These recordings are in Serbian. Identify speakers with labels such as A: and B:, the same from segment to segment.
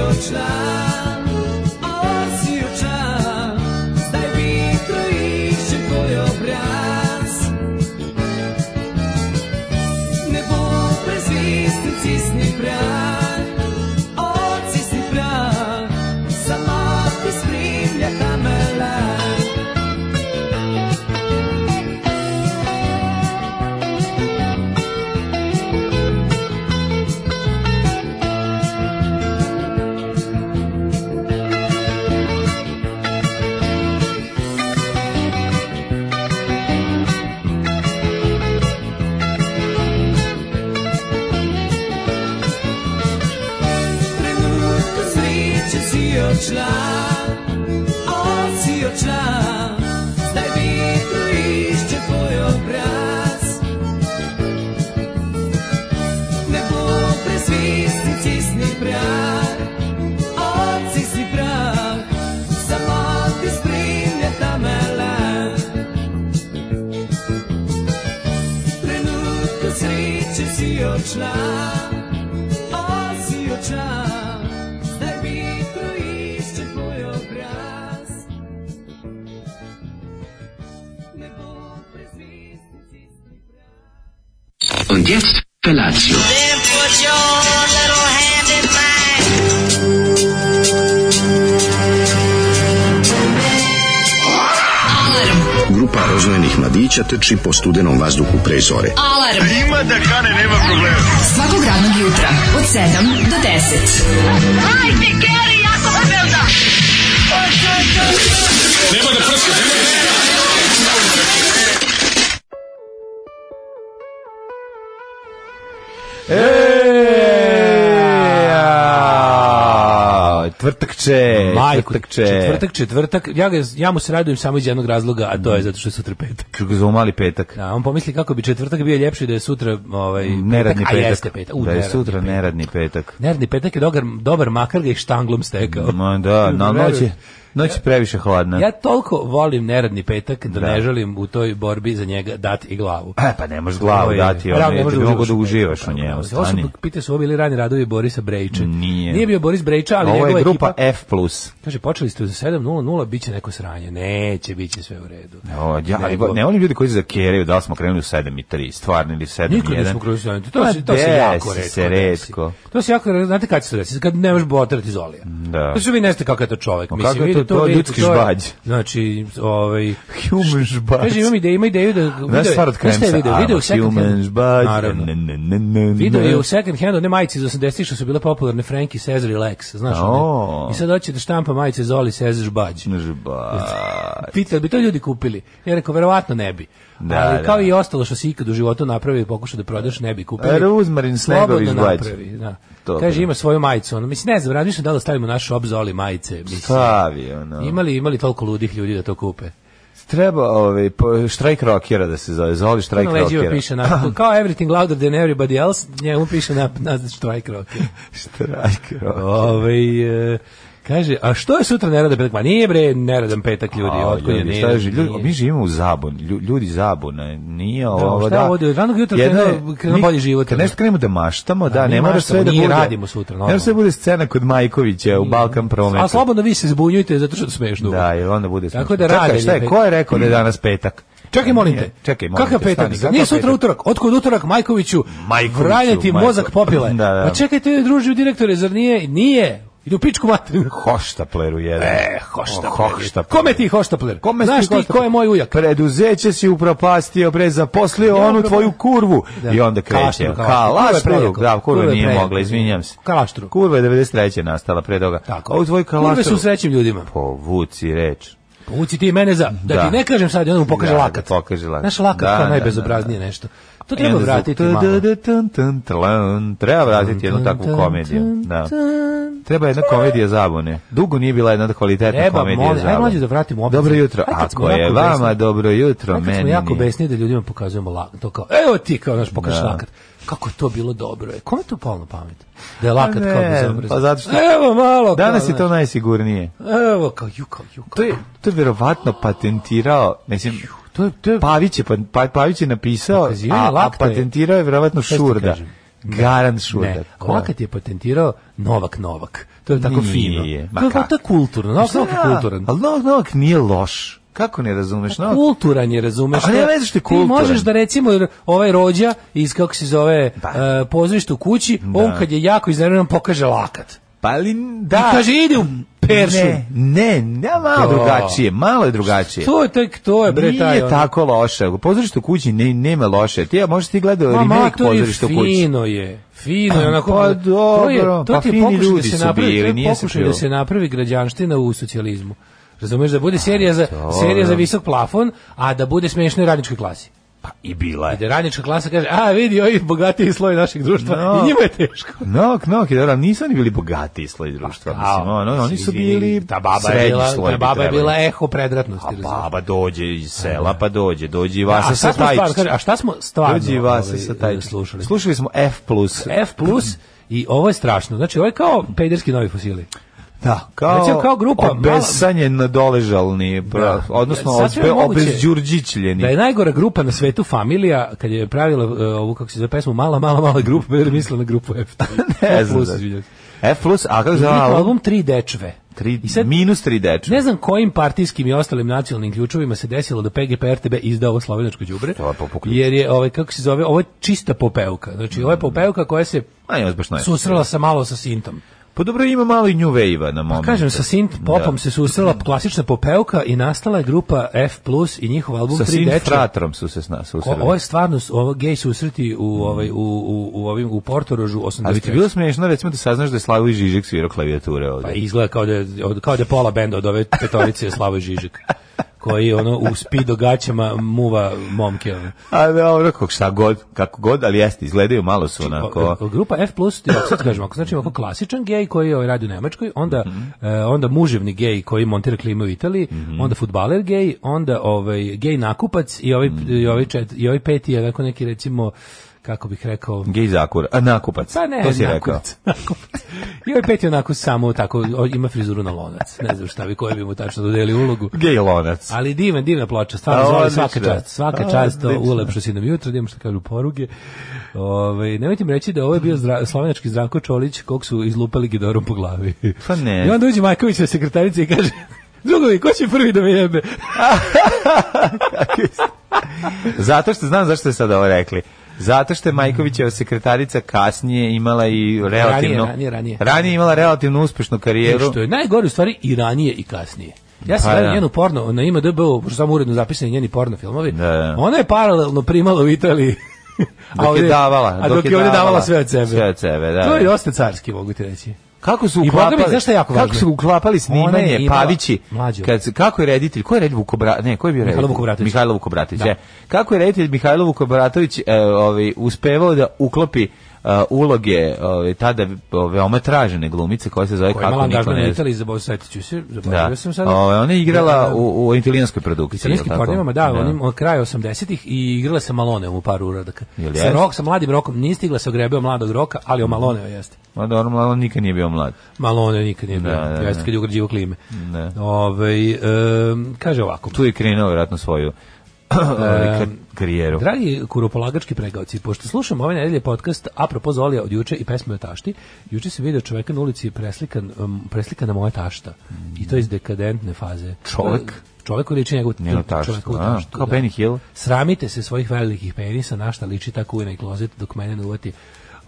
A: očlan, o si očlan, zdaj vitro išče tvoj obraz. Ne bo prezvisni cisni prah, o cisni prah, samo ti spremlja ta melan. trenutku sreće si odšla, on si odšla, zdaj vitro išče tvoj obraz. Ne bo prezvisti cisni prah, on cisni prah, samo ti spremlja ta melan. Trenutku sreće si odšla, osi očal, zdaj vitro išče tvoj obraz. Ne bo prezvisti cisni prav.
B: Und jetzt Felatio.
C: Then put your little hand in mine.
D: Grupa rozvojenih mladića trči po studenom vazduhu pre zore.
E: Alarm. Ima da kane, nema problema. Svakog radnog jutra, od 7 do 10. Hajde, Geri, jako se belda.
F: Eee, tvrtakče,
G: Majko,
F: tvrtakče.
G: Četvrtak, četvrtak. Ja, ga, ja mu se radujem samo iz jednog razloga, a
F: Mhm.
G: to je zato što je sutra petak.
F: Ču ga zaumali petak.
G: Da, on pomisli kako bi četvrtak bio ljepši da je sutra ovaj,
F: Neradni
G: petak, a
F: petak.
G: jeste petak. U,
F: da je
G: neradni
F: sutra
G: petak.
F: neradni petak.
G: Neradni petak je dobar, dobar makar ga i štanglom stekao.
F: Ma da, na
G: Verujem.
F: noć je, noć je previše hladna.
G: Ja toliko volim neradni petak da,
F: Da.
G: ne želim u toj borbi za njega dati i glavu.
F: E, pa ne možeš glavu
G: Ovo je-
F: dati,
G: Pa, da,
F: ono,
G: ne
F: ne
G: možeš
F: bi mogo
G: uživaš
F: da
G: u
F: uživaš u
G: petak,
F: njemu,
G: da. Ovo su,
F: stani.
G: pite su ovo bili rani radovi Borisa Brejića.
F: Nije.
G: Nije bio Boris Brejića, ali
F: Ovo
G: njegova
F: je grupa
G: ekipa...
F: F+.
G: Kaže, počeli ste u 7.00, bit će neko sranje. Neće, bit će sve u redu.
F: O, ja, ali
G: Nego-
F: ne volim ljudi koji se zakeraju da li smo krenuli u 7 i 3, stvarno ili 7 i 1.
G: Nikad nismo kroz sanje. To, se, to se
F: desi
G: jako
F: se
G: redko. desi.
F: redko.
G: To se jako redko. Znate kad se to desi? Kad ne možeš botrati zolija.
F: Da.
G: To što vi neste kakav je to čovjek.
F: Ma
G: Mislim,
F: kako je
G: vidi,
F: to- to je
G: vidi,
F: ljudski
G: je-
F: žbađ.
G: Znači, ovaj...
F: Human žbac.
G: Kaže, imam ideju, ima ideju da...
F: Znaš stvar od
G: Znaš šta Pa je
F: Kremsa?
G: video? Video
F: I'm
G: u
F: a
G: second
F: human
G: hand-
F: žbac.
G: Naravno.
F: Ne, ne, ne, ne, ne.
G: Video je u second handu, one majice iz 80-ih što su bile popularne, Frankie, Cesar i Lex, znaš one.
F: O.
G: I sad hoće da štampa majice Zoli, Cesar, Žbađ.
F: Žbac.
G: Pita, bi to ljudi kupili? Ja rekao, verovatno ne bi.
F: Da,
G: Ali kao
F: da.
G: i ostalo što si ikad u životu napravio i pokušao da prodaš, ne bi kupili.
F: Ruzmarin Snegović
G: Slobodno
F: Bađ.
G: napravi, da.
F: Dobro.
G: Kaže, ima svoju majicu. Ono, mislim, ne znam, razmišljam da li da stavimo naš shop za oli majice. Mislim,
F: Stavi, ono.
G: imali, imali toliko ludih ljudi da to kupe.
F: Treba ovaj, po- štrajk rockera da se zove. Zoli štrajk
G: Na leđima
F: rockera.
G: Ono, piše na, kao everything louder than everybody else, njemu piše na, na štrajk rocker.
F: Štrajk rockera.
G: Ovaj, e, kaže, a što je sutra neradan petak? Ma nije bre, neradan petak ljudi,
F: A,
G: otkud je
F: ljudi, šta je, ži- ljudi,
G: nije.
F: mi živimo u zabun, lju- ljudi zabune, nije
G: Da,
F: ovo,
G: šta je ovdje, od ranog jutra
F: Jedno
G: krenuo-
F: je-
G: krenuo
F: mi-
G: bolji život. ono.
F: Kad nešto krenemo da maštamo, da,
G: mi
F: ne mora
G: maštamo,
F: sve da
G: mi
F: bude.
G: radimo sutra,
F: ne
G: normalno.
F: mora sve da bude scena kod Majkovića u Balkan prometu.
G: A slobodno vi se zbunjujte zato što smešno.
F: Da, jer onda bude
G: Tako
F: smešno.
G: da rade
F: Čekaj, šta je,
G: ljudi.
F: ko je rekao da je danas petak?
G: Čekaj, molim te.
F: Nije, Čekaj, molim
G: Kakav
F: te,
G: petak?
F: stani, kakav
G: Nije sutra
F: petak?
G: utorak. Otkud utorak Majkoviću?
F: Majkoviću,
G: Vranje ti
F: Majko-
G: mozak popile.
F: Da, da.
G: Pa čekajte, druži direktore, zar nije? Nije. Idu pičku materinu.
F: Hoštapleru jedan.
G: E,
F: O,
G: hoštapler.
F: hoštapler.
G: Kome ti hoštapler?
F: Kome
G: Znaš
F: si
G: ti
F: hoštapler?
G: ko je moj ujak?
F: Preduzeće si upropastio, bre, zaposlio onu
G: problem.
F: tvoju kurvu.
G: Da.
F: I onda kreće.
G: Kalaštru,
F: Ka,
G: kalaštru. Kurva je
F: laštru.
G: prejako.
F: Da, kurva
G: Kurva je
F: nije
G: prejako.
F: mogla, izvinjam se.
G: Kalaštru.
F: Kurva je 93. nastala pre toga.
G: Tako.
F: A u tvoj
G: Kurve
F: kalaštru.
G: su srećim ljudima.
F: Povuci reč.
G: Povuci ti mene za... Da,
F: Da.
G: ti ne kažem sad, onda mu pokaže
F: Da, da
G: lakat.
F: pokaže lakat.
G: Znaš, lakat
F: Da,
G: kao
F: da,
G: najbezobraznije
F: da, da.
G: nešto. To
F: I
G: treba
F: onda zvuk
G: vratiti
F: ta-
G: malo.
F: da- tun- tun- tlun. Treba vratiti jednu takvu komediju. Da. Treba jedna komedija zabune. Dugo nije bila jedna kvalitetna
G: Treba,
F: komedija
G: molim, aj,
F: zabune.
G: mlađe, da vratimo opet.
F: Dobro jutro.
G: Aj, kad smo
F: Ako je
G: jako
F: vama
G: besni.
F: dobro jutro,
G: Nekad smo
F: meni
G: jako
F: nije.
G: besni da ljudima pokazujemo lakat. To kao, evo ti kao naš pokaš
F: Da.
G: lakat. Kako je to bilo dobro? E, kome je to palo na pamet? Da je lakat kao
F: ne,
G: bezobrazan.
F: pa zato što-
G: Evo malo. kao,
F: Danas je to
G: znaš,
F: najsigurnije.
G: Evo kao, ju kao, ju kao.
F: To je, to je verovatno patentirao, mislim, to je, to je... Pavić, je, pa, Pavić je napisao,
G: Pokazivanje
F: a, a
G: lakta je-
F: patentirao je verovatno
G: ti
F: Šurda.
G: kažem?
F: Garant Šurdak.
G: Ne, Lakat je patentirao Novak Novak. To je tako fino.
F: Nije. Ma
G: To je kao
F: kako?
G: to je kulturno. Novak Novak je kulturan.
F: Pa
G: Pa
F: Ali Novak Novak nije loš. Kako ne razumeš? Novak
G: Kulturan je, razumeš?
F: A nema
G: To-
F: veze što je
G: Ti možeš
F: kulturan. Pa-
G: da recimo jer ovaj rođa iz kako se zove
F: Da.
G: e, pozorište u kući, on kad je jako iznerviran pokaže lakat.
F: Pa ali da.
G: I kaže ide u peršu.
F: Ne, ne, ne, malo
G: Da.
F: drugačije, malo je drugačije.
G: To je tek to je bre taj.
F: Pa Nije
G: ono.
F: tako loše. Pozorište u kući ne, nema loše. Ti, a možda ti gledao
G: Ma,
F: remake
G: matori,
F: pozorište u kući.
G: Fino je, fino je, onako, ono,
F: Pa
G: to je,
F: dobro,
G: to
F: pa
G: ti je
F: fini
G: pokušaj
F: ljudi
G: da
F: su
G: se napravi,
F: bili,
G: to je
F: nije se
G: pokušaj da
F: čulo.
G: se napravi građanština u socijalizmu. Razumeš da bude serija za, serija za visok plafon, a da bude smiješno i radničkoj klasi.
F: Pa i bila
G: I
F: je.
G: da radnička klasa kaže, a vidi, ovi bogatiji sloj našeg društva,
F: No.
G: i njima je teško.
F: Nok, nok, je dobro, ali nisu oni bili bogati sloj društva, mislim,
G: Pa, Kao,
F: ono, oni su bili
G: ta baba je
F: srednji
G: bila,
F: sloj
G: ta
F: bi
G: baba je
F: trebali.
G: bila eho predratnosti.
F: A
G: razumeš?
F: baba dođe iz sela, pa dođe, dođe i
G: a
F: Vasa
G: šta
F: sa
G: smo stvarno,
F: Tajčićem.
G: kaže, a šta smo stvarno
F: Dođe i Vasa
G: ovaj,
F: sa Tajčićem.
G: slušali? E,
F: Slušali smo F+. plus.
G: F plus i ovo je strašno. Znači, ovo je kao pejderski novi fosili.
F: Da, kao,
G: Recimo, kao grupa
F: obesanjen nadoležalni, pra-
G: Da.
F: odnosno
G: Sasvim
F: obbe,
G: je moguće
F: obezđurđićljeni.
G: Da je najgora grupa na svetu familija, kad je pravila e, ovu, kako se zove pesmu, mala, mala, mala grupa, pa je mislila na grupu F.
F: Ne
G: F
F: znam
G: plus,
F: da-
G: izvinjam se.
F: F+, plus, a kako se zove
G: Njihov
F: album?
G: album Tri dečve.
F: Tri,
G: I sad-
F: minus tri dečka.
G: Ne znam kojim partijskim i ostalim nacionalnim ključovima se desilo da PGP RTB izdao ovo slovenačko đubre.
F: To je po- po ključu.
G: Jer je ovaj kako se zove, ovo je čista popevka. Znači ovo je popevka koja se
F: Ma nije baš najbolje.
G: susrela sa malo sa sintom.
F: Pa dobro, ima malo i New Wave-a na momentu.
G: Kažem sa synth popom
F: Da.
G: se susrela klasična popevka i nastala je grupa F+ i njihov album
F: Sa
G: Tri
F: sin
G: dečve.
F: fratrom su se sna-
G: O,
F: susreli.
G: ovo je stvarno su- ovo gej susreti u ovaj u u u ovim u Portorožu 80.
F: Mm. Ali ti je bilo smiješno, recimo, da saznaš da je Slavoj Žižek svirao klavijature ovde.
G: pa izgleda kao da je, od- kao da je pola benda od ove petorice je Slavoj Žižek koji ono u spido gaćama muva momke. ono.
F: A dobro, kako šta god, kako god, ali jeste, izgledaju malo su onako.
G: O- o- Pa, e, Grupa F+, ti ovako sad kažem, ako znači ovako klasičan gej koji ovaj, radi u Nemačkoj, onda,
F: Mhm.
G: e, onda muževni gej koji montira klimu u Italiji, onda futbaler gej, onda ovaj, gej nakupac i ovaj,
F: Mhm.
G: i ovaj, čet, i ovaj peti je onako neki recimo, kako bih rekao,
F: Gej zakur, a nakupac,
G: Pa ne,
F: to si rekao.
G: nakupac, nakupac. I ovaj pet je onako samo tako, o, ima frizuru na lonac. Ne znam šta bi, koji bi mu tačno dodeli ulogu.
F: Gej lonac.
G: Ali divan, divna ploča,
F: A,
G: stvarno zove
F: odlično.
G: svaka čast, svaka
F: A,
G: čast, to
F: odlično.
G: ulepšo si nam jutro, idemo što kažu poruge. Ove, nemojte mi reći da ovo je bio zdra, slovenački Zdravko Čolić, kog su izlupali gidorom po glavi.
F: Pa ne.
G: I onda uđe Majković na sekretarici i kaže, drugovi, ko će prvi da me jebe?
F: Zato što znam zašto ste sad ovo rekli. Zato što je Majkovićeva sekretarica kasnije imala i relativno...
G: ranije, ranije.
F: Ranije imala relativno uspešnu karijeru.
G: Što je najgore u stvari i ranije i kasnije. Ja sam
F: Pa
G: gledao
F: da.
G: njenu porno, na ima DB, pošto sam uredno zapisani njeni porno filmovi,
F: Da, da.
G: ona je paralelno primala u Italiji. a
F: Dok je
G: ovdje-
F: davala.
G: A dok je ovdje davala sve od sebe.
F: Sve od sebe, da.
G: To je dosta carski, mogu ti reći.
F: Kako su
G: I Boga mi,
F: uklapali?
G: znaš šta je jako važno?
F: Kako su uklapali
G: Ona je
F: snimanje
G: imala-
F: Pavići?
G: Mlađo.
F: Kad se- kako je reditelj? Ko je reditelj Vukobra, ne, ko je bio reditelj?
G: Mihajlo Vukobratović.
F: Mihajlo Vukobratović,
G: Da.
F: e. Kako je reditelj Mihajlo Vukobratović e, ovaj uspevao da uklopi e, uloge ovaj tada ove, veoma tražene glumice koja se zove
G: Koja je imala
F: kako niko
G: angažman u
F: ne zna.
G: Italiji, zaboravio setit ću se, zaboravio
F: Da.
G: sam sad.
F: Ovaj, ona je igrala
G: Da,
F: u, u italijanskoj produkciji.
G: italijanskim
F: jel tako?
G: pornima, da, onim od kraja 80-ih i igrala sa Maloneom u par uradaka.
F: Jel Mhm.
G: Sa
F: jest?
G: rok, sa mladim rokom, nije stigla se ogrebeo mladog roka, ali o Maloneo jeste.
F: Ma dobro, mlad, on nikad nije bio mlad.
G: Malone nikad nije bio,
F: Da, da,
G: jeste
F: da.
G: kad je ugrađivo klime.
F: Da.
G: Ovaj, em, kaže ovako,
F: Tu je krenuo vjerojatno svoju ovaj, kar- karijeru.
G: Dragi kuropolagački pregaoci, pošto slušam ove nedelje podcast apropo Zolija od juče i pesme o tašti, juče se video čoveka na ulici preslikan, um, preslikana moja tašta. I to iz dekadentne faze.
F: Čovek?
G: Čovek koji liči njegovu
F: Njenu taštu,
G: taštu. Čoveku
F: a,
G: taštu
F: kao Benny Hill.
G: Sramite se svojih velikih penisa, na šta liči ta kujna i klozet, dok mene ne uvati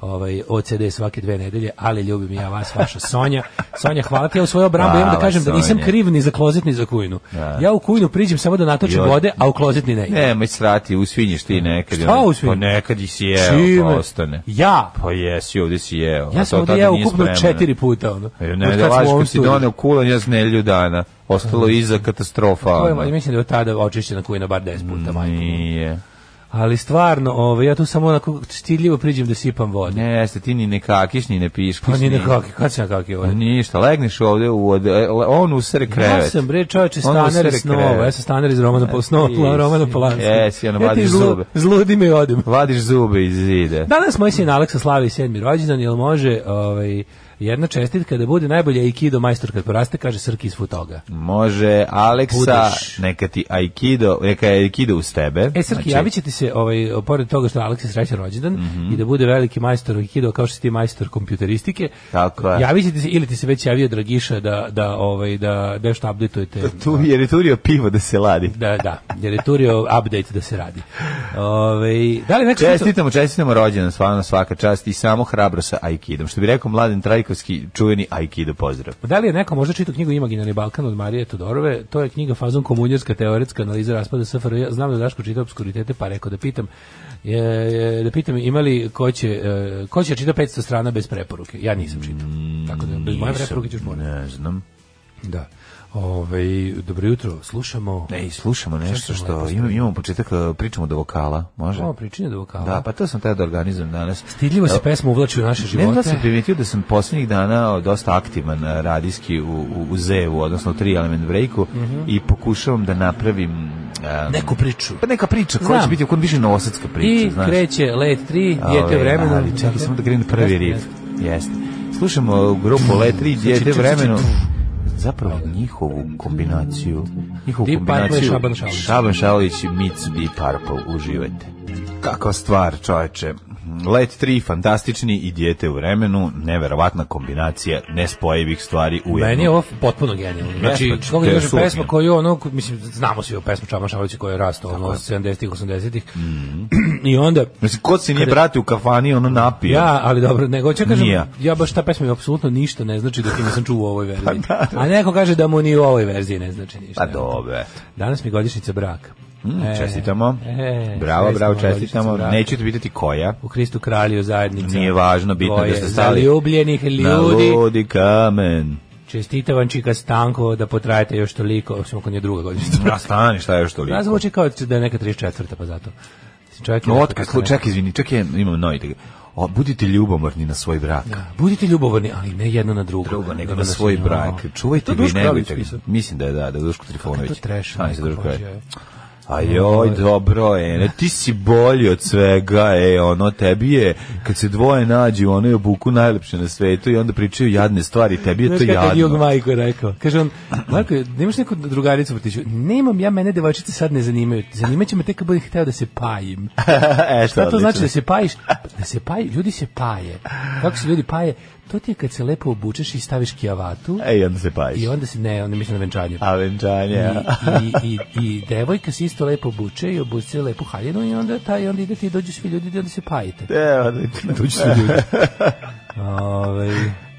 G: ovaj OCD svake dve nedelje, ali ljubim ja vas, vaša Sonja. Sonja, hvala ti, ja u svojoj obrambi imam da
F: Hvala,
G: kažem da nisam
F: Sonja.
G: kriv ni za klozet ni za kujnu. Ja u kujnu priđem samo da natočim
F: Još-
G: vode, a u klozet ni ne. idem.
F: Nemoj srati, usvinješ ti nekad.
G: Šta
F: ono,
G: usvinjim?
F: Pa nekad i si jeo,
G: Čime?
F: pa ostane.
G: Ja,
F: Pa jesi, ovdje si jeo.
G: ja
F: a to
G: sam ovdje
F: tada
G: jeo
F: nije
G: ukupno
F: spremno.
G: četiri puta. Ono.
F: E,
G: Od
F: Ne,
G: kad
F: da
G: smo u
F: lažiš
G: ovom
F: kad si
G: studiju.
F: doneo kulen, ja sam nelju dana. Ostalo je iza katastrofa.
G: To je,
F: ono.
G: mislim da je od tada očišćena kujna bar 10 puta majka.
F: Nije.
G: Ali stvarno, ovaj, ja tu samo onako stiljivo priđem da sipam vode.
F: Ne, jeste, ti ni ne kakiš, ni ne piškiš. Pa
G: Pa ni na kaki, kad sam ja kaki ovaj?
F: Ništa, legneš ovdje u od, e, on usere krevet.
G: Ja sam bre čoveče
F: On
G: stanar
F: usere
G: iz snova,
F: krevet. E,
G: ja sam stanar iz Romana po snova,
F: Ti si.
G: Romana Polanski.
F: Jesi, ono,
G: ja ti
F: vadiš
G: zlu-
F: zube.
G: Zludim i odim.
F: Vadiš zube iz zide.
G: Danas moj sin Aleksa slavi sedmi rođendan, jel može ovaj, Jedna čestitka da bude najbolja Aikido majstor kad poraste, kaže Srki iz Futoga.
F: Može Aleksa,
G: Budeš.
F: neka ti Aikido, neka je Aikido uz tebe. Znači,
G: E, Srki, javit će ti se, ovaj, pored toga što Aleks je srećan rođendan
F: Mhm.
G: i da bude veliki majstor Aikido kao što si ti majstor kompjuteristike,
F: Tako je.
G: javit će ti se, ili ti se već javio Dragiša da, da, ovaj, da, da što updateujete.
F: tu jer je turio pivo da se ladi.
G: Da, da, jer je turio update da se radi. Ovaj, da li neko...
F: Čestitamo, čestitamo rođendan, stvarno svaka čast i samo hrabro sa Aikidom. Što bi rekao Mladen Trajkovski, čuveni Aikido pozdrav.
G: Da li je neko možda čitao knjigu Imaginarni Balkan od Marije Todorove? To je knjiga fazon komunjerska teoretska analiza raspada SFRJ. Ja znam da Daško čita obskuritete, pa rekao da pitam e, e, da pitam ima li ko će, e, ko će čita 500 strana bez preporuke. Ja nisam čitao. Tako da, bez moje
F: Nisam,
G: preporuke ćeš morati.
F: Ne znam.
G: Da. Ove, dobro jutro, slušamo...
F: Ne, i slušamo nešto
G: ćemo
F: što
G: lepo
F: imamo, imamo početak, eh, pričamo do vokala, može?
G: Ovo pričine do vokala.
F: Da, pa to sam tada da organizujem danas.
G: Stidljivo se pesma uvlači u naše
F: Ne
G: živote.
F: znam da sam primetio da sam posljednjih dana dosta aktivan eh, radijski u, u, u Zevu, odnosno u tri element breaku
G: Mhm.
F: i pokušavam da napravim... em,
G: Neku priču.
F: Pa neka priča, koja će
G: Znam.
F: biti okon više novosadska priča,
G: I
F: znaš.
G: kreće let 3,
F: Ove,
G: djete vremena.
F: Ali čekaj, samo da grem prvi
G: Jeste,
F: riff.
G: jeste. Znači,
F: Jeste. Slušamo grupu Letri, Djete
G: ču, ču, ču,
F: vremenu.
G: ču.
F: Zapravo njihovu kombinaciju, njihovu
G: Deep Purple i
F: kombinaciju
G: Šaban Šaolić.
F: Šaban Šaolić i Mic Deep Purple, uživajte. Kakva stvar, čoveče. Let 3, fantastični i Djete u vremenu, neverovatna kombinacija nespojivih stvari u
G: Meni je ovo potpuno genijalno. Znači,
F: Pesma,
G: kako
F: to
G: ti
F: je
G: kažem,
F: super.
G: pesma koju ono, mislim, znamo svi o pesmu Čaba Šarovića koja je rastao ono, 70-ih, 80-ih.
F: Mhm.
G: I onda,
F: Mislim, ko se nije brati u kafani, ono napije.
G: ja, ali dobro, nego hoću da kažem,
F: Nije.
G: ja baš ta pesma mi apsolutno ništa ne znači dok je nisam čuo u ovoj verziji. A neko kaže da mu ni u ovoj verziji ne znači ništa.
F: Pa dobe.
G: Danas mi je godišnjica braka.
F: Mm,
G: E,
F: čestitamo.
G: e,
F: bravo, bravo, čestitamo.
G: braka.
F: Neću ti pitati koja.
G: U Hristu kralju zajednica.
F: Nije važno, bitno
G: Tvoje
F: da ste stali.
G: Zaljubljenih ljudi.
F: Na ludi kamen.
G: Čestita vam čika Stanko da potrajete još toliko, osim ako nije druga godišnjica.
F: Ja stani, šta je još
G: Da,
F: toliko?
G: zvuči kao da je neka 34. pa zato. Mislim, Čovjek je
F: No,
G: rekao
F: otkaz,
G: kako ne.
F: čekaj, izvini, čekaj, imam novi. da ga- O, budite ljubomorni na svoj brak.
G: Da, budite ljubovorni, ali ne jedno na drugo.
F: Drugo, nego
G: Nego
F: na svoj
G: no.
F: brak. Čuvajte
G: To
F: vi,
G: Duško Radović
F: negujte ga.
G: pisao.
F: Mislim da je da, da je Duško Trifonović.
G: Kako je to trash,
F: Ajde,
G: neko
F: Duško je.
G: Božje.
F: A joj, dobro je, ne, ti si bolji od svega, e, ono, tebi je, kad se dvoje nađu, ono je obuku najlepše na svetu i onda pričaju jadne stvari, tebi je to
G: Znaš kako je Jug
F: jadno.
G: Majko rekao? Kaže on, Marko, nemaš neku drugaricu u vrtiću? Nemam ja, mene devojčice sad ne zanimaju. Zanimaće me tek kad budem hteo da se pajim.
F: e,
G: Šta to
F: odlično.
G: znači da se pajiš? Da se paji, ljudi se paje. Kako se ljudi paje? To ti je kad se lepo obučeš i staviš kijavatu
F: E, i onda se pajiš.
G: i onda se, ne, onda mislim na venčanje.
F: A venčanje, a?
G: I, i, i, i devojka se isto lepo obuče i obuče lepu haljinu i onda taj onda idete i dođu svi ljudi i onda se pajite.
F: E, odlično.
G: Ovaj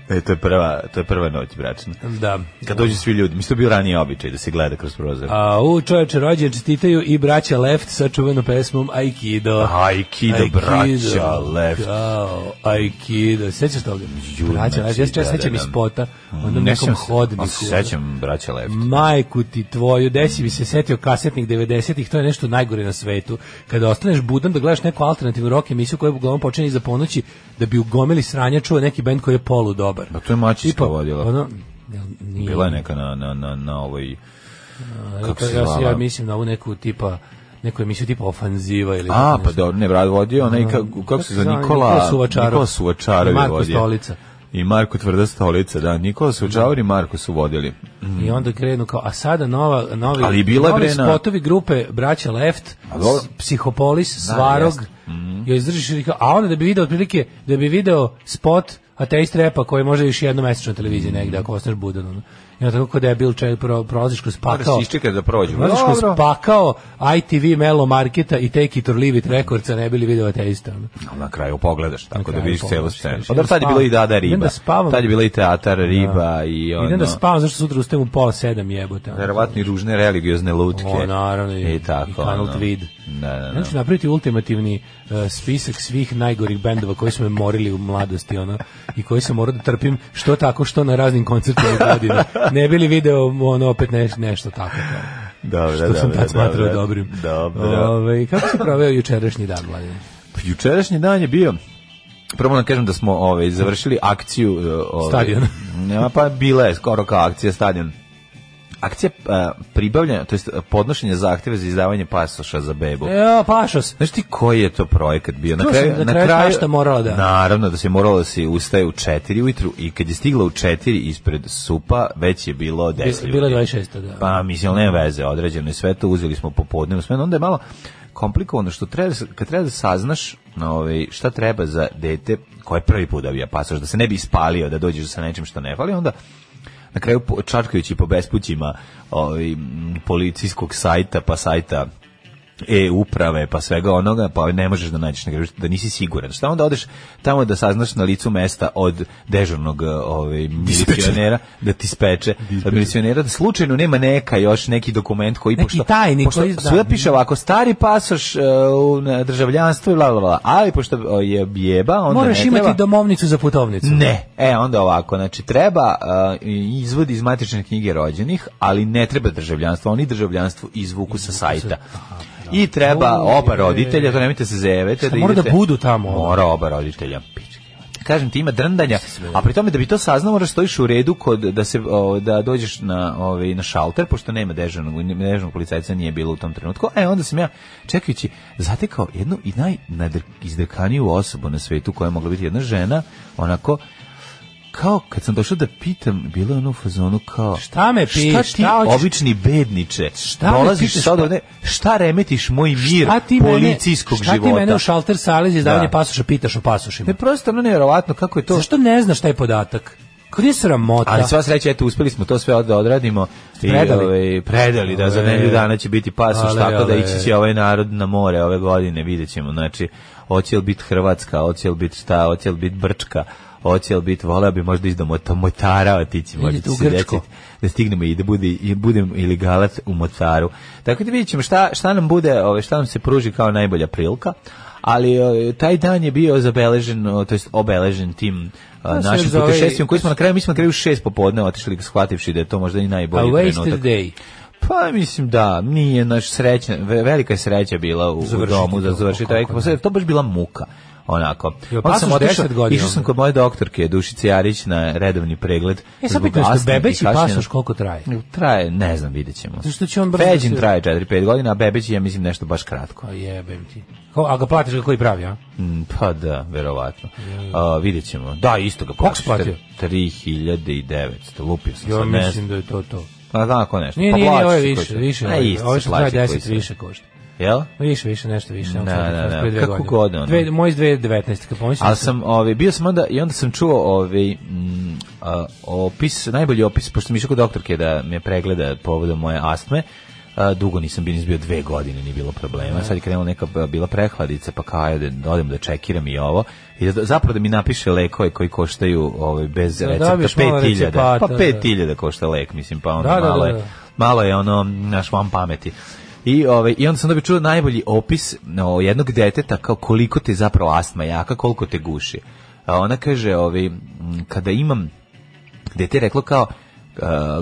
F: E, to je prva, to je prva noć bračna.
G: da.
F: Kad dođu svi ljudi, mislim to je bio ranije običaj da se gleda kroz prozor.
G: A u čoveče rođen čestitaju i braća Left sa čuvenom pesmom Aikido.
F: Aikido, braća, Pa, left.
G: Kao, Aikido. Sećaš toga?
F: Ju,
G: braća Left. Ja se
F: znači,
G: često
F: da,
G: sećam
F: da,
G: iz
F: da.
G: spota. Onda
F: Mm, Ne
G: nekom
F: sjećam se-
G: hodniku. ono. Mm.
F: ali se Sećam braća left.
G: Majku ti tvoju, desi mi se setio kasetnih 90-ih, to je nešto najgore na svetu. Kada ostaneš budan da gledaš neku alternativnu rock emisiju koja uglavnom počinje iza ponoći, da bi u gomili sranja čuo neki bend koji je polu dobar.
F: Da, Pa to je Mačićka vodila.
G: Ono, jel nije,
F: Bila je neka na, na, na, na ovoj... kako se
G: ja, se- ja
F: zvala?
G: mislim na ovu neku tipa neku emisiju tipa ofanziva ili
F: A,
G: tako
F: pa
G: nešto.
F: dobro, ne, brad vodio, onaj, kako, kako se zove, Nikola,
G: Ono, Suvačarov.
F: Nikola Suvačarov je
G: Marko
F: vodio.
G: Stolica.
F: I Marko Tvrda Stolica, da, Nikola Suvačarov i Marko su vodili.
G: I onda krenu kao, a sada nova, novi,
F: Ali bila je
G: novi
F: bre na-
G: spotovi grupe Braća Left,
F: A dobro.
G: s- Psihopolis, Svarog,
F: jeste. Mhm.
G: joj izdržiš i kao, a onda da bi video otprilike, da bi video spot ateist repa koji može još jednom mesečno na televiziji negde, ako ostaneš budan. ono. I onda tako kod debil čovjek pro, prolaziš kroz
F: Moraš
G: pakao.
F: iščekati da prođu.
G: Prolaziš kroz
F: Dobro.
G: pakao ITV Melo Marketa i Take It or Leave It Recordsa, ne bili video ateista. ono.
F: Ali na kraju pogledaš, tako da
G: kraju
F: vidiš celu
G: pogledaš,
F: scenu.
G: vidiš.
F: Pa dobro, tad je bilo i Dada
G: Idem
F: Riba.
G: da spavam.
F: Tad je bila i Teatar Riba i ono...
G: Idem da spavam, zašto sutra ustajem u pola sedam jebote. ono.
F: verovatno i ružne religiozne lutke.
G: O, naravno, i,
F: I tako.
G: i Kanal
F: ono.
G: Tweed.
F: Da, da, da.
G: Ja ću napraviti ultimativni uh, spisak svih najgorih bendova koji su me morili u mladosti ono, i koji sam morao da trpim što tako što na raznim koncertima i godina. Ne bili video ono, opet neš, nešto tako. Kao,
F: Dobro,
G: što sam
F: dobro,
G: tad smatrao
F: dobro.
G: dobrim.
F: Dobro.
G: Ovaj, kako si proveo jučerašnji dan, Vladimir?
F: Jučerašnji dan je bio Prvo da kažem da smo ovaj završili akciju eh, ovaj
G: Stadion.
F: Ja pa bila je skoro kao akcija stadion. akcija a, pribavljanja, to jest podnošenje zahtjeva za izdavanje pasoša za bebu.
G: Ja, E, pašos.
F: Znaš ti koji je to projekat bio?
G: Čuo sam da kraju svašta morala da-
F: Naravno da se moralo da se ustaje u 4 ujutru i kad je stigla u 4 ispred supa, već je bilo 10 ljudi.
G: Bila 26. da.
F: Pa mislim, ali nema veze, određeno je sve to, uzeli smo popodne u smenu, onda je malo komplikovano što treba, kad treba da saznaš ovaj, šta treba za dete koje prvi put dobija pasoš, da se ne bi ispalio, da dođeš sa nečim što ne fali, onda na kraju po- čačkajući po bespućima ovaj, m, policijskog sajta, pa sajta e uprave pa svega onoga pa ne možeš da nađeš na grebu, da nisi siguran šta onda odeš tamo da saznaš na licu mesta od dežurnog eh, ovaj milicionera da ti speče od milicionera da slučajno nema neka još neki dokument koji
G: Neki
F: pošto
G: tajni
F: pošto
G: koji- da.
F: svuda piše ovako stari pasoš eh, u na državljanstvo i bla bla bla ali pošto eh, je jeba onda
G: Moraš
F: ne
G: imati
F: treba.
G: domovnicu za putovnicu.
F: Ne, e onda ovako, znači treba eh, izvod iz matične knjige rođenih, ali ne treba državljanstvo, oni državljanstvo izvuku sa sajta. I treba
G: O,
F: oba
G: je.
F: roditelja, to nemojte se zevete.
G: Šta, mora da budu tamo? ono.
F: Mora oba roditelja. Kažem ti, ima drndanja, a pri tome da bi to saznao, moraš stojiš u redu kod, da, se, o, da dođeš na, ovaj, na šalter, pošto nema dežurnog, dežurnog policajca nije bilo u tom trenutku. E, onda sam ja, čekajući, zatekao jednu i najizdrkaniju osobu na svetu koja je mogla biti jedna žena, onako, kao kad sam došao da pitam, bilo je ono u fazonu kao...
G: Šta me pitaš,
F: Šta ti
G: šta hoćeš?
F: obični bedniče?
G: Šta me
F: prolaziš
G: pitaš,
F: sad
G: šta-
F: ovde, šta remetiš moj mir
G: A ti
F: policijskog
G: mene, šta
F: života?
G: ti mene u šalter sale za izdavanje
F: Da.
G: pasoša pitaš o pasošima?
F: Ne, prosto ono nevjerovatno kako je to...
G: Zašto ne znaš taj podatak? Kada je sramota?
F: Ali sva sreća, eto, uspeli smo to sve da odradimo. I,
G: Predali?
F: ovaj, predali, da, za
G: Ale.
F: nedelju dana će biti pasoš,
G: Ale,
F: tako da
G: ale.
F: ići će ovaj narod na more ove godine, vidjet ćemo. Znači, hoće li biti Hrvatska, hoće li biti šta, hoće li biti Brčka, hoće li biti, voleo bi možda iz Mota- Motara otići, možda
G: Idite
F: će
G: u
F: se
G: Grčko.
F: desiti da stignemo i da bude, i budem ilegalac u Motaru. Tako da vidjet ćemo šta, šta nam bude, ovaj, šta nam se pruži kao najbolja prilika. Ali ovaj, taj dan je bio zabeležen, o, to jest obeležen tim a,
G: To se
F: našim
G: zove-
F: putešestvima koji smo na kraju, mi smo na kraju u šest popodne otišli shvativši da je to možda i
G: A
F: najbolji
G: wasted
F: trenutak.
G: day.
F: Pa mislim da, nije naš sreća, ve- velika je sreća bila u, u
G: Završiti
F: domu da
G: to,
F: završi
G: kako
F: taj
G: ne.
F: posao, jer to baš bila muka onako.
G: Jo,
F: Onda sam
G: pasoš
F: otišao,
G: 10 godina.
F: išao sam kod moje doktorke Dušice Jarić na redovni pregled.
G: E, sad
F: zbog
G: pitam, što
F: astme i
G: bebeći
F: kašljenja.
G: pasoš koliko traje?
F: Traje, ne znam, vidjet ćemo.
G: Zato što će on brzo da
F: Feđin
G: se-
F: traje 4-5 godina, a Bebeći ja mislim nešto baš kratko.
G: Pa jebem ti. Ko, a ga platiš ga koji pravi, a?
F: Mm, Pa da, verovatno. A, vidjet ćemo. Da, isto ga
G: Koliko si platio?
F: 3900, lupio sam
G: Ja
F: sad, ne
G: mislim
F: znam.
G: da je to to.
F: Pa tako nešto.
G: Nije,
F: pa
G: nije, nije, ovo je
F: plaćaš koji
G: više,
F: će.
G: više.
F: A,
G: ovo je-
F: isto
G: Ovo je što
F: se plaća
G: traje
F: koji
G: 10
F: se.
G: više košta.
F: Jel?
G: Više, više, nešto više.
F: Da, da, da. Kako god, ono.
G: godina. Dve, moj iz 2019. Kad pomislim,
F: Ali sam, ovaj, bio sam onda, i onda sam čuo ovaj, mm, a, opis, najbolji opis, pošto mi išao kod doktorke da me pregleda povodom moje astme, a, dugo nisam bio, nisam bio dve godine, nije bilo problema. Sad je krenula neka a, bila prehladica, pa kao, ajde, da odem da čekiram i ovo. I da, zapravo da mi napiše lekove koji koštaju ovaj, bez
G: Da
F: recepta,
G: dobiješ malo
F: 5000. Pa
G: recepata, da.
F: 5000 košta lek, mislim, pa onda
G: Da, da,
F: malo je
G: da, da.
F: malo je ono naš vam pameti. I, ovaj, I onda sam dobio čuo najbolji opis no, jednog deteta kao koliko te zapravo astma jaka, koliko te guši. A ona kaže, ovaj, m, kada imam, dete je reklo kao, a,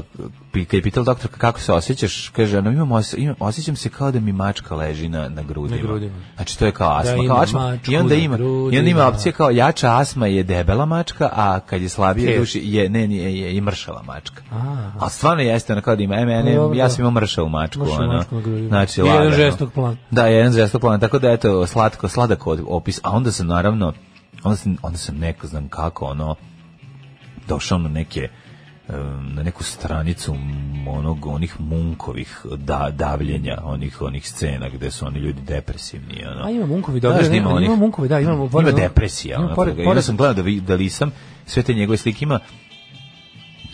F: pi- kad je pitala doktorka kako se osjećaš, kaže, ono, imam, os- imam- osjećam se kao da mi mačka leži na, na grudima.
G: grudima.
F: Znači, to je kao astma.
G: ima
F: kao astma.
G: mačku
F: I onda
G: na
F: ima, i onda ima
G: grudima.
F: opcija kao jača astma je debela mačka, a kad je slabije
G: Teška.
F: duši je, ne, je, je i mršava mačka.
G: A.
F: A stvarno jeste ona kao da ima, e, mene,
G: Pa dobro,
F: ja
G: da.
F: sam imao mršavu mačku.
G: Mršavu
F: ono.
G: mačku na grudima.
F: Znači,
G: I jedan
F: lagano.
G: žestok plan.
F: Da, jedan žestok plan, tako da eto, slatko, sladak od- opis, a onda sam naravno, onda sam, onda sam neko, znam kako, ono, došao na neke em, na neku stranicu onog onih munkovih da, davljenja onih onih scena gde su oni ljudi depresivni ono
G: A ima munkovi, dobro,
F: Znaš da
G: ima-
F: onih-
G: ima munkovi, da, imamo-
F: ima
G: pored-
F: depresija
G: ima
F: ono,
G: pored-
F: toga. I
G: pored-
F: onda sam gledao da vi da lisam sve te njegove slike ima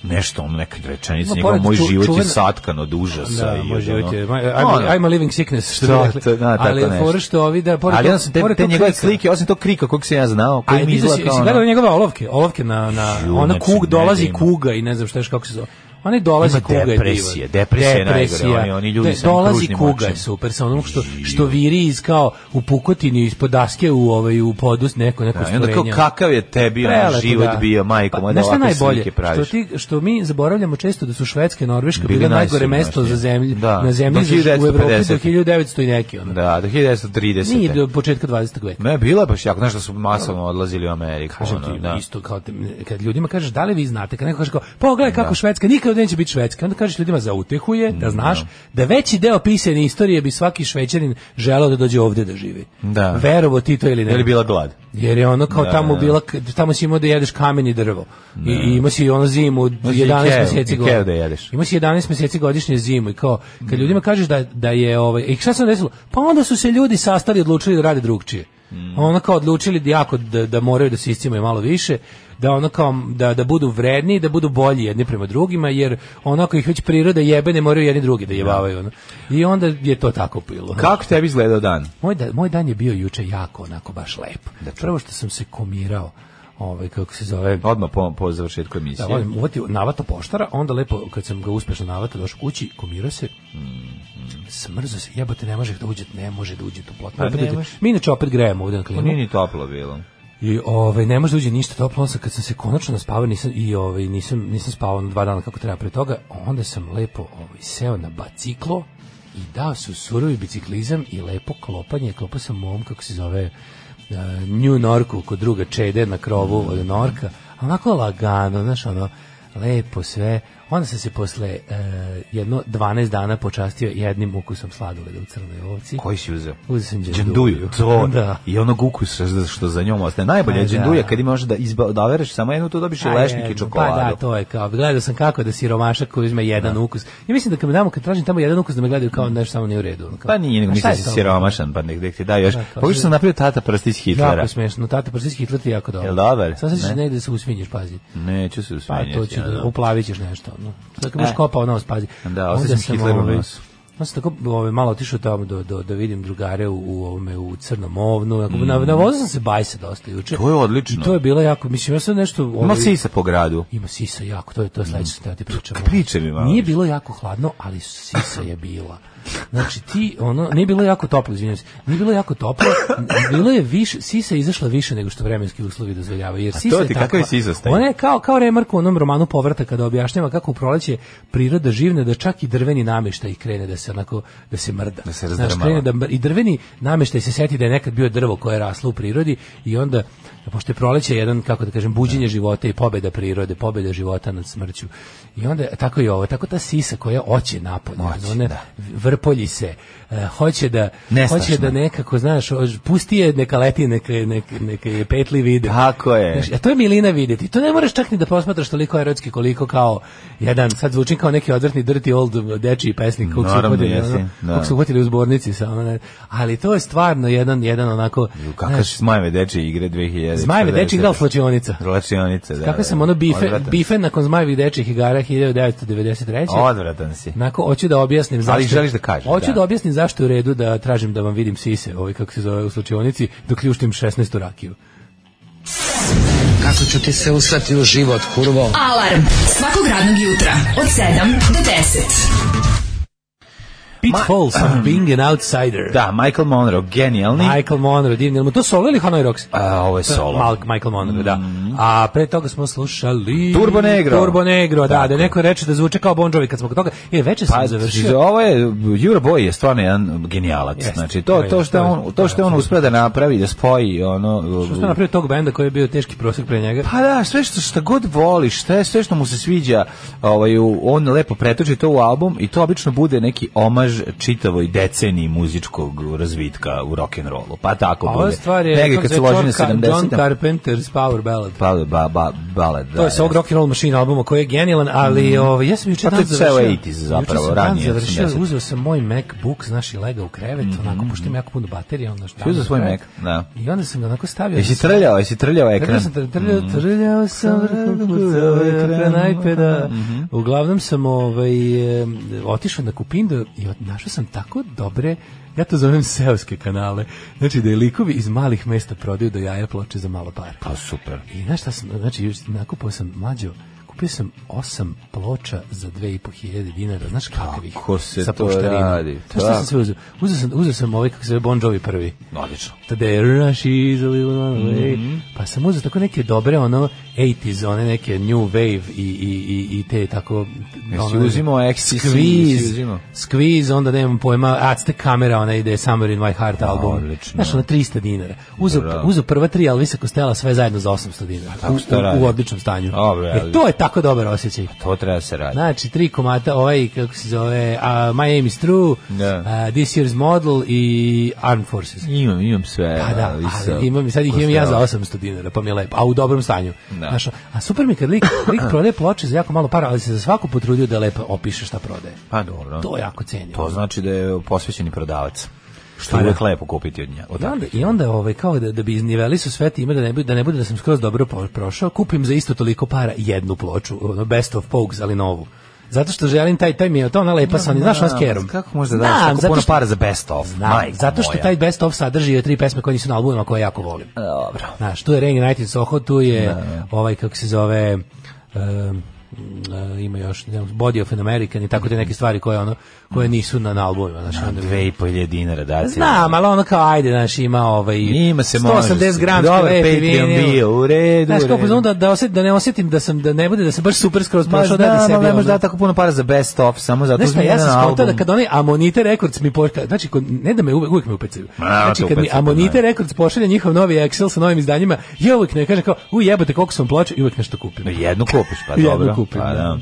F: nešto ono neka rečenica
G: Ima
F: njegov
G: pored
F: moj
G: ču-
F: život je
G: čuvena-
F: satkan od užasa
G: Da,
F: i od
G: moj život
F: ono-
G: je. my- I'm,
F: Ono.
G: I'm a living sickness, što
F: To,
G: bi rekli.
F: to, da, tako
G: ali
F: nešto.
G: fora što ovi da... Pored
F: ali
G: tog-
F: onda sam te,
G: pored
F: te
G: tog
F: njegove
G: krika-
F: slike, osim tog krika kog sam ja znao, koji mi
G: A vidio si-
F: izgleda kao
G: jesi
F: ono-
G: gledao njegove olovke, olovke na, na
F: Ju,
G: ona
F: znači,
G: kug,
F: ne da
G: dolazi
F: ima.
G: kuga i ne znam šta još kako se zove. Ona dolazi
F: Ima
G: kuga je divan.
F: depresije, depresija je najgore, oni- oni ljudi
G: De-
F: sa onim
G: dolazi
F: kružnim
G: kuga
F: očima.
G: je super, sa onom što, što viri iz kao u pukotini, ispod daske u, ovaj, u podus, neko, neko
F: Da, I onda kao
G: stvorenje.
F: kakav je tebi ono
G: Prelepo,
F: život
G: da. Pa,
F: bio, majko moja, da
G: znaš šta je
F: ovakve
G: najbolje?
F: slike praviš.
G: Što, ti, što mi zaboravljamo često da su Švedska i Norveška
F: Bili
G: bile najgore
F: najsiromašnije.
G: mesto za zemlju,
F: Da.
G: na zemlji
F: Do
G: za, u Evropi do
F: 1950.
G: 1900 i neki. Ono.
F: Da, do 1930.
G: Nije do početka 20. veka.
F: Ne, bila je baš jako, znaš da su masovno odlazili u Ameriku.
G: Kažem
F: ono,
G: ti,
F: da.
G: isto kao te- kad ljudima kažeš da li vi znate, kad neko kaže kao, pogledaj kako Švedska, nikad kao da neće biti švedski. Onda kažeš ljudima za utehuje,
F: Mm,
G: da znaš, da veći deo pisane istorije bi svaki šveđanin želeo da dođe ovde da živi.
F: Da.
G: Verovo ti to ili ne.
F: Je li bila glad?
G: Jer je ono kao
F: Da,
G: tamo
F: da.
G: bila, tamo si imao da jedeš kamen i drvo. I, i imao si ono zimu od
F: si
G: 11
F: Ikeu,
G: meseci
F: Ikeu
G: godišnje.
F: da jedeš. Mm.
G: Imao si 11 meseci godišnje zimu i kao, kad ljudima kažeš da, da je, ovaj, i šta se onda desilo? Pa onda su se ljudi sastali i odlučili da rade drugčije.
F: Mm.
G: Ono kao odlučili da jako da, da moraju da se iscimaju malo više, da ono kao da, da budu vredni, da budu bolji jedni prema drugima, jer onako ih već priroda jebe, ne moraju jedni drugi da jebavaju. Ono. I onda je to tako bilo.
F: Kako tebi izgledao dan?
G: Moj, da, moj dan je bio juče jako onako baš lep. Prvo što sam se komirao, ovaj, kako se zove...
F: Odmah po, po završetku
G: Da,
F: emisije.
G: volim, uvatio navato poštara, onda lepo, kad sam ga uspešno navatao, došao kući, komirao se, smrzo se, jebote, ne može da uđe, ne može da uđe tu
F: Mm-hmm. Pa
G: plotno. Opet
F: ne
G: uđe.
F: može.
G: Mi inače opet grejemo ovdje na klimu.
F: Pa Nije ni toplo bilo.
G: I ovaj ne može da uđe ništa toplo, onda sam kad sam se konačno naspavao nisam i ovaj nisam nisam spavao ono dva dana kako treba pre toga, onda sam lepo ovaj seo na biciklo i dao su surovi biciklizam i lepo klopanje, klopao sam mom kako se zove eh, New Norku kod druga Čede na krovu od Norka, a onako lagano, znaš ono lepo sve. Onda sam se posle eh, jedno 12 dana počastio jednim ukusom sladoleda u crnoj ovci.
F: Koji si uzeo?
G: Uzeo sam
F: Đenduju, to
G: Da.
F: i onog ukusa što- što za njom ostaje. Najbolje je
G: Pa da.
F: dženduja kad imaš da izba, da vereš samo jednu, to dobiš i
G: Pa
F: lešnik
G: jedno,
F: i čokoladu.
G: Pa da, to je kao, gledao sam kako da siromašak koji uzme jedan ukus. Ja mislim da kad me damo, kad tražim tamo jedan ukus, da me gledaju kao nešto samo nije u redu. ono Kao,
F: Pa nije, nego
G: "A šta
F: mislim da
G: je
F: si
G: to?"
F: siromašan, pa nek, nek ti da još.
G: Da, kao
F: Pogledaj što
G: si-
F: sam napravio tata prstić Hitlera.
G: Jako smešno, tata prstić Hitler ti je jako dobro.
F: Jel dobar?
G: Sad se
F: Ne?
G: negde da se usvinješ, pazi.
F: Neću se
G: Pa
F: usmenjati.
G: to ću da uplavit ćeš nešto. No. Sad kad
F: E.
G: budeš kopao nos, pazi. ovaj-
F: Da, ostaje sam Hitler u nosu.
G: Onda sam tako ove, malo otišao tamo do, do, da vidim drugare u, u, ovome, u crnom ovnu. onako, Na, navozao sam se bajsa dosta juče.
F: Mm. To je odlično.
G: I to je bilo jako, mislim, ja sam nešto...
F: Ima
G: ovaj,
F: sisa po gradu.
G: Ima sisa jako, to je to sledeće što ja ti pričam.
F: Priče mi malo.
G: Nije bilo jako hladno, ali sisa je bila. Znači ti, ono, nije bilo jako toplo, izvinjam se, nije bilo jako toplo, bilo je više, sisa je izašla više nego što vremenski uslovi dozvoljavaju. Jer sisa
F: to
G: je
F: ti,
G: takva-
F: kakav je sisa stanje?
G: Ona je kao, kao Remark u onom romanu Povrata kada objašnjava kako u proleće priroda živne da čak i drveni namještaj krene da se onako, da se mrda.
F: Da se
G: Znaš,
F: razdrmava.
G: krene da mr- i drveni namještaj se seti da je nekad bio drvo koje je raslo u prirodi i onda pošto je proleće jedan kako da kažem buđenje života i pobeda prirode, pobeda života nad smrću. I onda tako i ovo, tako ta sisa koja oće napolje,
F: Oće,
G: ona
F: da.
G: vrpolji se, e, hoće da
F: Nestašna.
G: hoće da nekako znaš, ož- pusti je neka leti neka neka neka je petli vide.
F: Tako je.
G: Znaš, e, a to je milina videti. To ne moraš čak ni da posmatraš toliko erotski koliko kao jedan, sad zvuči kao neki odvrtni dirty old dečiji pesnik kog su
F: Naravno,
G: uhvatili,
F: jeste,
G: ono,
F: da.
G: kog su uhvatili u zbornici sa ono, ne, ali to je stvarno jedan, jedan onako,
F: Kakve
G: znaš,
F: zmajeve dečje igre 2000.
G: Zmajevi dečji igra u flačionica.
F: Zlačionice, da.
G: Kako
F: da,
G: sam
F: da.
G: ono bife,
F: Odvratan.
G: bife nakon zmajevih dečjih igara 1993.
F: Odvratan si.
G: Onako, hoću da objasnim zašto.
F: Ali želiš da kažeš,
G: Hoću
F: da.
G: da. objasnim zašto je u redu da tražim da vam vidim sise, ovaj kako se zove u slučionici, dok ljuštim 16 rakiju.
H: Kako ću ti se usrati u život, kurvo?
E: Alarm svakog radnog jutra od 7 do 10.
G: Pitfalls of being an outsider.
F: Da, Michael Monroe, genijalni.
G: Michael Monroe, divni. Jel mu to solo ili Hanoi Rocks?
F: A, ovo je solo. Mhm.
G: Mal, Michael Monroe, da. A pre toga smo slušali...
F: Turbo Negro.
G: Turbo Negro, da,
F: Tako.
G: da neko reče da zvuče kao Bon Jovi kad smo kod toga. E, veče sam
F: Pa,
G: završio.
F: ovo je Euroboy je stvarno jedan genijalac.
G: Jeste,
F: znači
G: to
F: to
G: je,
F: to što
G: to
F: je
G: je,
F: on to što je on uspeo da napravi da spoji ono
G: Što smo napravili tog benda koji je bio teški prosjek pre njega?
F: Pa da, sve što šta god voli, šta je sve što mu se sviđa, ovaj u- on lepo pretoči to u album i to obično bude neki omaž čitavoj deceniji muzičkog razvitka u rock and rollu. Pa tako
G: A
F: bude.
G: ova stvar je...
F: Negde
G: kako
F: kad
G: se
F: se
G: zove,
F: uloži na
G: John Car-
F: 70
G: John Carpenter's Power Ballad.
F: pa ba, ba, balad.
G: To
F: da,
G: je sa ovog
F: jeste.
G: rock and roll machine albuma koji je genijalan, ali ovaj ja sam juče
F: Pa to
G: dan
F: je ceo
G: završio.
F: 80s zapravo,
G: juče sam dan
F: ranije
G: završio,
F: 80s.
G: uzeo sam moj MacBook, znaš, i legao u krevet, onako pošto ima jako puno baterije, onda šta.
F: Mhm. uzeo
G: mi
F: svoj
G: krevet.
F: Mac, da.
G: I onda sam ga onako stavio.
F: Jesi trljao, jesi trljao
G: Trljao
F: ekran? Mhm.
G: sam, tr- trljao, trljao sam ovaj ekran iPada.
F: Mhm.
G: Uglavnom sam ovaj, em, otišao na Kupindo i od- našao sam tako dobre, ja to zovem seoske kanale, znači da je likovi iz malih mesta prodaju do jaja ploče za malo pare.
F: Pa super.
G: I znaš šta sam, znači, juč- nakupao sam mlađo, kupio sam osam ploča za 2500 dinara, znaš kakvih?
F: Kako se
G: sa
F: to
G: poštarinom.
F: radi?
G: Znaš šta sam sve uzeo? Uzeo sam, uzeo sam ovaj, kako se zove, Bon Jovi prvi.
F: Odlično.
G: Tada je Rush is a little one away. Pa sam uzeo tako neke dobre, ono, 80s, one neke new wave i, i, i, i te tako... ono,
F: Jesi uzimao ecstasy, jesi
G: Squeeze,
F: uzimao?
G: Squeeze, onda nemam pojma, Aztec kamera, ona ide Summer in my heart album.
F: odlično.
G: Znaš, ono 300 dinara. Uzu,
F: Bravo.
G: uzu prva tri Elvisa Costello sve zajedno za 800 dinara.
F: tako
G: U,
F: se to
G: u-
F: radi.
G: u, odličnom stanju.
F: Dobro,
G: e,
F: ali-
G: to je tako dobar osjećaj.
F: To treba da se radi.
G: Znači, tri komata, ovaj, kako se zove, uh, My Aim is True,
F: Da.
G: uh, This Year's Model i Armed Forces.
F: Imam, imam sve.
G: Pa da,
F: ali sa-
G: ali imam, sad ih imam ja za 800 dinara, pa mi je lepo, a u dobrom stanju.
F: Da.
G: Znaš, a super mi je kad lik, lik prodaje ploče za jako malo para, ali se za svaku potrudio da lepo opiše šta prodaje.
F: Pa dobro.
G: To jako cenim.
F: To znači da je posvećeni prodavac. Što
G: Pa
F: je
G: da.
F: uvek lepo kupiti od nje. Od
G: I onda,
F: takvih.
G: i onda ovaj, kao da, da bi izniveli su sve time, da ne, bude, da ne bude da sam skroz dobro po- prošao, kupim za isto toliko para jednu ploču, ono, best of pokes, ali novu. Zato što želim taj, taj mi je, to ona lepa sa onim, znaš, ona s kerom.
F: Kako možda da daš
G: Znam,
F: tako
G: zato
F: puno
G: što-
F: para za best of?
G: Znam,
F: Majko
G: zato što
F: moja.
G: taj best of sadrži tri pesme koje nisu na albumima koje jako volim.
F: Dobro.
G: Znaš, tu je Rain United Soho, tu je ovaj, kako se zove, um, uh, ima još, ne znam, Body of an American i tako te neke stvari koje, ono, koje nisu na, na albumima. Znaš, onda mi-
F: Dve i po hilje dinara da
G: Znam, ali ono kao, ajde, znaš, ima ovaj...
F: Njima se može.
G: 180 gram
F: Dobar Patreon bio, u redu,
G: Znaš,
F: u
G: kao, pa
F: redu.
G: znam da, da, osjet, da ne osjetim da sam, da ne bude, da sam baš super skroz
F: Ma
G: prošao
F: znam,
G: da bi sebi...
F: ali ne možeš
G: ono-
F: da tako puno para za best of, samo zato
G: Znaš šta,
F: uzmi
G: ja
F: jedan
G: sam skontao da
F: album.
G: kad oni Amonite Records mi pošalje, znači kod- ne da me uvek, uvek me upecaju.
F: Ma,
G: Znači
F: te
G: kad mi
F: upecaju, da.
G: Amonite Records pošalje njihov novi Excel sa novim izdanjima, ja uvek ne kažem kao, u jebote koliko sam ploče i uvek nešto kupim.
F: Jednu kupiš, pa dobro.
G: Jednu kupim,
F: Pa
G: da.
F: da.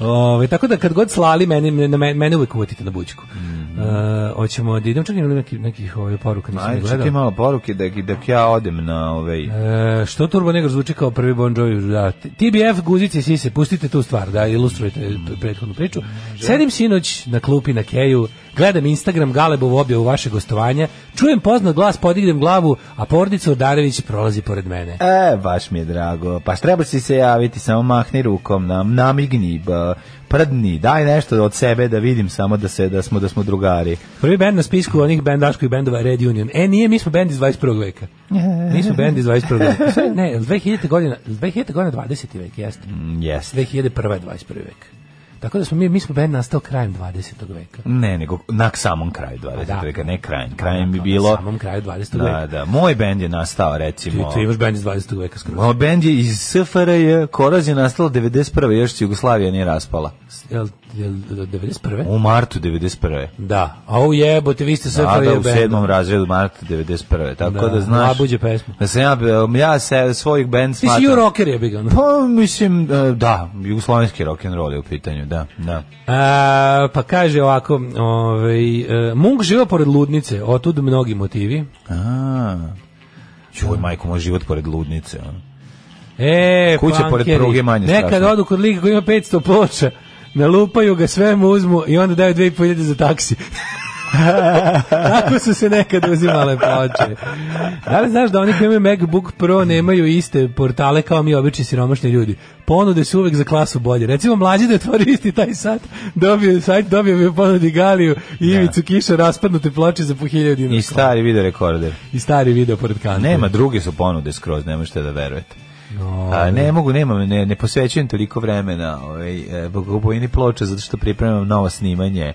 G: Ove, tako da kad god slali meni, mene, mene, mene uvek uvatite na bućku.
F: Mm.
G: E, hoćemo da idem, čekaj, ili neki, nekih ovaj, poruka nisam
F: Ajde,
G: gledao.
F: čekaj malo poruke da, da ja odem na ovaj...
G: E, što Turbo Negro zvuči kao prvi Bon Jovi? Da. TBF, guzice, sise, pustite tu stvar, da ilustrujete p- prethodnu priču. Sedim sinoć na klupi na Keju, gledam Instagram Galebovu objavu vaše gostovanja, čujem poznat glas, podignem glavu, a porodica Udarević prolazi pored mene.
F: E, baš mi je drago. Pa treba si se javiti, samo mahni rukom, nam, namigni, ba, prdni, daj nešto od sebe da vidim samo da se da smo da smo drugari.
G: Prvi bend na spisku onih bendaških bendova je Red Union. E, nije, mi smo bend iz 21. veka. Mi smo bend iz 21. veka. U stvari, Ne, jel 2000. godina, jel 2000. godina 20. vek, jeste.
F: Mm, Jeste.
G: 2001. je 21. vek. Tako da smo mi, mi smo bend nastao krajem 20. veka.
F: Ne, nego na samom kraju 20.
G: Pa da.
F: veka, ne krajem. Krajem bi
G: Na
F: bilo...
G: samom kraju 20.
F: Da,
G: veka.
F: da. Moj bend je nastao,
G: Ti,
F: recimo...
G: ti imaš bend iz 20. veka skoro.
F: Moj bend je iz SFRJ, Koroz je nastala 91. još se Jugoslavija nije raspala.
G: Jel, jel 91.
F: U martu 91.
G: Da. A u jebote, vi ste sve
F: Da,
G: prvi
F: da, u
G: bend.
F: sedmom razredu marta 91. Tako
G: Da,
F: da, znaš...
G: nabuđe pesmu.
F: Da sam ja, ja se svojih band
G: Ti
F: smatram...
G: si ju rocker ono. je bigan.
F: Pa, mislim, e, da, jugoslovenski rock and roll je u pitanju, da, da.
G: A, pa kaže ovako, ovaj, e, Munk živa pored ludnice, otud mnogi motivi.
F: A. Čuj, majko, moj život pored ludnice. ono.
G: E,
F: Kuća
G: punkeri,
F: pored pruge manje
G: Nekad
F: strašno.
G: odu kod lika koji ima 500 ploča, nalupaju ga, sve mu uzmu i onda daju 2500 za taksi. Tako su se nekad uzimale ploče. Da li znaš da oni koji imaju MacBook Pro nemaju iste portale kao mi obični siromašni ljudi? Ponude su uvek za klasu bolje. Recimo, mlađi da otvori isti taj sat, dobio, sajt, dobio bi ponudi Galiju i Ivicu Kiša raspadnute ploče za po hiljadu dinara.
F: I stari video rekorder.
G: I stari video pored kante.
F: Nema, druge su ponude skroz, nema šta da verujete. A, ne mogu, nemam, ne, ne posvećujem toliko vremena ovaj, e, kupovini ploče zato što pripremam novo snimanje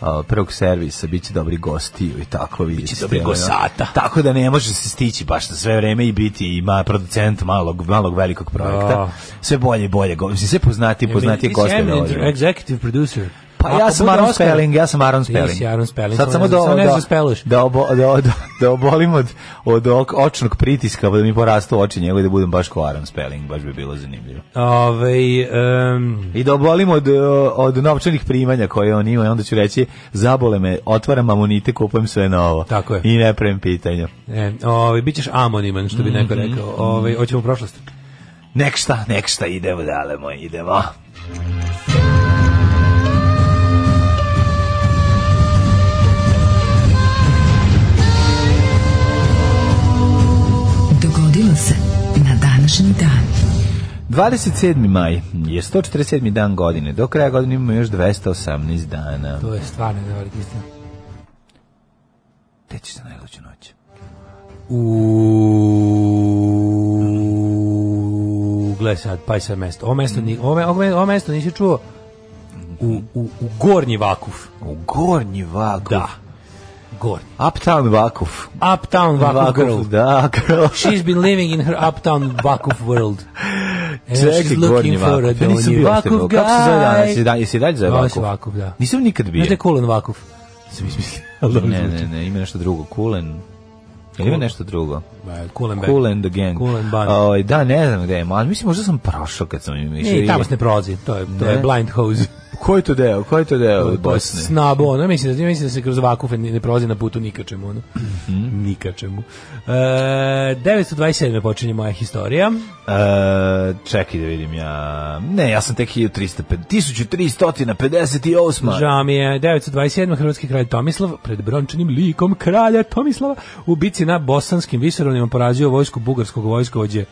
F: a, prvog servisa, bit će dobri gostiju i tako vidite. Biće
G: dobri gosata.
F: Tako da ne može se stići baš na sve vreme i biti i ma, producent malog, malog velikog projekta.
G: Da.
F: Sve bolje i bolje, go- mislim, sve poznatije, poznatije
G: Ti si
F: goste.
G: eminent
F: dolaze.
G: Executive producer.
F: Pa ja
G: Ako
F: sam
G: bude
F: Aaron
G: Oscar-
F: Spelling, ja sam Aaron
G: Ti
F: Spelling.
G: si Aaron Spelling,
F: Sad samo
G: samo ne-
F: da
G: samo ne
F: da
G: znaš da speluješ.
F: da, obo, da, da, da obolim od od ok- očnog pritiska, pa da mi porastu oči njegove da budem baš kao Aaron Spelling, baš bi bilo zanimljivo.
G: Ovaj em,
F: I da obolim od, e, od novčanih primanja koje on ima i onda ću reći zabole me, otvaram amonite, kupujem sve novo.
G: Tako je.
F: I ne pravim pitanja.
G: e, ovaj bićeš amoniman što bi
F: Mhm.
G: neko rekao. Ovaj hoćemo u prošlost.
F: Nek šta, nek šta, idemo dale moj, idemo.
I: Dogodilo se na današnji dan.
F: 27. maj je 147. dan godine, do kraja godine imamo još 218 dana.
G: To je stvarno neverovatno.
F: Te ćeš se najluđu noć.
G: U gle sad, pa sad mesto. Ovo mesto, ni, ovo, me- ovo, me- ovo mesto nisi čuo u, u, u gornji vakuf.
F: U gornji vakuf.
G: Da. Gornji.
F: Uptown vakuf.
G: Uptown vakuf, girl.
F: Da, girl.
G: She's been living in her uptown vakuf world.
F: Čekaj, Gornji Vakuf. Ja nisam bio Vakuf, kako se zove danas? Jesi da- Jesi dalje zove
G: Zove se
F: Vakuf?
G: Vakuf, da.
F: Nisam nikad bio.
G: Znaš da je Kulen Vakuf? Sam izmislio. ali dobro
F: Ne,
G: zvuči.
F: ne, ne, ima nešto drugo. Kulen. Ili ima nešto drugo?
G: Ma, Kulen Band.
F: Cool and the Gang.
G: Cool and Band.
F: Ovaj, da, ne znam gde je, ali mislim možda sam prošao kad sam im išao.
G: Ne, tamo se ne prolazi, to je, to je
F: Ne.
G: blind hose.
F: Koji je to deo? Koji je to deo od
G: To je
F: Bosne?
G: Snabo, ono, mislim, da, mislim da se kroz vakufe ne, ne prolazi na putu nikačemu, ono.
F: Mhm.
G: Nikačemu. E, 927. počinje moja historija.
F: E, čekaj da vidim ja. Ne, ja sam tek 1350 1358.
G: Žao mi je 927. hrvatski kralj Tomislav pred brončanim likom kralja Tomislava u bici na bosanskim visoravnima porazio vojsku bugarskog vojskovođe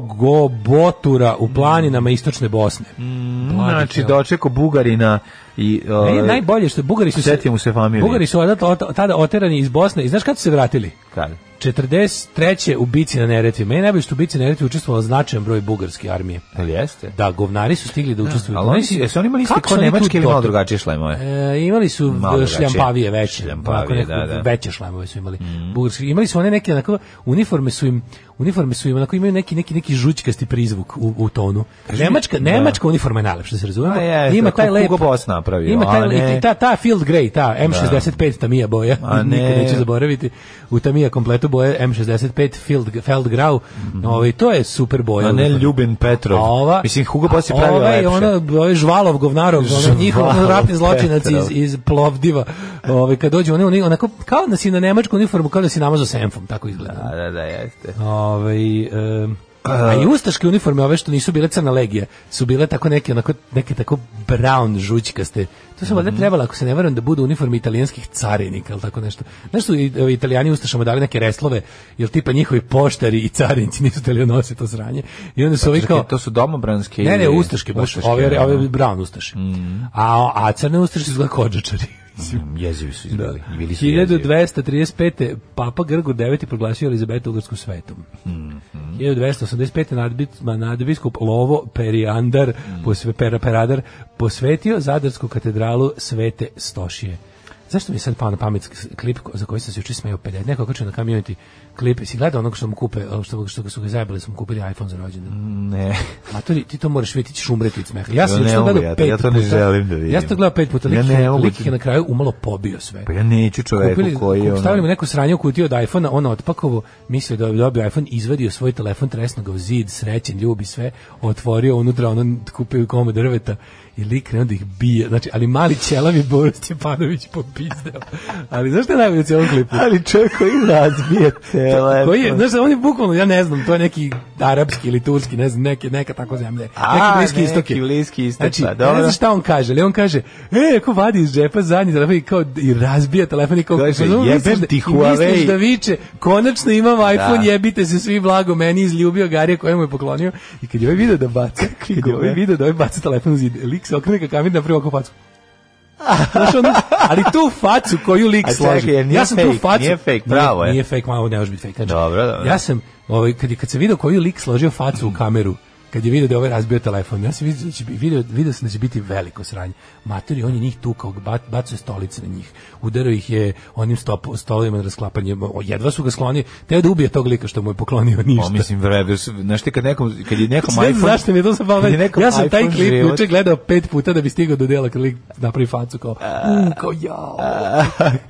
G: Alogobotura u planinama istočne Bosne.
F: Mm. Znači, dočeko Bugarina i...
G: Ne,
F: ovaj,
G: najbolje što Bugari su
F: Setio mu se familije.
G: Bugari su odat- ot- tada oterani iz Bosne i znaš kad su se vratili?
F: Kad?
G: 43. u bici na Neretvi. Meni je najbolje što u bici na Neretvi učestvovalo značajan broj bugarske armije.
F: Ali jeste?
G: Da, govnari su stigli da učestvuju.
F: Ali oni, su- jesu oni imali iste ko
G: Kako su oni tu
F: nemačke ili malo
G: dotle-
F: drugačije šlajmove?
G: E, imali su
F: Malo
G: v-
F: drugačije.
G: šljampavije veće,
F: Šljampavije,
G: onako nekako
F: da, Mhm. da.
G: veće šlamove su imali. Bugarski. Imali su one neke onako uniforme su im uniforme su im onako imaju neki neki neki žućkasti prizvuk u, u tonu. Nemačka nemačka uniforma je najlepša, da se razumemo.
F: A Pa jeste,
G: ima taj
F: kako
G: lep
F: Hugo Boss napravio,
G: Ima taj
F: a ne-
G: lep, i ta ta field grey, ta M65 Tamija boja,
F: A
G: nikad
F: ne.
G: neću zaboraviti. U Tamija kompletu boje M65 field Feldgrau. Ovaj to je super boja.
F: Mhm. A ne
G: uniforme.
F: Ljubin Petrov.
G: A ova,
F: Mislim, Hugo Boss je
G: a
F: pravio
G: ovaj,
F: lepše.
G: Ono, ovaj žvalov govnarov, ono,
F: Žvalov
G: njihov ono, ratni zločinac iz,
F: Petrov.
G: iz Plovdiva. Ovaj, kad dođu, oni, oni onako, kao da si na nemačku uniformu, kao da si namazao senfom, tako izgleda.
F: Da, da, da, jeste.
G: Ovaj, em, a i ustaške uniforme, ove što nisu bile crna legija, su bile tako neke, onako, neke tako brown žućkaste. To su
F: Mhm.
G: valjda trebalo, ako se ne verujem, da budu uniforme italijanskih carinika, ili tako nešto. Znaš su i- ovi italijani ustašama dali neke reslove, jer tipa njihovi poštari i carinici nisu hteli da nose to sranje. I onda su ovi kao...
F: Čekaj, to su domobranske
G: Ne, ne,
F: ili-
G: ustaške baš, ove,
F: da. Mhm.
G: ove brown ustaše. A, a crne ustaše su izgleda kođačari.
F: Mm, Jezivi su
G: Da.
F: izbili. Bili su jezivi.
G: 1235. Papa Grgo IX. proglasio Elizabetu Ugarsku svetom.
F: Mhm.
G: 1285. nadbit- ma, nadbiskup Lovo Perijandar,
F: Mhm.
G: posve, pera, Peradar, posvetio Zadarsku katedralu Svete Stošije. Zašto mi je sad pao na pamet sk- klip ko- za koji sam se juče smeo 50? Neko kačio na community klip. Si gledao onog što mu kupe, što, što su ga zajebali, su mu kupili iPhone za rođendan.
F: Ne.
G: Matori, ti to moraš vidjeti, ćeš umreti od smeha. Ja sam
F: Ja
G: ja
F: ne
G: to
F: mogu,
G: gledao
F: ja to-
G: pet
F: ja to ne
G: puta.
F: želim da vidim.
G: Ja sam to gledao pet puta,
F: Ja
G: lik,
F: ne
G: je-
F: mogu,
G: lik
F: ti-
G: je na kraju umalo pobio sve.
F: Pa ja neću čoveku
G: Kupili,
F: koji...
G: kup-
F: ono-
G: stavili mu neko sranje u kutiju od iPhone-a, on otpakovo, mislio da je dobio iPhone, izvadio svoj telefon, tresno ga u zid, srećen, ljubi sve, otvorio unutra, ono kupio kome drveta i lik krenuo da ih bije. Znači, ali mali ćelavi Boris Stjepanović popizdeo. Ali zašto je najbolje u cijelom klipu?
F: Ali čovjek koji razbije telefon.
G: Koji je, znaš, on je bukvalno, ja ne znam, to je neki arapski ili turski, ne znam, neke, neka tako zemlje.
F: A,
G: neki bliski
F: neki
G: istok. je.
F: Bliski istok,
G: Znači,
F: pa,
G: ja ne
F: dobro.
G: znam šta on kaže, ali on kaže, e, ako vadi iz džepa zadnji telefon i kao, i razbija telefon i kao,
F: Kaže,
G: kao, znaš, ono,
F: jebem
G: misliš da-
F: ti
G: i
F: Huawei.
G: Misliš da viče, konačno imam iPhone,
F: Da.
G: jebite se svi blago, meni izljubio Garija koja mu je poklonio. I kad je ovaj video da baca, kad je ovaj
F: govnar.
G: video da ovaj baca telefon u zid, lik se okrene ka kamer na prvo facu. Znaš, ono, ali tu facu koju lik
F: A čekaj,
G: složi.
F: jer nije
G: ja sam
F: fake,
G: tu facu.
F: nije fake,
G: Nije-
F: bravo je.
G: nije fake, malo ne može biti fake. Znači,
F: Dobro, dobro.
G: Ja sam, ovaj, kad, je- kad sam vidio koji je lik složio facu u kameru, kad je vidio da je ovaj razbio telefon, ja sam vidio, da će, bi- video, vidio sam da će biti veliko sranje. Materi, on je njih tukao, bat, bacio je stolice na njih. Udarao ih je onim stop, stolovima na rasklapanje. O, Jedva su ga sklonio. Teo da ubije tog lika što mu je poklonio ništa.
F: Pa mislim, vrebe, znaš ti kad nekom, kad je nekom
G: Ne znam
F: iPhone...
G: zašto mi je to sad palo
F: kad je
G: meni.
F: nekom
G: Ja sam taj
F: iPhone
G: klip
F: život-
G: juče gledao pet puta da bi stigao do dela kad lik napravi facu kao, u, kao jao.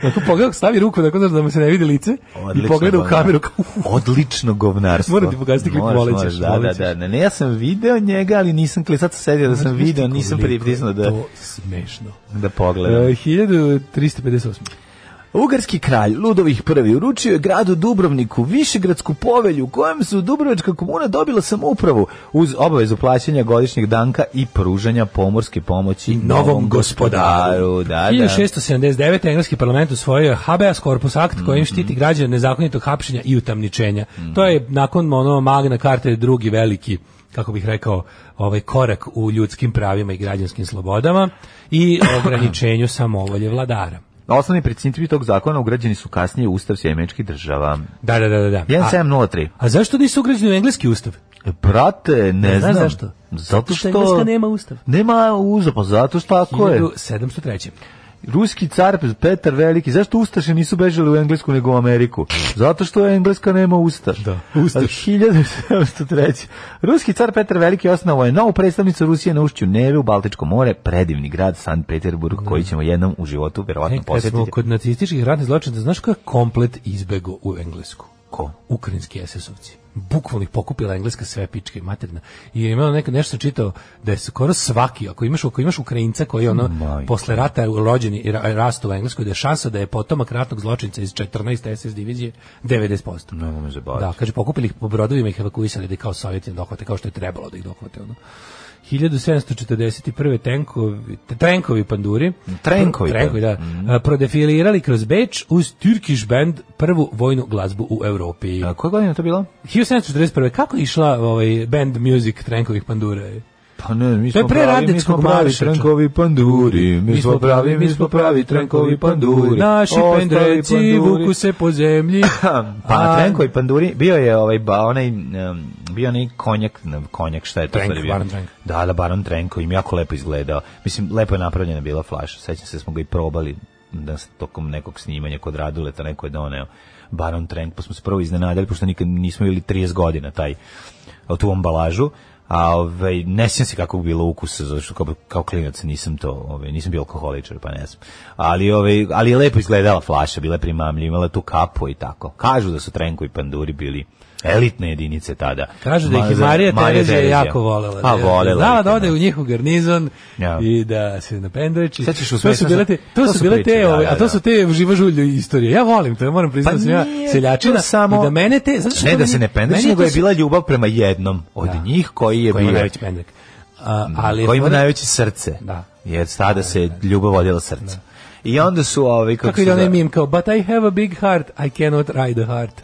G: Tako pogledao, stavi ruku tako znaš da mu se ne vidi lice i
F: Odlično pa
G: pogleda u
F: govnar.
G: kameru kao, "Uf."
F: Odlično govnarstvo.
G: Moram ti pokazati klip,
F: Možeš,
G: volit ćeš,
F: možeš, Da, da,
G: volit ćeš.
F: da. Ne, ne, ja sam video njega, ali nisam klip. Sad sam sedio da sam video, nisam
G: Koliko je
F: pripriznao da,
G: To smešno.
F: da
G: E,
F: pogledam.
G: 1358.
F: Ugarski kralj Ludovih I uručio je gradu Dubrovniku višegradsku povelju u kojem su Dubrovačka komuna dobila samoupravu uz obavezu plaćanja godišnjeg danka i pružanja pomorske pomoći
G: Novom gospodaru.
F: Da, da.
G: 1679. Engleski parlament usvojio je habeas corpus akt
F: Mhm.
G: kojim štiti građane nezakonitog hapšenja i utamničenja. To je nakon ono Magna Carta drugi veliki kako bih rekao, ovaj korak u ljudskim pravima i građanskim slobodama i ograničenju samovolje vladara.
F: Osnovni principi tog zakona ugrađeni su kasnije u Ustav Sjemeničkih država.
G: Da, da, da, da, da. A,
F: 1703.
G: a zašto nisu ugrađeni u engleski ustav?
F: E, Brate, ne,
G: znaš
F: znam.
G: zašto?
F: Zato što...
G: Engleska nema ustav.
F: Nema uza, pa zato što tako je.
G: 1703.
F: Ruski car Petar Veliki, zašto Ustaše nisu bežali u Englesku nego u Ameriku? Zato što Engleska nema usta.
G: Da, ustaš.
F: A 1703. Ruski car Petar Veliki osnovao je novu predstavnicu Rusije na ušću Neve u Baltičko more, predivni grad Sankt Peterburg, koji ćemo jednom u životu verovatno
G: E, Kad smo
F: posjetiti.
G: kod nacističkih ratnih zločina, znaš ko je komplet izbego u Englesku?
F: Ko?
G: Ukrajinski SS-ovci. Bukvalno ih pokupila engleska sve pička i materina. I je imao neka, nešto sam čitao da je skoro svaki, ako imaš, ako imaš Ukrajinca koji je ono,
F: Majko.
G: posle rata je rođen i ra- rastao u Engleskoj, da je šansa da je potomak ratnog zločinca iz 14. SS divizije 90%.
F: Nemoj me zabaviti.
G: Da, kaže, pokupili ih po brodovima i ih evakuisali da ih kao sovjeti ne dohvate, kao što je trebalo da ih dohvate. Ono. 1741. tenkovi, trenkovi panduri.
F: Trenkovi, pa. Mhm.
G: trenkovi da. a, Prodefilirali kroz Beč uz Turkish band prvu vojnu glazbu u Europi.
F: A koje godine je to bilo?
G: 1741. Kako je išla ovaj, band music trenkovih pandura?
F: Pa ne, mi
G: To je
F: smo
G: pre
F: pravi, mi
G: radničkog
F: smo pravi
G: marša,
F: trenkovi panduri, mi smo pravi, mi smo pravi trenkovi panduri.
G: Naši
F: Ostali
G: pendreci
F: panduri.
G: vuku se po zemlji.
F: Pa
G: A-
F: trenkovi panduri, bio je ovaj ba, onaj em, bio onaj konjak, ne, konjak šta je to
G: Trenk,
F: sad je bio?
G: Baron Trenk.
F: Da, da, Baron Trenko, im jako lepo izgledao. Mislim, lepo je napravljena bila flaša. Sećam se da smo ga i probali da se tokom nekog snimanja kod Raduleta neko je doneo Baron Trenk, pa smo se prvo iznenadili, pošto nikad nismo bili 30 godina taj a, tu ambalažu, a ovaj ne sjećam se kako bi bilo ukusa zato što kao, kao klinac nisam to, ovaj nisam bio alkoholičar, pa ne znam. Ali ovaj ali je lepo izgledala flaša, bila je primamljiva, imala je tu kapu i tako. Kažu da su Trenko i Panduri bili elitne jedinice tada.
G: Kažu da ih je
F: Ma-
G: Marija Terezija jako volela.
F: Pa volela.
G: Da,
F: ih
G: da
F: je,
G: ode u njihov garnizon
F: Ja.
G: i da se napendreči.
F: Sećaš u
G: to su
F: smešno
G: bile
F: sam-
G: te, to su bile
F: priče,
G: te,
F: da,
G: ove,
F: da,
G: a to
F: da.
G: su te živa žulja istorije. Ja volim to, ja moram priznati,
F: Pa
G: da sam ja
F: nije to
G: seljačina
F: samo-
G: i da mene te, zato što
F: Ne
G: to
F: da
G: meni-
F: se ne pendreš,
G: meni
F: nego je
G: to su-
F: bila ljubav prema jednom od
G: Da.
F: njih koji je
G: koji ima
F: bio
G: najveći pendrek. A, ali je
F: Mm, koji ima
G: fora-
F: najveće srce.
G: Da.
F: Jer tada se ljubav vodila srce. I onda su ovi kako,
G: Kako
F: se
G: ide onaj
F: zove-
G: mim kao, but I have a big heart, I cannot ride a heart.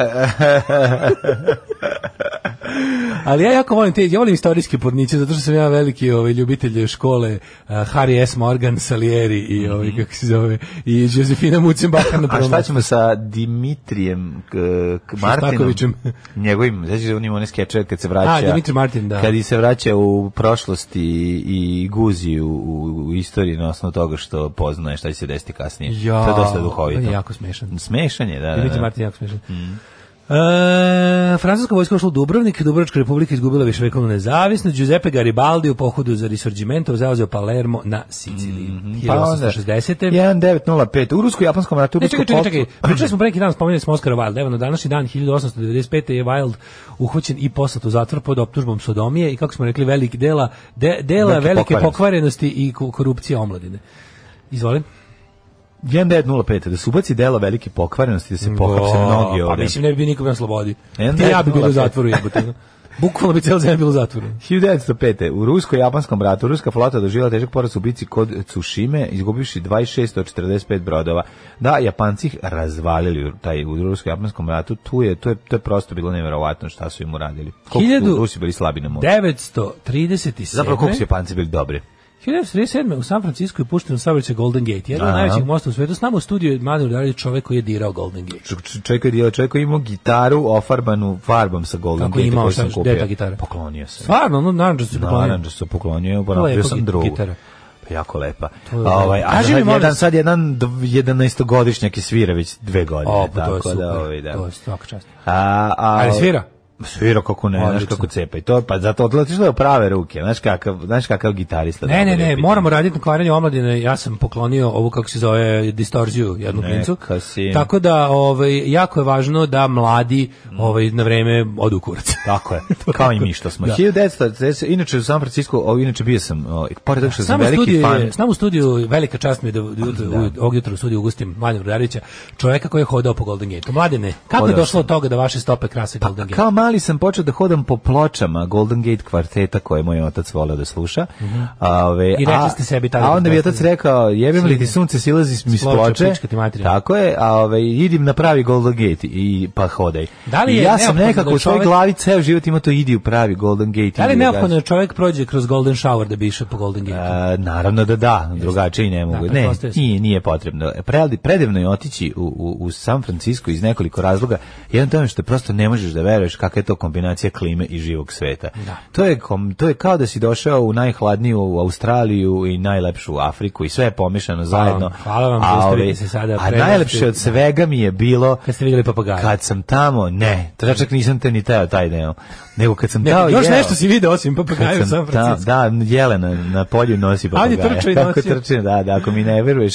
G: Ali ja jako volim te, ja volim istorijske porniće, zato što sam ja veliki ovaj, ljubitelj škole uh, Harry S. Morgan, Salieri i ovaj, kako se zove, i Josefina Mucembaha na
F: Mhm. A
G: prvom.
F: šta ćemo sa Dimitrijem k, k Martinom?
G: Šostakovićem.
F: Njegovim, znači da on ima one skečeve kad se vraća.
G: A, Dimitri Martin, da.
F: Kad i se vraća u prošlost i, i guzi u, u, u istoriji na osnovu toga što poznaje šta će se desiti kasnije.
G: Ja,
F: to je dosta duhovito.
G: on je jako smešan.
F: Smešan je, da, da.
G: Dimitri
F: da.
G: Martin je jako smešan.
F: Mhm.
G: E, francuska vojska ušla u Dubrovnik, Dubrovačka republika izgubila viševekovnu nezavisnost, Giuseppe Garibaldi u pohodu za Risorgimento zauzeo Palermo na Siciliji.
F: Pa onda,
G: 1860.
F: 1905. U rusko-japanskom ratu...
G: Ne, čekaj, čekaj, čekaj.
F: rusko-kopskom-
G: Pričali smo pre neki dan, spomenuli smo Oscara Wilde. Evo, na današnji dan, 1895. je Wilde uhvaćen i poslat u zatvor pod optužbom sodomije i, kako smo rekli, velik dela, de, dela
F: Velike
G: velike,
F: pokvarenosti.
G: pokvarenosti. i ko- korupcije omladine. Izvolim.
F: 1905. Da se ubaci delo velike pokvarenosti, da se pohapse mnogi E,
G: Pa
F: ovde.
G: mislim, ne bi bio nikom na slobodi.
F: Jedan
G: Ti i ja bi bilo u
F: 1905.
G: zatvoru, jebote. ono. Bukvalno bi cijela zemlja bilo u zatvoru.
F: 1905. U rusko-japanskom ratu ruska flota doživjela težak poraz u bici kod Tsushime, izgubivši 26 od 45 brodova. Da, Japanci ih razvalili u, taj, u rusko-japanskom ratu. Tu je, to, je, to je prosto bilo nevjerovatno šta su im uradili. Koliko su
G: Hiljadu-
F: Rusi bili slabi na moru.
G: 937.
F: Zapravo, koliko su Japanci bili dobri.
G: 1937. u San Francisco je pušten saobraćaj Golden Gate, jedan od
F: Aha.
G: najvećih mosta u svetu. S nama u studiju je Mladen Udarević, čovek koji je dirao Golden Gate.
F: Č- č- Čekaj, dio, čekaj, imao gitaru ofarbanu farbom sa Golden
G: Kako
F: Gate
G: imao,
F: koju
G: šta-
F: sam
G: gde
F: kupio.
G: je ta gitara?
F: Poklonio sam.
G: Stvarno, ono, no naravno se poklonio.
F: Naravno se poklonio, pa
G: je
F: napravio
G: lepa
F: sam
G: git-
F: drugu.
G: gitara.
F: Pa jako lepa.
G: je
F: Pa ovaj, a
G: Kaži
F: sad
G: mi, molim
F: jedan,
G: vas.
F: sad jedan dv- 11-godišnjak i svira već dve godine.
G: O, pa to je
F: tako
G: super.
F: Da, ovaj, da.
G: To je svaka čast.
F: A, a,
G: Ali svira?
F: Svira kako ne, znaš
G: Odlično.
F: kako cepa. I to, pa zato odletiš da je u prave ruke, znaš kakav, znaš kakav gitarista.
G: Ne, ne, ne, moramo raditi na kvaranju omladine. Ja sam poklonio ovu kako se zove distorziju jednu
F: Neka
G: klincu.
F: si.
G: Tako da ovaj jako je važno da mladi
F: Mm.
G: ovaj na vreme odu u kurac.
F: Tako je, kao i mi što smo.
G: Da.
F: 1940, inače u San Francisco, o, inače bio sam, o, pored toga što sam
G: Samo
F: veliki
G: studiju,
F: fan.
G: je- s nama u studiju, velika čast mi je da, da, da. ovog jutra u studiju Ugustim Mladen Brodarića, čoveka koji je hodao po Golden Gate. Mladene, kako je
F: Hodao
G: došlo od toga da vaše stope krase
F: Pa,
G: Golden Gate?
F: kao mali sam počeo da hodam po pločama Golden Gate kvarteta koje je moj otac voleo da sluša. a, ove,
G: Mhm. I rekli
F: a-
G: ste sebi tada
F: A
G: da
F: onda mi je otac
G: prestane.
F: rekao, jebem li ti sunce, silazi mi s
G: S ploče,
F: ploče.
G: pička ti materina.
F: Tako je, a ove, idim na pravi Golden Gate i pa hodaj.
G: Da li je
F: I ja sam
G: neophodno
F: nekako
G: da
F: u svojoj
G: čovek-
F: glavi ceo život imao to idi u pravi Golden Gate.
G: Da li je
F: idi u
G: neophodno da
F: gazi.
G: čovjek prođe kroz Golden Shower da bi išao po Golden Gate?
F: A, E, naravno da da, drugačije i ne mogu. ne,
G: pretpostavio sam.
F: nije, nije potrebno. E, Predi- predivno je otići u, u, u San Francisco iz nekoliko razloga. Jedan to je što prosto ono ne možeš da veruješ kakav kakva je to kombinacija klime i živog sveta. To, je, kom- to je kao da si došao u najhladniju Australiju i najlepšu Afriku i sve je pomešano zajedno.
G: hvala vam,
F: A
G: zaustavite
F: ove-
G: se sada,
F: A
G: prenosi-
F: najlepše od svega mi je bilo
G: Kad ste videli papagaja.
F: kad sam tamo, ne, to ja čak nisam te ni teo taj deo, nego kad sam
G: Ne,
F: tao
G: još
F: jeo,
G: nešto si video osim papagaja u
F: kad sam
G: San Francisco.
F: tao- da, jelena na polju nosi
G: Anja
F: papagaja.
G: trče i
F: Tako
G: nosi.
F: trče, da, da, ako mi ne veruješ.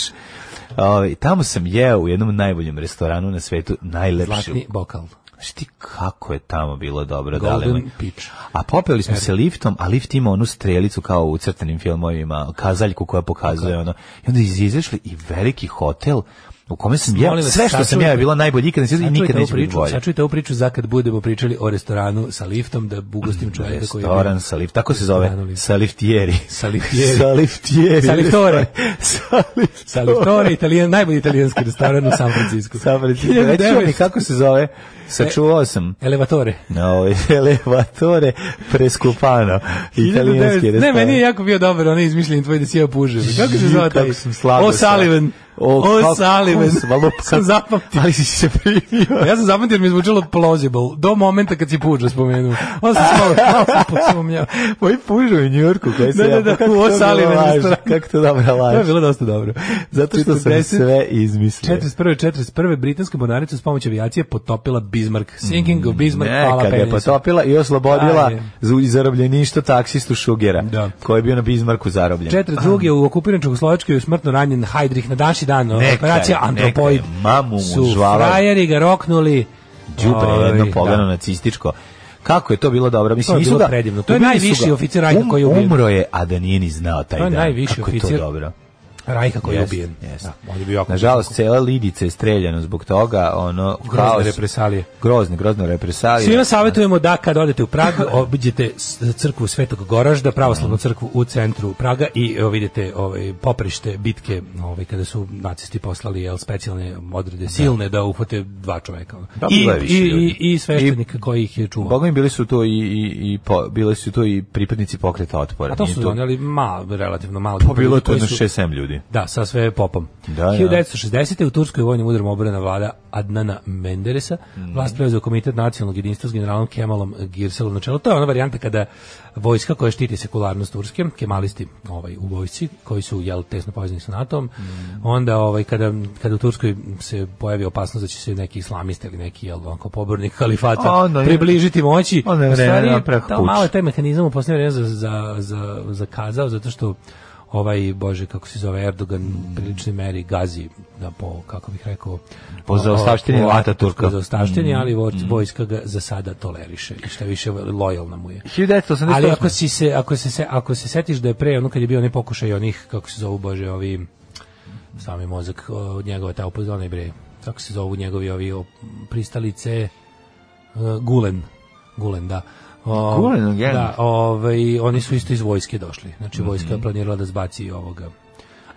F: Ovaj, tamo sam jeo u jednom najboljem restoranu na svetu, najlepšu.
G: Zlatni bokal.
F: Znaš ti kako je tamo bilo dobro, da
G: Golden Peach.
F: A popeli smo se liftom, a lift ima onu strelicu kao u crtenim filmovima, kazaljku koja pokazuje ono. I onda iz- izašli i veliki hotel u kome sam ja,
G: Molim vas,
F: sve što sam
G: sačuvajte-
F: ja je bilo najbolje, ikad nisam i
G: Sačuvajte
F: nikad
G: ovu
F: neće biti
G: priču,
F: bolje.
G: Sačujte ovu priču za kad budemo pričali o restoranu sa liftom, da bugostim čovjeka koji je bio-
F: Mm, Restoran sa lift, tako se zove,
G: Restoranu lift.
F: sa liftjeri.
G: Sa liftjeri.
F: Sa liftjeri.
G: Saliftore.
F: Sa liftore.
G: Saliftore, italijan, najbolji italijanski restoran u San Francisco.
F: Sa liftjeri. Reći ću mi
G: 1900
F: kako se zove, sačuvao sam.
G: Elevatore.
F: Na ovaj elevatore preskupano. Italijanski
G: 1900
F: restoran.
G: Ne, meni je jako bio dobar, onaj izmišljen tvoj da si ja pužem. Kako se zove taj?
F: Kako sam slabo
G: O'Sullivan.
F: sa- O, kako- kako sam
G: O'Sullivan.
F: malo- pa-
G: Sam zapamtio.
F: Ali si se primio.
G: Ja sam zapamtio jer mi je zvučalo plausible do momenta kad si puđa spomenuo. On sam se malo, malo sam posumnjao.
F: Moji pužu u Njurku. Kaj se
G: Da,
F: ja- pa
G: da, da,
F: kako
G: u
F: to
G: O'Sullivan
F: dobro laže,
G: restoranu.
F: Kako to dobro
G: To je
F: laže.
G: bilo dosta dobro.
F: Zato što sam
G: 40
F: sve izmislio.
G: 41. 41. britanska mornarica s pomoću avijacije potopila Bismarck. Sinking of Bismarck,
F: Ne,
G: hvala
F: kad je
G: penisu.
F: potopila i oslobodila
G: Ajde.
F: za zarobljeništvo taksistu Šugera,
G: Da.
F: koji je bio na Bizmarku zarobljen.
G: 42. u okupiranju Čugoslovačkoj je smrtno ranjen Hajdrih na daši dan.
F: Neka
G: operacija
F: je, neka
G: Antropoid.
F: je, mamu mu
G: su
F: žvala.
G: frajeri ga roknuli.
F: đubre
G: Ovaj,
F: jedno pogano
G: da.
F: nacističko. Kako je to bilo dobro? Mislim,
G: To je
F: nisu
G: bilo
F: da,
G: predivno. To je
F: ubili su
G: najviši
F: ga. Um-
G: oficir Rajka koji je ubijen.
F: Umro je, a da nije ni znao taj
G: To je
F: dan.
G: najviši
F: Kako je to
G: oficir.
F: dobro.
G: Rajka koji je
F: Jeste,
G: ubijen.
F: jeste.
G: Da, on je bio jako
F: Nažalost, cela Lidica je streljana zbog toga, ono,
G: grozne represalije.
F: Grozne, grozne represalije.
G: Svima savjetujemo da kad odete u Prag, obiđete s- crkvu Svetog Goražda, pravoslavnu
F: Mhm.
G: crkvu u centru Praga i evo, vidite ovaj poprište bitke, ovaj kada su nacisti poslali jel specijalne odrede silne da uhvate dva čoveka. ono.
F: Da,
G: I,
F: bilo je više
G: i,
F: ljudi.
G: i, i sveštenik koji ih je čuvao.
F: Boga mi bili su to i, i, i po, bili su to i pripadnici pokreta otpora.
G: A to
F: Nije
G: su oni, ali ma, relativno malo.
F: Pa bilo je to
G: koji
F: jedno
G: su-
F: 6-7 ljudi.
G: Da, sa sve popom.
F: Da, da.
G: 1960. u Turskoj vojnim udarom obrana vlada Adnana Menderesa.
F: Mm.
G: Vlast preuzeo komitet nacionalnog jedinstva s generalom Kemalom Girselom na čelu. To je ona varijanta kada vojska koja štiti sekularnost Turske, kemalisti ovaj, u vojsci, koji su jel, tesno povezani sa NATO-om,
F: Mm.
G: onda ovaj, kada, kada u Turskoj se pojavi opasnost da će se neki islamiste ili neki jel, onako, pobornik kalifata
F: A, onda je-
G: približiti moći,
F: onda je
G: Ono, u
F: vreme
G: stvari,
F: da naprave
G: da,
F: puč.
G: malo je taj mehanizam u poslednje vreme za, za, za, zakazao, zato što ovaj, bože, kako se zove Erdogan, u priličnoj meri gazi da po, kako bih rekao,
F: Po zaostavštini
G: o- o-
F: Ataturka. Mm.
G: Po zaostavštini, ali voj- vojska ga za sada toleriše i šta više lojalna mu je.
F: 1988.
G: Ali ako si se ako se, se ako se setiš da je pre ono kad je bio onaj pokušaj onih kako se zovu bože ovi sami mozak od njegova ta opozona bre kako se zovu njegovi ovi o, pristalice e, Gulen Gulen da O,
F: Gulen, Mhm. again.
G: da ovaj oni su isto iz vojske došli znači vojska je planirala da zbaci ovoga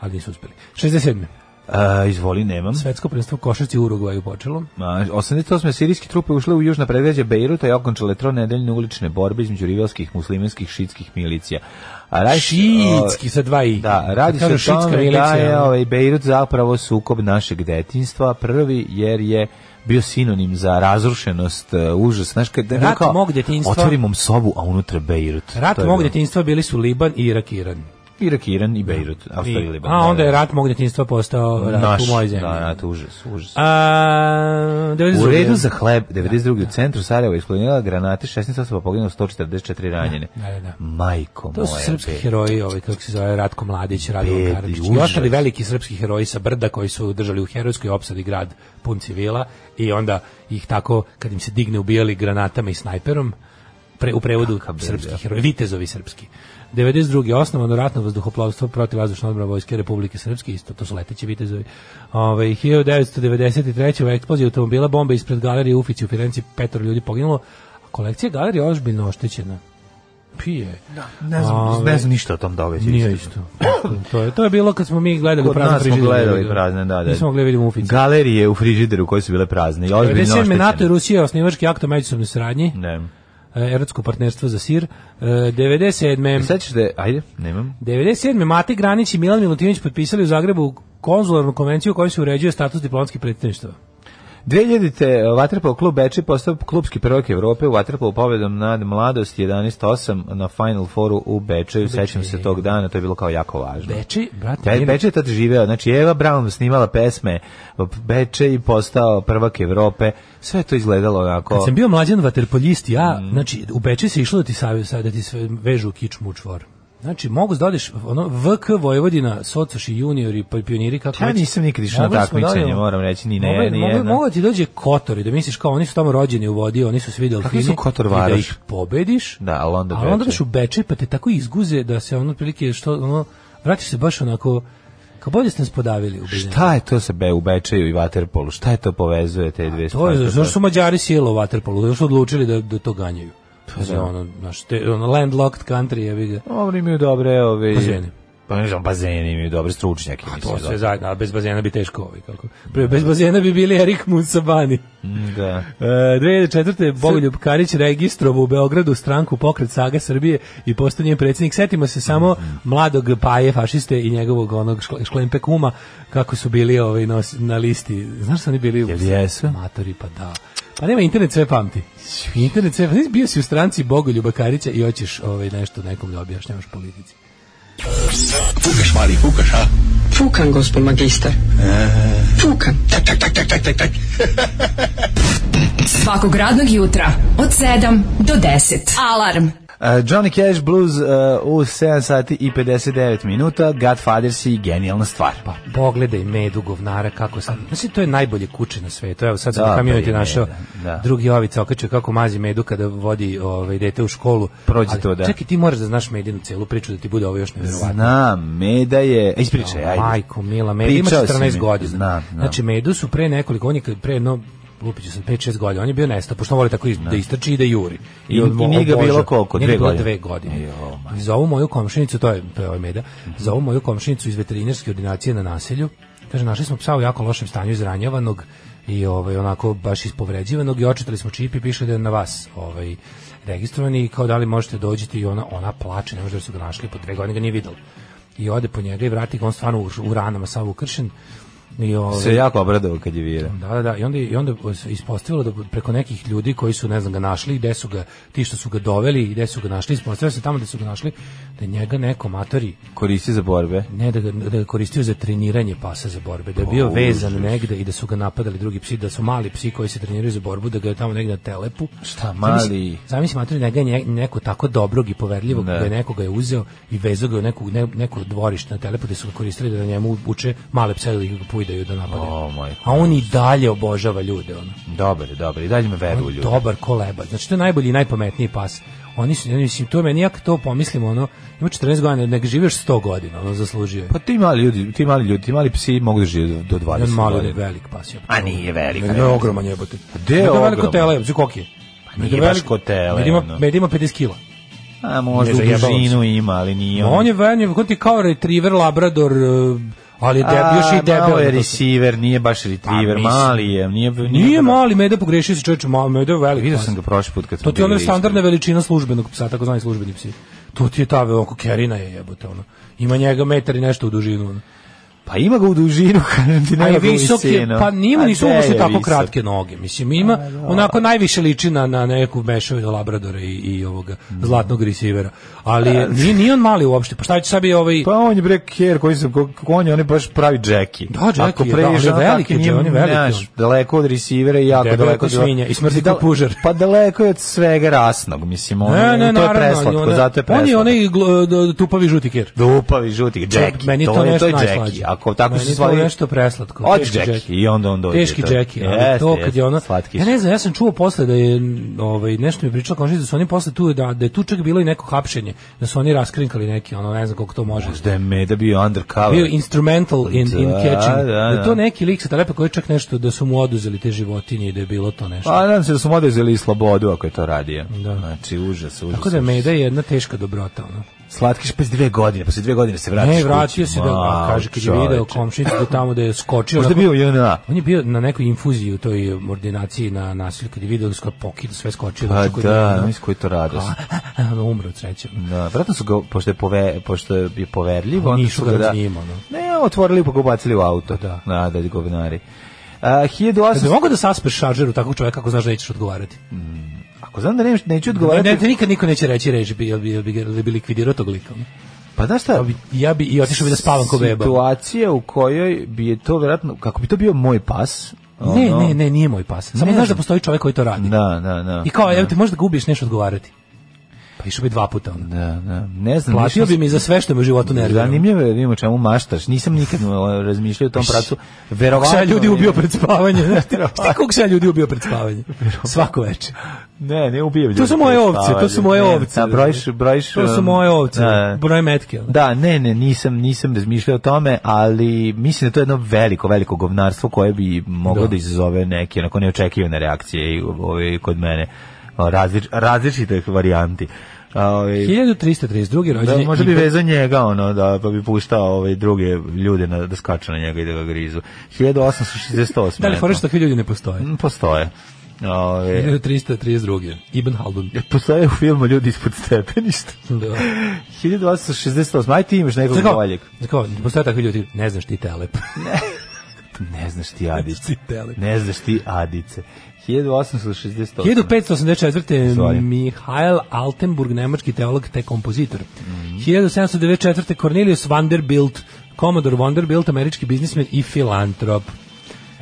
G: ali nisu uspeli 67.
F: A, izvoli, nemam.
G: Svetsko prvenstvo u košarci u Urugvaju počelo.
F: A, 88. sirijski trupe ušle u južna predgrađa Bejruta i okončale tronedeljne ulične borbe između rivalskih muslimanskih šitskih milicija. A radi se-
G: Šiitski sa dva i.
F: Da, radi se
G: Kažu
F: o
G: šiitska
F: tome da
G: milicija,
F: je
G: ono.
F: ovaj, Bejrut zapravo sukob našeg detinstva, prvi jer je bio sinonim za razrušenost, e, užas. Znaš, kad, da je bilo
G: Rat
F: kao,
G: mog detinjstva.
F: Otvorim um sobu, a unutra Bejrut.
G: Rat
F: To je
G: mog
F: bilo.
G: djetinjstva bili su Liban i Irak i Iran.
F: Irak, Iran i Bejrut.
G: I-
F: Austrija i Liban.
G: a
F: Da,
G: onda
F: da.
G: je rat mog djetinjstva postao rat
F: Naš,
G: u mojoj zemlji.
F: Da, da, to užas, užas.
G: A, 92.
F: U redu za hleb, 92. u centru Sarajeva isklonila granate, 16 osoba poginulo, 144 ranjene.
G: Da, da, da.
F: Majko
G: To
F: moja.
G: su srpski
F: be-
G: heroji, ovaj, kako se zove, Ratko Mladić, Radko
F: Bedi,
G: Karadžić i
F: užas.
G: ostali veliki srpski heroji sa brda koji su držali u herojskoj opsadi grad pun civila i onda ih tako, kad im se digne, ubijali granatama i snajperom, pre, u prevodu
F: Kakav beda.
G: srpski heroji, vitezovi srpski. 92. osnovano ratno vazduhoplovstvo protiv vazdušne odbrane Vojske Republike Srpske, isto to su leteći vitezovi. Ovaj, Ove, 1993. u eksploziji automobila bombe ispred galerije Ufici u Firenci petoro ljudi poginulo, a kolekcija galerije je ozbiljno oštećena. Pije.
F: Ne znam, ne znam ništa o tom događaju.
G: Nije isto. to, je, to je bilo kad smo mi gledali
F: Kod
G: u prazne
F: nas smo
G: frižidere.
F: gledali prazne, da, da.
G: Nismo mogli da vidimo uficu.
F: Galerije u frižideru koje su bile prazne. i Ozbiljno
G: 97.
F: oštećene.
G: NATO i Rusija osnivački akt o međusobnoj saradnji,
F: Ne.
G: e, erotsko partnerstvo za sir. E,
F: I
G: 97.
F: sad ćeš E, da, ajde, nemam.
G: 97. Mate Granić i Milan Milutinović potpisali u Zagrebu konzularnu konvenciju u kojoj se uređuje status diplomatskih predstavništava.
F: 2000-te Vatrpol e, klub Beče postao klubski prvak Evrope u Vatrpolu pobedom nad Mladost 11-8 na Final Fouru u Bečeju. Sećam se tog dana, to je bilo kao jako važno.
G: Beči, brate,
F: Ja,
G: meni-
F: Beče je tad živeo, znači Eva Brown snimala pesme, Beče i postao prvak Evrope, sve je to izgledalo onako...
G: Kad sam bio mlađan vaterpoljist, ja,
F: Mm.
G: znači, u Beče se išlo da ti, savje, sa- da ti sve vežu kičmu u čvor. Znači, mogu da odeš, ono, VK Vojvodina, Socoši, juniori, pa i pioniri, kako
F: Ja
G: već.
F: nisam nikad išao na
G: Mogli smo da
F: takmičenje,
G: odemo-
F: moram reći, ni ne-
G: Mogli-
F: ni
G: mogli-
F: jedna.
G: mogao ti dođe Kotor i da misliš kao, oni su tamo rođeni u vodi, oni su svi delfini.
F: su Kotor
G: i Da
F: varoš?
G: ih pobediš.
F: Da, ali onda
G: ali onda
F: Beče.
G: daš u Beče, pa te tako izguze da se ono, prilike, što, ono, vratiš se baš onako, kao bolje ste nas podavili. u Beznjanu.
F: Šta je to sa Be u Bečeju i Vaterpolu? Šta je to povezuje te dve
G: To
F: stvari?
G: je zašto su Mađari sile u vaterpolu, zato su odlučili da da to ganjaju. Za ono, znaš, te, ono landlocked country, ja ga.
F: Dobro imaju dobre ove...
G: Bazeni.
F: Pa ne znam, bazeni imaju dobre stručnjake. mislim,
G: To sve
F: da.
G: zajedno, a bez bazena bi teško ovaj, kako. Pre, bez bazena bi bili Erik Munsabani.
F: Mm, Da.
G: E, 2004. Bogoljub Karić registrovao u Beogradu stranku Pokret Saga Srbije i postao njen predsjednik. Setimo se samo mladog paje fašiste i njegovog onog škle- šklempe kuma kako su bili ovaj, nos- na listi. Znaš su oni bili?
F: Jel jesu?
G: Matori, pa da. Pa nema, internet sve pamti. Internet sve pamti. Bio si u stranci Bogoljuba Karića i hoćeš ovaj, nešto nekom da objašnjavaš politici.
A: Fukan, gospod magister. Fukan.
I: Svakog radnog jutra od 7 do 10. Alarm.
F: Uh, Johnny Cash Blues uh, u 7 sati i 59 minuta, Godfathers i genijalna stvar. Pa,
G: pogledaj medu govnara kako sad. Znači to je najbolje kuće na svetu. Evo sad sam
F: Da,
G: da,
F: to
G: kamioniti
F: je
G: našao
F: meda, da.
G: drugi ovica okačio kako mazi medu kada vodi ovaj dete u školu.
F: Prođe to, da.
G: Čekaj, ti moraš da znaš medinu celu priču da ti bude ovo još nevjerovatno.
F: Znam, meda je... E, ispričaj, ajde.
G: Majko, mila, Meda ima
F: Pričao si mi.
G: 14 godina.
F: Znam, znam.
G: Znači, Medu su pre nekoliko, on je kad- pre jedno, lupiću sam, 5-6 godina, on je bio nestao, pošto on voli tako iz- da istrči i da juri.
F: I-
G: on-
F: i
G: on
F: nije ga
G: obožava.
F: bilo koliko,
G: Nije ga
F: dve
G: bilo
F: godine?
G: dve godine.
F: Jo,
G: Za ovu moju komšinicu, to je, to je ovaj Meda, za ovu moju komšinicu iz veterinarske ordinacije na naselju, kaže, našli smo psa u jako lošem stanju izranjavanog i ovaj, onako baš ispovređivanog i očitali smo čip i piše da je na vas ovaj, registrovani i kao da li možete dođiti i ona, ona plače, ne može da su ga našli, po dve godine ga nije videla i ode po njega i vrati ga on stvarno u, u ranama sav ukršen i ovaj,
F: Se jako obradovao kad je vira.
G: da, da, da, i onda, i onda se ispostavilo da preko nekih ljudi koji su, ne znam, ga našli, gde su ga, ti što su ga doveli i gde su ga našli, ispostavilo se tamo gde su ga našli, da je njega neko matori,
F: Koristi za borbe.
G: ne da ga, da ga koristio za treniranje pasa za borbe, da je bio
F: Pa,
G: vezan negde i da su ga napadali drugi psi, da su mali psi koji se treniraju za borbu, da ga je tamo negde na telepu.
F: Šta, mali?
G: Zamisli, zamisli matori, njega je nje- neko tako dobrog i poverljivog,
F: Ne.
G: da je nekoga je uzeo i vezao ga u neku, ne, neko dvorište na telepu gde su ga koristili da na njemu uče male pse da ih pujdaju da napadaju.
F: O, majko.
G: A on i dalje obožava ljude, ono.
F: Dobar, je, dobar. I dalje me veruju
G: On
F: ljudi.
G: dobar ko lebar. Znači, to je najbolji i najpametniji pas. Oni su, ja mislim, to je meni, ja kad to pomislim, ono, ima 14 godina, nek živi još 100 godina, ono, zaslužio je.
F: Pa ti mali ljudi, ti mali ljudi, ti mali psi mogu da žive do, do 20
G: On mali je
F: godina.
G: velik pas. jebote.
F: A nije velik.
G: Nego je ogroman jebote.
F: gde je
G: Nego
F: ogroman? Pa
G: veliko tele, jebote, koliko je?
F: nije
G: Nego je
F: baš
G: velik-
F: ko tele,
G: Med ima,
F: ono.
G: med ima 50 kila.
F: A možda u
G: Ne, zajebalo
F: dužinu ima, ali nije
G: On je venje, on ti je kao retriever, labrador, eh, ali je deb,
F: A,
G: još i
F: Malo je
G: debel.
F: receiver, nije baš retriever,
G: mislim.
F: mali je, nije... Nije,
G: Nije mali, meda pogrešio se čoveče, ma- meda je velik.
F: Vidio
G: pas.
F: sam ga prošli put kad smo
G: To ti je ona
F: bili
G: standardna veličina službenog psa, takozvani službeni psi. To ti je ta veliko kerina je jebote ono. Ima njega metar i nešto u dužinu. Ono.
F: ispred. Pa ima ga u dužinu, kažem ti,
G: A i
F: nema ga u
G: visok je,
F: visinu.
G: pa nima
F: A
G: nisu
F: gde
G: uopšte
F: je
G: tako
F: visok?
G: kratke noge. Mislim, ima onako najviše liči na, na neku mešavinu labradora i, i ovoga
F: Mm.
G: zlatnog receivera. Ali
F: E,
G: je, nije, nije on mali uopšte. Pa šta će sabi ovaj...
F: Pa on je bre ker koji se ko- ko- on je on je baš pravi Jackie.
G: Da, Jackie
F: Ako
G: je, da,
F: previše,
G: on je veliki,
F: tako njim,
G: on je veliki,
F: znaš,
G: on.
F: daleko od receivera i jako
G: Debel
F: daleko
G: ko svinja i smrdi ko
F: Dale-
G: pužar.
F: Pa daleko je od svega rasnog, mislim, on
G: Ne,
F: je-
G: ne,
F: to je
G: naravno,
F: preslatko,
G: on je-
F: zato je preslatko.
G: On je onaj gl- d- tupavi žuti ker.
F: Dupavi žuti, Jackie,
G: meni je
F: to,
G: to
F: je, to
G: nešto
F: je Jackie.
G: najslađe.
F: Ako tako
G: Meni
F: se
G: je to
F: svali...
G: nešto preslatko,
F: Hoće
G: teški
F: Jackie
G: Jackie.
F: i onda on dođe.
G: Teški
F: to.
G: Jackie, ali
F: Jeste,
G: to kad
F: jeste,
G: je ono...
F: Slatki
G: Ja
F: su.
G: ne znam, ja sam čuo posle da je ovaj, nešto mi je pričala komšinica da su oni posle tu, da, da je tu čak bilo i neko hapšenje, da su oni raskrinkali neki, ono, ne znam koliko to može.
F: Da je Meda bio undercover.
G: Bio instrumental in, in
F: Da,
G: catching.
F: da,
G: Da, je to
F: da.
G: neki lik sa telepa koji je čak nešto, da su mu oduzeli te životinje i da je bilo to nešto.
F: Pa nadam se da su mu oduzeli i slobodu ako je to radio.
G: Da.
F: Znači, užas, užas.
G: Tako da je
F: užas.
G: Meda je jedna teška dobrota. Ono.
F: Slatkiš pa dve godine, posle dve godine se vratiš
G: Ne, vratio
F: kući.
G: se da, a,
F: Mao,
G: kaže, kad je
F: čoveče.
G: video komšinicu da tamo da je skočio.
F: Možda je
G: onako-
F: bio JNA.
G: Pa On je bio na nekoj infuziji u toj ordinaciji na nasilju kad je video da skoro pokid sve skočio.
F: Pa
G: znači, kod
F: da,
G: njega,
F: mislim koji je to radost.
G: ono, umre od sreće.
F: Da, vratno su ga, pošto je, pove, pošto je poverljiv, onda
G: Nisu
F: su
G: ga
F: ga da...
G: raznim, ono.
F: Ne, otvorili pa ga ubacili u auto. Da, da, govnari. E,
G: Kad bi
F: 1800...
G: mogao da saspeš šaržeru takvog čoveka ako znaš da nećeš odgovarati.
F: Ako znam da ne, neću
G: Ne,
F: odgovarati...
G: ne, te nikad niko neće reći reži, bi, jel bi, jel bi, ga- jel bi likvidirao tog lika. ono?
F: pa znaš
G: Ja
F: šta,
G: bi, ja bi i otišao bi da spavam ko beba.
F: Situacija u kojoj bi je to vjerojatno, kako bi to bio moj pas...
G: Ne,
F: ono-
G: ne, ne, nije moj pas. Samo
F: Ne
G: znaš da
F: znam.
G: postoji čovjek koji to radi.
F: Da, da, da.
G: I kao, evo ti možda ga ubiješ, nešto odgovarati. Pa išao bi dva puta onda.
F: Da, da. Ne znam.
G: Platio
F: nisam-
G: bi mi za sve što me u životu nervira.
F: Zanimljivo je da vidimo čemu maštaš. Nisam nikad o, razmišljao u tom pracu.
G: Kako
F: Verovatno.
G: se ja ljudi ubio pred spavanje. Znaš ti-
F: Verovatno.
G: Znaš koliko se ja ljudi ubio pred spavanje? Svako veče.
F: Ne, ne ubijem ljudi.
G: To su moje
F: koji
G: ovce, to
F: spavaju.
G: su moje
F: Ne,
G: ovce.
F: Da, brojiš, brojiš.
G: To su
F: um,
G: moje ovce.
F: Da,
G: Broj metke. ono.
F: Da, ne, ne, nisam, nisam razmišljao o tome, ali mislim da to je jedno veliko, veliko govnarstvo koje bi moglo da,
G: Da.
F: izazove neke onako neočekivane reakcije i ove, kod mene o, različ, različitih varijanti. A, Ove,
G: 1332.
F: Da,
G: rođen je
F: možda bi
G: Ipe-
F: vezao njega, ono, da, pa bi puštao ove druge ljude na, da skaču na njega i da ga grizu. 1868.
G: Da li
F: eto.
G: fora što takvi ljudi ne postoje?
F: Mm, Postoje. ovaj, Ove,
G: 1332. Ibn Haldun.
F: E, postoje u filmu Ljudi ispod stepeništa.
G: Da.
F: 1868. Aj ti imaš nekog
G: Znaš kao-
F: boljeg.
G: znaš kao, postoje takvi ljudi, ne znaš ti telep.
F: Ne znaš ti
G: Ti
F: Adice.
G: telep.
F: Ne znaš ti Adice. 1868.
G: 1584.
F: Sorry.
G: Mihail Altenburg, nemački teolog te kompozitor.
F: Mhm.
G: 1794. Cornelius Vanderbilt, komodor Vanderbilt, američki biznismen i filantrop.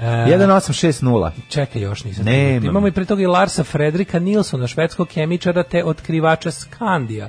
G: E,
F: 1860.
G: Čekaj još nisam.
F: Ne,
G: stigao.
F: imam.
G: Imamo i pre toga i Larsa Fredrika Nilsona, švedskog kemičara te otkrivača Skandija.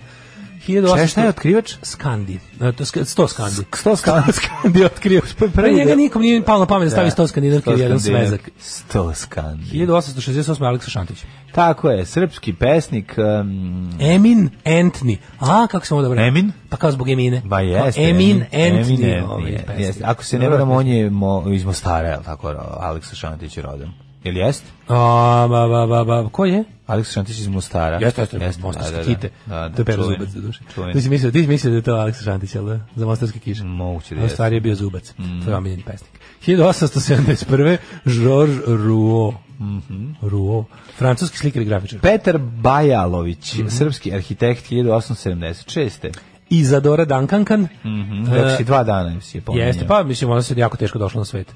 G: 1800...
F: Češ, šta je otkrivač?
G: Skandi. E, to sk- 100 Skandi.
F: Sto Pa skandi otkrio.
G: Pre njega nikom nije palo na pamet da stavi 100 skandinavki u jedan svezak.
F: Sto skandi.
G: 1868. Aleksa Šantić.
F: Tako je, srpski pesnik, um,
G: Emin Entni. A, kako se ovo dobro...
F: Emin?
G: Pa kao zbog Emine.
F: Ba jeste.
G: Emin Entni.
F: Emin
G: ovaj,
F: je,
G: pesnik.
F: jeste. Ako se ne
G: Dobro.
F: varam, on je mo, iz Mostara, je li tako, Aleksa Šantić je rodom. Ili jest?
G: A, ba, ba, ba, ba, ko je?
F: Aleksa Šantić iz Mostara.
G: Jeste, jeste, jeste,
F: da,
G: mostarske
F: da,
G: kite.
F: Da, da,
G: to je pero
F: čuveni,
G: zubac za duše.
F: čuveni.
G: Ti si mislio, ti si mislio da je to Aleksa Šantić, jel da? Za mostarske kiše.
F: Moguće da
G: A u
F: jeste. Mm.
G: stvari je bio zubac. To je omiljeni pesnik. 1871. Georges Rouault.
F: Mhm.
G: Rouault. Francuski slikar i grafičar.
F: Petar Bajalović,
G: Mhm.
F: srpski arhitekt 1876.
G: Izadora Eh, Dankankan.
F: Rekao Mhm. si Znači, dva dana, si je pominjao.
G: Mhm. Jeste, pa mislim ona se jako teško došla na svet.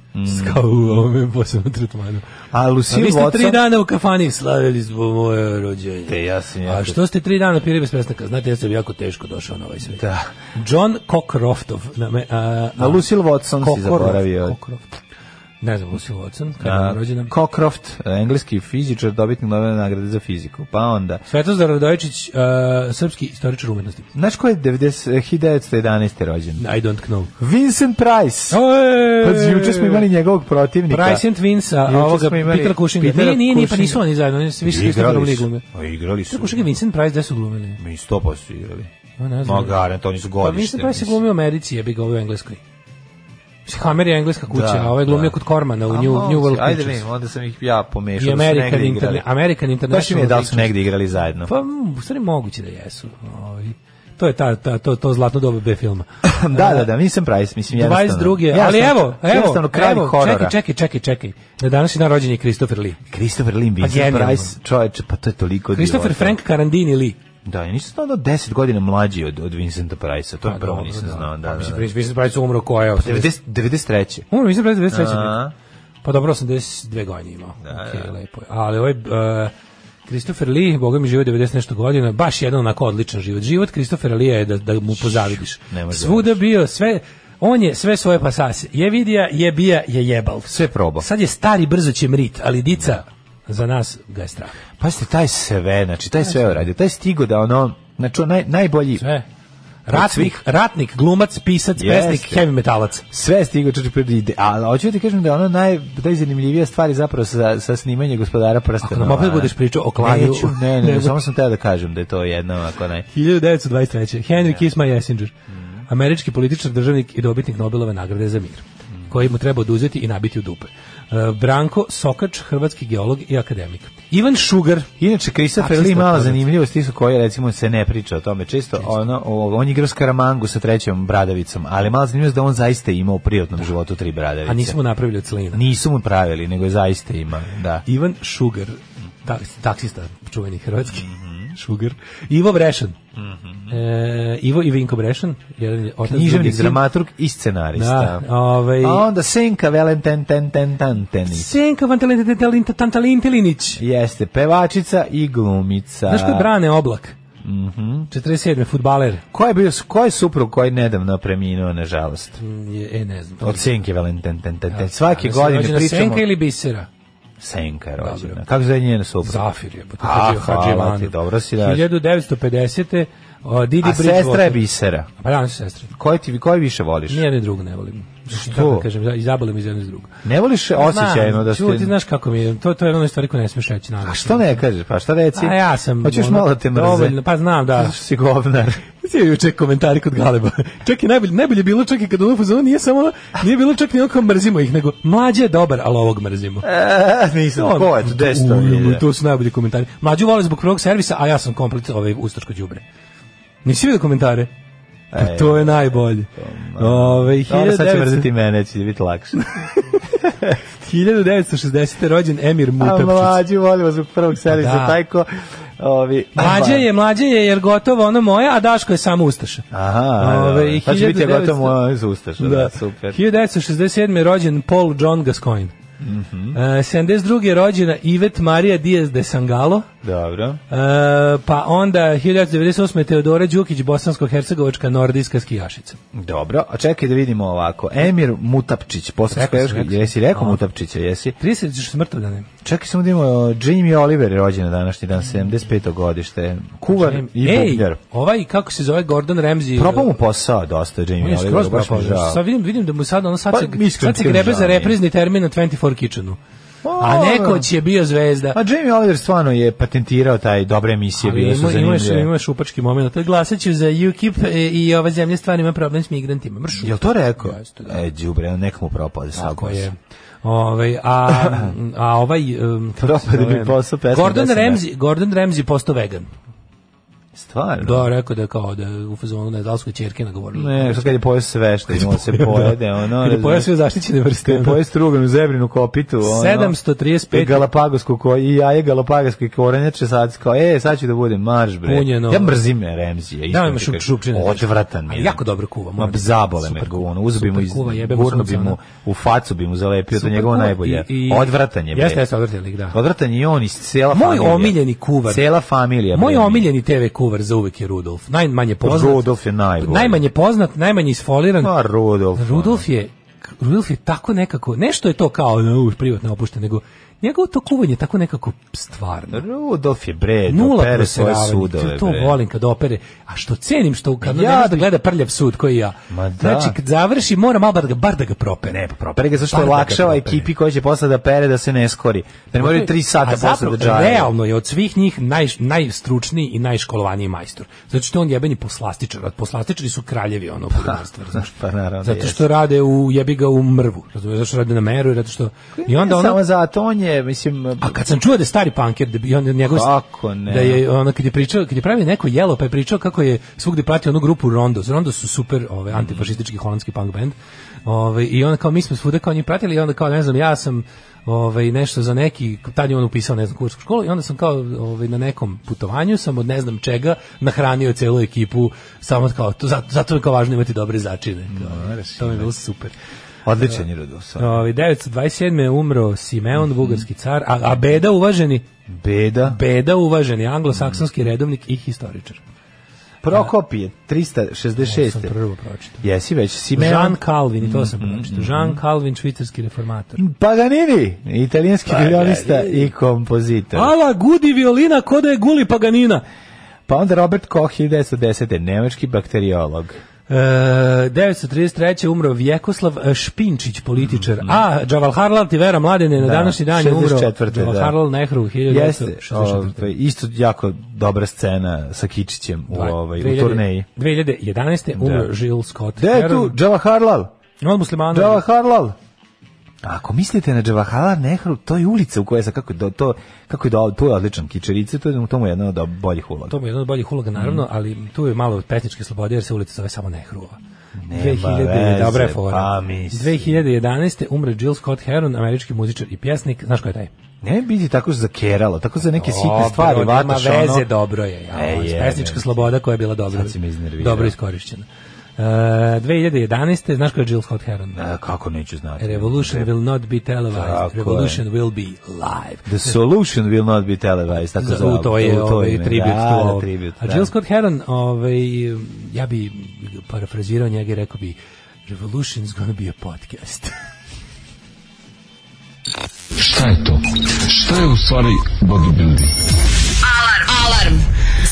G: Kao u ovome posebnom tretmanu.
F: A
G: A
F: Lucille
G: Pa vi ste tri
F: Watson...
G: dana u kafani slavili zbog moje rođenje.
F: Te, ja sam jako-
G: A što ste tri dana pili bez prestanka? Znate, ja sam jako teško došao na ovaj svet.
F: Da.
G: John Cockroftov. Na me, a,
F: A Lucille Watson si
G: Cockroft,
F: zaboravio.
G: Cockroft. Ne znam, Lucille Watson, kada je
F: A,
G: ona rođena.
F: Cockcroft, engleski fizičar, dobitnik nove nagrade za fiziku. Pa onda...
G: Svetozar Radojičić, a, srpski istoričar umetnosti.
F: Znaš ko je eh, 90, 1911. rođen?
G: I don't know.
F: Vincent Price. Pa juče smo imali njegovog protivnika.
G: Price and Vince, a
F: Juče
G: ovoga
F: smo imali
G: Petra Kušinga.
F: Petera
G: Nije, nije, nije, pa
F: Kušinga.
G: nisu oni zajedno, oni su više isto
F: Igrali
G: drugom
F: su.
G: glume.
F: A igrali su.
G: Petra Kušinga i Vincent Price, gde su glumili?
F: Mi sto pa su igrali.
G: Ma, ne
F: Ma
G: znam.
F: garant, oni su
G: Pa
F: godište.
G: mislim da se
F: mislim.
G: glumio u Americi, jebi ga ovaj u Engleskoj. Mislim, Hammer je engleska kuća,
F: Da,
G: a ovaj je glumio
F: da.
G: kod Kormana u
F: A,
G: New,
F: moguće,
G: New World
F: Ajde
G: Pictures.
F: vidim, onda sam ih ja pomešao.
G: I
F: da su
G: American,
F: negde
G: interne,
F: igrali.
G: American
F: Baš mi
G: International
F: je da li su
G: Pictures.
F: negde igrali zajedno.
G: Pa, mm, u stvari moguće da jesu. Ovaj. To je ta, ta, to, to zlatno doba B filma.
F: da, da, da, nisam Price, mislim jednostavno.
G: 22. Ali
F: Jednostavno-
G: evo, evo,
F: jednostavno kralj
G: evo,
F: horora.
G: čekaj, čekaj, čekaj, čekaj. Na današnji dan rođen je Christopher Lee.
F: Christopher Lee, Vincent
G: Pa genijalno.
F: Price, čoveče, pa to je toliko
G: Christopher
F: divota.
G: Frank Carandini Lee.
F: Da, ja nisam znao da je 10 godina mlađi od, od Vincenta Price-a,
G: Pa,
F: to je prvo nisam znao, da, da, da.
G: Mislim, Vincent Price umro koje?
F: 90, 93.
G: Umro Vincent Price 93.
F: A,
G: Pa dobro, 82 godine imao. Da,
F: da.
G: lepo je. Ali ovaj... Uh, Christopher Lee, boga mi živo 90 nešto godina, baš jedan onako odličan život. Život Christopher Lee je da, da mu pozavidiš.
F: ne možeš da
G: Svuda bio, sve, on je sve svoje pasase. Je vidija, je bija, je jebal.
F: Sve probao.
G: Sad je stari, brzo će mrit, ali dica za nas ga je strah.
F: Pazite, Pa taj sve, znači, taj sve uradio, taj stigo da ono, znači, on naj, najbolji,
G: Sve. Ratnik, ratnik, glumac, pisac,
F: Jeste.
G: pesnik, heavy metalac.
F: sve stigo čoče predi, ali hoću ti kažem da je ono naj, najzanimljivija stvar je zapravo sa, sa snimanje gospodara prstena.
G: Ako nam opet
F: ono.
G: budeš pričao o klanju-
F: Neću, ne, ne,
G: Nego-
F: ne, samo sam teo da kažem da je to jedna, ako naj...
G: 1923. Henry Kiss my Essinger, američki političar, državnik i dobitnik Nobelove nagrade za mir, koji mu treba oduzeti i nabiti u dupe. E, Branko Sokač, hrvatski geolog i akademik. Ivan Šugar,
F: Inače, Christopher
G: Taksista
F: Lee mala
G: poznat.
F: zanimljivost isto koja recimo se ne priča o tome često. Ono, o- on je igrao Skaramangu sa trećom bradavicom, ali mala zanimljivost da on zaista ima u privatnom životu tri bradavice.
G: a nismo napravili od slina.
F: Nisu mu pravili, nego je zaista ima, da.
G: Ivan Šugar, tak- taksista, čuveni hrvatski. Šugar. Ivo Brešan. E, Ivo i Vinko Brešan, jedan je otac drugi
F: Književnik,
G: sin.
F: dramaturg i scenarista.
G: Da, ovaj-
F: A onda Senka Velen ten ten ten ten tenis.
G: Senka van Talenta- Talenta- Tantalin Telinić.
F: Jeste pevačica i glumica.
G: Znaš ko je Brane Oblak? Mhm. 47. futbaler.
F: Ko je bio, ko je suprug koji je nedavno preminuo, nažalost?
G: Je- E, ne znam.
F: Od Senke Velen ten ten ten ten. Svake
G: Ali se
F: godine
G: rođena
F: pričamo...
G: Senka ili Bisera?
F: Senka je rođena.
G: Dobro.
F: Kako zove njena supruga?
G: Zafir je. potem
F: Ah,
G: Hadži-
F: hvala
G: Hadži Ivan.
F: ti, dobro si daš.
G: 1950. o, Didi
F: A sestra je
G: Bridgewater.
F: bisera.
G: Pa da, oni su sestre.
F: Koje ti koje više voliš?
G: Nijedno i drugo ne volim. Što?
F: Što?
G: da kažem, za- izabole mi iz jedno iz drugo.
F: Ne voliš osjećajno da ste...
G: Pa Čuti, znaš kako mi je, to, to je ono stvari koje ne smiješ reći. Naravno.
F: A što ne kažeš? Pa šta reci?
G: A ja sam...
F: Hoćeš
G: ono,
F: malo da te mrze.
G: dovoljno, Pa znam, da.
F: Zato što si govnar.
G: Svi juče komentari kod Galeba. čak i najbolje, najbolje je bilo čak i kad ono fuzon nije samo nije bilo čak ni onako mrzimo ih, nego mlađe je dobar, ali ovog mrzimo.
F: E, nisam.
G: On-
F: Ko je tu? Desto
G: Ujemu,
F: je.
G: To su najbolji komentari. Mlađu vole zbog prvog servisa, a ja sam komplet ovaj ustaško đubre. Nisi vidio komentare?
F: E,
G: Pa to je najbolje. Ovaj, Ove,
F: Dobro, sad će
G: 1900
F: mrziti mene, će biti lakše.
G: 1960. rođen Emir
F: A
G: Mutavčić.
F: mlađi volimo zbog prvog servisa,
G: Pa Da.
F: taj ko... Ovi,
G: Mlađe je, mlađe je, jer gotovo ono moje, a Daško je samo ustaša.
F: Aha,
G: Ove,
F: Ove,
G: i
F: pa će biti
G: 1900
F: gotovo moja iz Ustaša, da.
G: Da.
F: super.
G: 1967. je rođen Paul John Gascoigne. Mm
F: Mhm.
G: -hmm. 72. je rođena Ivet Marija Diaz de Sangalo.
F: Dobro.
G: E, pa onda 1998. je Teodora Đukić, bosansko-hercegovačka nordijska skijašica.
F: Dobro, a čekaj da vidimo ovako. Emir Mutapčić, posle
G: Rekao sam, rekao sam.
F: jesi rekao
G: A.
F: Mutapčića, jesi?
G: 30 ćeš smrta da ne.
F: Čekaj samo da imamo, o, Jamie Oliver je rođen na današnji dan, 75. godište. Kuvar i
G: Ej,
F: bubnjar.
G: ovaj, kako se zove, Gordon Ramsay. e,
F: Propao mu posao dosta, Jamie
G: On je skroz
F: Oliver, baš mi
G: propao.
F: žao.
G: Sad vidim, vidim da mu sad, ono sad,
F: Pa,
G: se,
F: iskreno
G: sad
F: ti
G: se
F: kažem,
G: grebe
F: žao
G: za
F: mi je.
G: reprizni termin na 24 Kitchenu. A
F: O,
G: nekoć je bio zvezda.
F: A Jamie Oliver stvarno je patentirao taj dobre emisije,
G: Ali
F: bile su
G: ima, imaš,
F: zanimljive.
G: imaš upački moment. Glasat ću za UKIP e, i ova zemlja stvarno ima problem s migrantima. Mršu.
F: Jel to rekao?
G: Jeste, da.
F: E, đubre, nek mu propade sad.
G: Tako je. Ovaj a, a ovaj... Um, kako se
F: Propade mi
G: zove?
F: posao pesma
G: Gordon
F: Desna.
G: Ramsay, Gordon Ramsay postao vegan.
F: Stvarno?
G: Da, rekao da je kao da je u fazonu ne dalskoj ćerke nagovorila.
F: Ne, što kad je pojeo sve što ima, se pojede, ono...
G: Kad je pojeo
F: razumeš?
G: sve zaštićene vrste.
F: Kad je
G: ono.
F: pojeo struganu zebrinu kopitu, ono...
G: 735
F: I Galapagosku koji i jaje Galapagosku i korenjače sad kao e sad ću da budem marš bre.
G: Punjeno.
F: Ja mrzim Remzija. iskreno
G: Da, ima
F: ti
G: šup-
F: kažem.
G: šupčine.
F: Odvratan mi
G: A
F: je.
G: jako dobro kuva,
F: Ma
G: moram da-
F: zabole me
G: super
F: kuva,
G: kuva,
F: ono uzbi mu
G: super
F: iz
G: kuva, jebe mu
F: gurno bi
G: sunce,
F: mu
G: ono.
F: u facu bi mu zalepio to
G: Super
F: njegovo
G: kuva
F: najbolje.
G: i- i-
F: Odvratan je bre.
G: Jeste, jeste odvratan lik, da.
F: Odvratan je i on i cela
G: Moj
F: familija.
G: omiljeni kuvar.
F: Cela familija.
G: Moj
F: bre, mi.
G: omiljeni TV kuvar za uvek je Rudolf. Najmanje poznat.
F: Rudolf je najbolji. Pa,
G: Najmanje poznat, najmanje isfoliran.
F: Ma Rudolf. ono.
G: Rudolf je Rudolf je tako nekako, nešto je to kao no, už privatno opušteno, nego njegovo to kuvanje je tako nekako stvarno.
F: Rudolf je bre,
G: Nula
F: pere svoje
G: proseravanja.
F: sudove.
G: To
F: bre.
G: volim kad opere. A što cenim što kad
F: Ja
G: ja da
F: bi-
G: gleda prljav sud koji ja.
F: Ma da.
G: Znači kad završi mora malo bar da ga bar da ga propere.
F: Ne, pa propere ga zašto
G: Bar
F: je
G: da ga
F: lakšava
G: propere.
F: ekipi koja će posle da pere da se ne skori. Da ne moraju tri sata
G: A
F: posle
G: zapravo,
F: da džaje.
G: realno je od svih njih naj, najstručniji i najškolovaniji majstor. Zato što je on jebeni poslastičar. Od poslastičari su kraljevi ono kulinarstva, razumeš?
F: pa naravno da
G: Zato što rade u jebi ga u mrvu. Razumeš? Zato što rade na meru i zato što i onda
F: Ne
G: ono
F: Samo zato, on je, mislim...
G: A kad sam čuo da je stari panker, da bi on njegov
F: Kako ne?
G: da je ono kad je pričao, kad je pravio neko jelo, pa je pričao kako je svugde pratio onu grupu Rondo. Rondo su super, ovaj antifašistički holandski punk band. Ovaj i onda kao mi smo svuda kao njih pratili i onda kao ne znam, ja sam ovaj nešto za neki tad je on upisao ne znam kursku školu i onda sam kao ovaj na nekom putovanju sam od ne znam čega nahranio celu ekipu samo kao to zato, zato je kao važno imati dobre začine. Kao, to mi je bilo super.
F: Odličan je Rudolf.
G: Ovaj 927 je umro Simeon, bugarski car, a, a Beda uvaženi
F: Beda.
G: Beda uvaženi anglosaksonski redovnik i historičar.
F: Prokopije,
G: To sam
F: 366.
G: prvo pročitao.
F: Jesi već, Simeon. Mm-hmm,
G: Jean Calvin, i to sam pročitao. Jean Calvin, švicarski reformator.
F: Paganini, italijanski
G: Pa,
F: violinista i kompozitor.
G: Ala gudi violina ko da je guli paganina.
F: Pa onda Robert Koch, 1910. Nemački bakteriolog.
G: E, 933. umro Vjekoslav e, Špinčić, političar. A, Džaval Harlal i Vera Mladene na
F: Mm-hmm. Da,
G: današnji dan je umro
F: 64.,
G: Džaval
F: da.
G: Harlal Nehru
F: Jeste,
G: 1964.
F: ovaj, isto jako dobra scena sa Kičićem u, ovaj, u
G: 2000
F: turneji.
G: 2011. umro
F: Da.
G: Jill Scott.
F: Gde je tu
G: Heron.
F: Džavaharlal?
G: On muslimana.
F: Džavaharlal? Ako mislite na Džavaharlal Nehru, to je ulica u kojoj se kako je do, to kako je do, to je odličan kičerice, to je tomu jedna od boljih uloga. Mm.
G: To mu je jedan od boljih uloga, naravno, ali tu je malo petničke slobode, jer se ulica zove samo Nehrova.
F: veze,
G: 2000, dobra je fora.
F: pa mislim.
G: 2011. umre Jill Scott Heron, američki muzičar i pjesnik. Znaš ko je taj?
F: Ne biti tako zakeralo, tako za neke sitne
G: Dobro,
F: stvari
G: nema
F: vataš ono.
G: veze, dobro je. Ja,
F: E, je,
G: pesnička
F: je.
G: sloboda koja je bila dobro,
F: Sad si me iznervirao.
G: dobro iskorišćena. Uh, 2011. Znaš ko je Jill Scott Heron?
F: A, kako neću znati.
G: Revolution will not be
F: Tako
G: televised.
F: je.
G: Revolution will be live.
F: The solution will not be televised. Tako
G: Za,
F: zove.
G: u to je
F: U to
G: ovaj
F: ime,
G: tribut.
F: da,
G: to,
F: da,
G: ovaj.
F: tribut,
G: A
F: da.
G: Jill Scott Heron, ovaj, ja bi parafrazirao njega i rekao bi Revolution's gonna be a podcast.
B: Šta je to? Šta je u stvari bodybuilding?
I: Alarm. Alarm.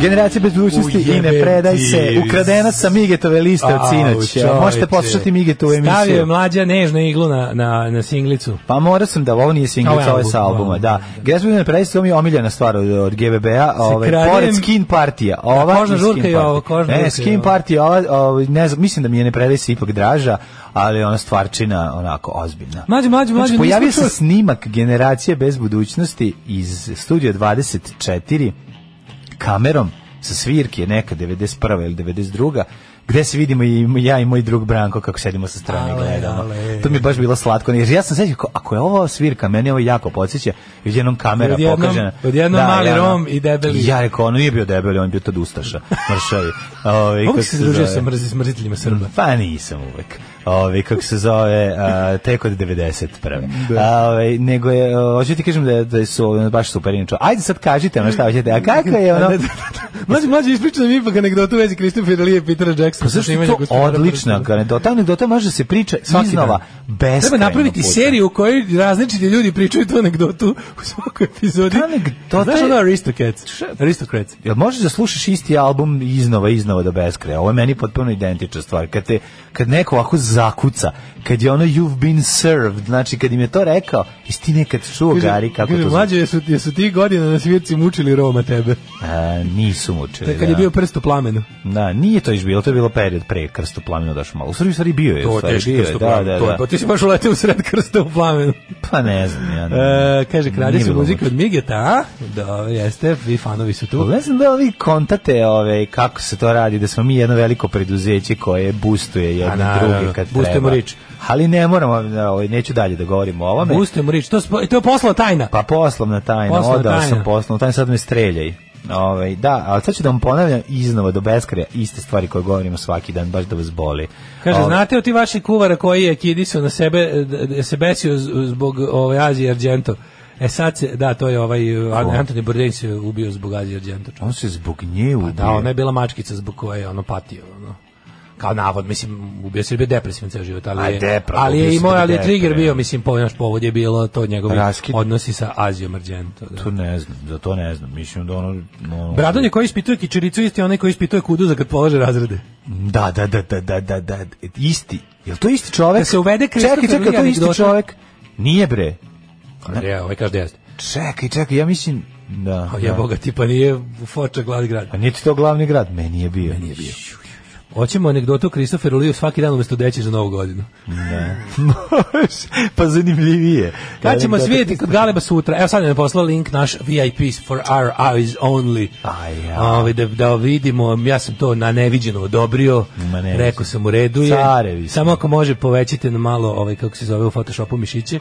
F: Generacija bez budućnosti i ne
G: Ujebem
F: predaj
G: ti.
F: se. Ukradena sa Migetove liste od sinoć.
G: Au, čoveče.
F: Možete poslušati Migetovu
G: ovaj, Stavio je ono-
F: emisiju.
G: mlađa nežnu iglu na, na, na singlicu.
F: Pa mora sam da ovo nije
G: Ovo je
F: singlica, ovo je ovaj sa
G: Ovaj album, ovo
F: albuma,
G: je
F: da.
G: album, da.
F: Gresbog ne predaj se, ovo mi je omiljena stvar od, od GBB-a, ovaj,
G: kradem-
F: pored skin partija. Ova
G: Kožna
F: i
G: žurka
F: skin
G: i ovo,
F: party.
G: kožna žurka
F: Ne,
G: i
F: skin
G: ovo.
F: partija, ova, ovaj, ne znam, mislim da mi je ne predaj se ipak draža, ali ona stvarčina onako ozbiljna.
G: Mlađe, mlađe, mlađe.
F: Znači,
G: nismo
F: pojavio se
G: čuli-
F: snimak generacije bez budućnosti iz studija 24 kamerom sa svirke neka 91. ili 92. gde se vidimo i m- ja i moj drug Branko kako sedimo sa strane i
G: Ale,
F: gledamo.
G: ale.
F: To mi je baš bilo slatko. Jer ja sam sećao, kao, ako je ovo svirka, meni ovo jako podsjeća, i odjednom kamera
G: Odjednom-
F: pokažena.
G: odjednom mali
F: i ono-
G: Rom i debeli.
F: Ja rekao, ono nije bio debeli, on je bio tad ustaša. Mršavi. Ovaj, kako
G: Uvijek se družio
F: zove?
G: sa mrz, mrziteljima Srba.
F: Pa nisam uvek. Ovi, kako se zove, a, tek od 91. Da. Ove, nego je, o, hoću ti kažem da, je- da su ono, baš super inače. Ajde sad kažite ono šta hoćete, a kako je ono...
G: mlađe, mlađe, ispričaj mi ipak anegdotu u vezi Christopher Lee i Petera Jacksona.
F: Pa zašto je
G: Snimanje
F: to
G: Gospodara
F: odlična
G: prstena.
F: anegdota? Anegdota može da se priča
G: Svaki
F: iznova,
G: dan.
F: beskrajno
G: Treba napraviti
F: puta.
G: seriju u kojoj različiti ljudi pričaju tu anegdotu u svakoj epizodi.
F: Ta anegdota
G: Znaš
F: je-
G: ono Aristocats? Aristocrats.
F: Jel možeš da slušaš isti album iznova, iznova do beskraja? Ovo je meni potpuno identična stvar. Kad, te, kad neko ovako zakuca, kad je ono you've been served, znači kad im je to rekao, jesi ti nekad čuo, Gari, kako
G: kaže,
F: to zvuči?
G: mlađe, jesu, jesu ti godine na svirci mučili Roma tebe?
F: A, nisu mučili.
G: Kad
F: E, da.
G: je bio prst u plamenu.
F: Da, nije to još bilo, to je bilo period pre krstu plamena došao malo. U stvari, u stvari bio je. u stvari,
G: teški
F: bio E, je,
G: krst u
F: da,
G: plamenu.
F: da,
G: To je-
F: da.
G: Pa ti si baš uletio u sred krsta u plamenu.
F: Pa ne znam, ja ne.
G: E, kaže, krade
F: Nije
G: se
F: bilo
G: muzika od
F: mučno.
G: Migeta, a? Dobro, jeste, vi fanovi su tu.
F: Ne znam da li vi kontate ove, kako se to radi, da smo mi jedno veliko preduzeće koje boostuje
G: A,
F: jedno
G: Pa naravno,
F: druge kad
G: boostujemo
F: treba.
G: rič.
F: Ali ne moramo, da, ovaj, neću dalje da govorimo o ovome.
G: Pustimo rič, to, spo- to je poslao tajna.
F: Pa poslovna tajna,
G: Poslovna
F: odao
G: tajna.
F: sam poslovnu tajnu, sad me streljaj. Ove, da, ali sad ću da vam ponavljam iznova do beskraja iste stvari koje govorimo svaki dan, baš da vas boli.
G: Kaže,
F: Ove,
G: znate o ti vaši kuvara koji je kidisu na sebe, e, d- d- se besio z- zbog ove Azije Argento. E sad se, da, to je ovaj, e, An- Anthony Bourdain se ubio zbog Azije Argento. čovječe.
F: Pa On se zbog nje ubio.
G: Pa Da, ona je bila mačkica zbog koje je ono patio, ono kao navod, mislim, ubio se jer je bio depresivan ceo život, ali
F: A,
G: je,
F: depra,
G: ali je
F: ubio se
G: imao,
F: zbog
G: ali je trigger
F: depre.
G: bio, mislim, po, naš povod je bilo to njegovi
F: Raskid.
G: odnosi sa Azijom Argento. Da.
F: To ne znam, za to ne znam. Mislim da ono... ono
G: Bradon je koji ispituje kičericu, isti je onaj koji ispituje kudu za kad polože razrede.
F: Da, da, da, da, da, da, da, isti. Jel to isti čovek?
G: Da se uvede
F: Čekaj,
G: Christopher
F: čekaj, jel to
G: Lee
F: isti
G: anegdota?
F: čovek? Nije bre. Pa
G: Ali ja, ovaj kaže da jeste.
F: Čekaj, čekaj, ja mislim... Da,
G: A ja
F: Pa da.
G: boga tipa nije foča glavi grad.
F: A nije ti to glavni grad? Meni je bio. Meni je bio.
G: Hoćemo anegdotu o Kristoferu Liju svaki dan umesto deći za novu godinu.
F: pa zanimljivije.
G: Kad ćemo svijeti kod Galeba sutra? Evo sad nam je poslao link naš VIP for our eyes only.
F: Aj, Pa ja.
G: Ovaj, da, da vidimo, ja sam to na neviđeno odobrio.
F: Ma, neviđeno.
G: Rekao sam u redu je.
F: Carevi smo.
G: Samo ako može povećite na malo, ovaj, kako se zove u Photoshopu mišiće.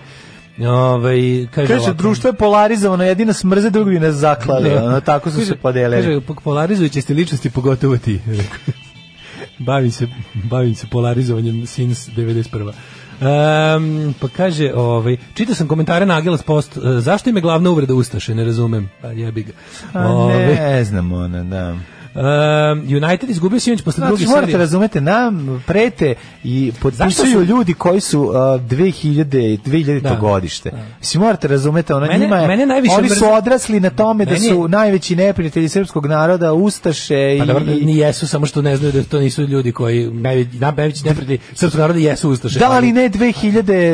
G: Ovaj, kaže,
F: Kaže,
G: ovako-
F: društvo je polarizovano, jedina smrze, drugi nas zaklali. Ono, tako su
G: Kaže-
F: se podelili.
G: Kaže, po- polarizujuće ste ličnosti, pogotovo ti. Rekao. bavim, se, bavim se polarizovanjem since 91. Um, pa kaže, ovaj, čitao sam komentare na Agilas Post, e, zašto im je glavna uvreda Ustaše, ne razumem, pa jebi ga.
F: A ne znam, ono, da.
G: Ovaj, um, United izgubio sinoć posle
F: Znači,
G: druge
F: morate
G: serije.
F: razumete, nam prete i
G: Zašto
F: potpisuju
G: su-
F: ljudi koji su uh, 2000 2000
G: Da,
F: godište. Mislim, morate razumete, ono
G: Mene-
F: njima je,
G: mene najviše
F: oni su
G: mrzi-
F: odrasli na tome da
G: Meni
F: su
G: je-
F: najveći neprijatelji srpskog naroda, ustaše i...
G: Pa dobro,
F: i-
G: ni jesu, samo što ne znaju da to nisu ljudi koji najveći, najveći neprijatelji srpskog naroda jesu Ustaše.
F: da, ali ne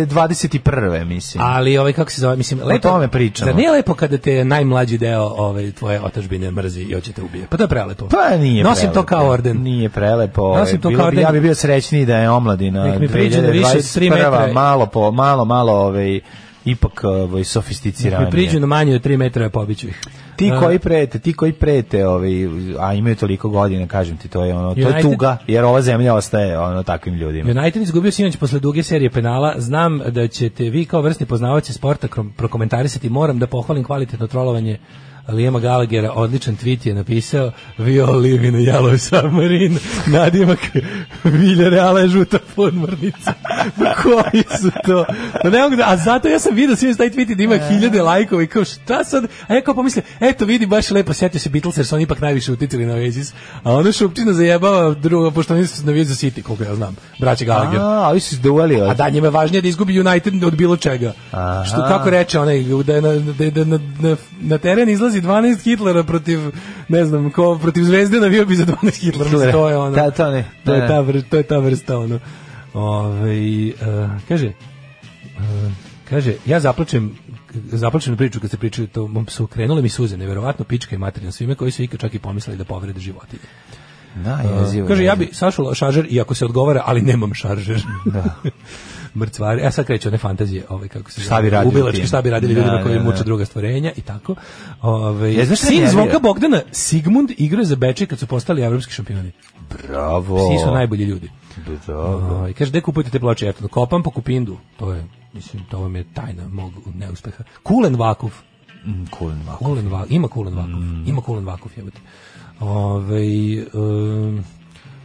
F: 2021. mislim.
G: Ali ovaj kako se zove, mislim,
F: tome pričamo.
G: Zar nije lepo kada te najmlađi deo ovaj tvoje otadžbine mrzi i hoće te ubije? Pa to je prelepo.
F: pa nije
G: Nosim
F: prelepo.
G: to kao orden.
F: Nije prelepo.
G: Nosim
F: ovaj,
G: to
F: bilo
G: kao
F: bi-
G: orden.
F: Ja bi bio srećniji da je omladina
G: Nek mi priđe da više od
F: 2021.
G: tri metra je-
F: malo, po, malo, malo ovaj, ipak ovaj,
G: Ako mi
F: sofisticiranije.
G: priđu na manje od 3 metra, ja pobiću ih.
F: Ti
G: A,
F: koji prete, ti koji prete, ovaj, a imaju toliko godina, kažem ti, to je ono, to je
G: United-
F: tuga, jer ova zemlja ostaje ono takvim ljudima.
G: United izgubio sinoć posle duge serije penala. Znam da ćete vi kao vrsni poznavaoci sporta krom- prokomentarisati. Moram da pohvalim kvalitetno trolovanje Lijema Galagera, odličan tweet je napisao We all live in a yellow submarine nadimak Villareala je žuta podmornica Pa koji su to Pa ne mogu da, a zato ja sam vidio svi taj tweet da ima
F: E.
G: hiljade lajkova i kao šta sad a ja kao pomislio, eto vidi baš lepo setio se Beatles jer su oni ipak najviše uticali na Oasis a ono šupčina zajebava drugo pošto oni su na Vizu City koliko ja znam braće Gallagher
F: A, ovi su se dueli.
G: A
F: A
G: da, njima je važnije da izgubi United od bilo čega.
F: Aha.
G: Što kako reče onaj, da je na, da je- da na, na, na teren izlazi 12 Hitlera protiv, ne znam, ko, protiv zvezde navio bi za 12 Hitlera. Mislim, To je ono.
F: Da, to ne.
G: To je
F: Da,
G: ta
F: da.
G: vrsta, to je ta vrsta ono. Ovaj, eh, kaže, eh, kaže, ja zaplačem zaplačem na priču kad se pričaju to mom psu krenule mi suze neverovatno pička i materina svime koji su ikad čak i pomislili da povrede životinje
F: da, jezivo,
G: Kaže, ja
F: jezivo.
G: bi sašao šaržer, iako se odgovara, ali nemam šaržer. Da. Mrcvari. Ja sad kreću one fantazije, ovaj, kako se
F: Šta bi radili
G: ubilački,
F: tim?
G: šta bi radili
F: Da,
G: ljudima koji
F: da, da.
G: muče druga stvorenja i tako. Ovaj,
F: Ja, znaš šta mi
G: sin
F: je
G: Zvonka
F: bio?
G: Bogdana, Sigmund, igra za Bečej kad su postali evropski šampioni.
F: Bravo.
G: Svi su najbolji ljudi.
F: Bravo.
G: Ovaj, kaže, gde kupujete te ploče? Jeftino, kopam po kupindu. To je, mislim, to vam je tajna mog neuspeha. Kulen Vakuf.
F: Mm, Kulen Vakuf.
G: Kulen Vakuf. Ima Kulen Vakuf. Ima Kulen Vakuf, jebote. Ovaj, em,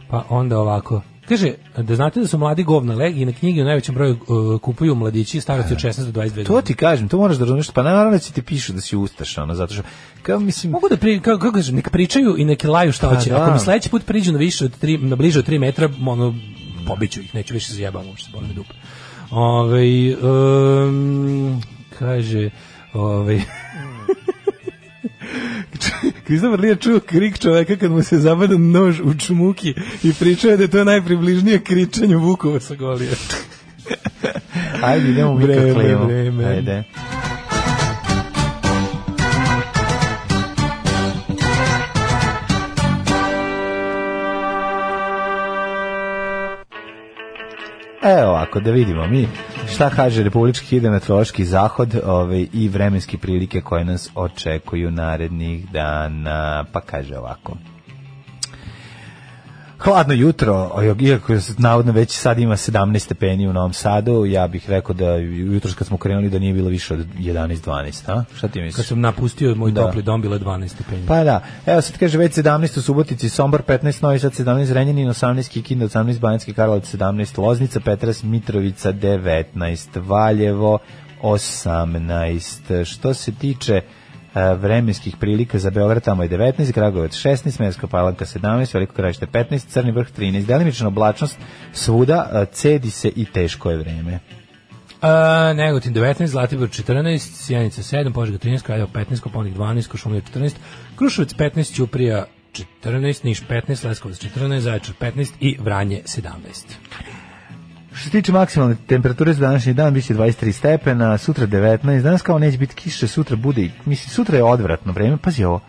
G: pa onda ovako. Kaže, da znate da su mladi govna leg i na knjige u najvećem broju e, kupuju mladići starosti od 16 do 22
F: To ti kažem, to moraš da razumeš, pa naravno da će ti pišu da si ustaš, ono, zato što, kao mislim,
G: Mogu da pri, kako, kako kažem, neka pričaju i neka laju šta
F: Pa
G: hoće.
F: da.
G: Ako mi sledeći put priđu na više od 3 na bliže od 3 metra, ono pobiću ih, neću više zajebam, uopšte boli me dupe. Ovaj um, kaže, ovaj Kristofer Lija čuo krik čoveka kad mu se zabada nož u čmuki i pričao je da je to najpribližnije kričanju Vukova sa Golija.
F: ajde, idemo mi
G: Vreme,
F: ka klimu.
G: vreme.
F: Ajde. Evo ovako, da vidimo mi šta kaže Republički hidrometeorološki zahod ove, i vremenske prilike koje nas očekuju narednih dana, pa kaže ovako. Hladno jutro, iako je navodno već sad ima 17 stepeni u Novom Sadu, ja bih rekao da jutros kad smo krenuli da nije bilo više od 11-12, a? Šta ti misliš?
G: Kad sam napustio moj
F: Da.
G: topli dom, bilo je 12 stepeni.
F: Pa da, evo sad kaže već 17 u Subotici, Sombor 15, Novi Sad 17, Renjanin 18, Kikinda 18, Banjski Karlovac 17, Loznica, Petras, Mitrovica 19, Valjevo 18. Što se tiče e, vremenskih prilika za Beograd tamo je 19, Kragujevac 16, Merska Palanka 17, Veliko Krajište 15, Crni vrh 13, delimična oblačnost svuda, e, cedi se i teško je vreme.
G: A, Negotin 19, Zlatibor 14, Sjenica 7, Požega 13, Kraljevo 15, Koponik 12, Košumlija 14, Krušovac 15, Ćuprija 14, Niš 15, Leskovac 14, Zaječar 15 i Vranje 17.
F: Što se tiče maksimalne temperature za današnji dan biće 23 stepena, sutra 19, danas kao neće biti kiše, sutra bude, i- mislim, sutra je odvratno vreme, pazi ovo,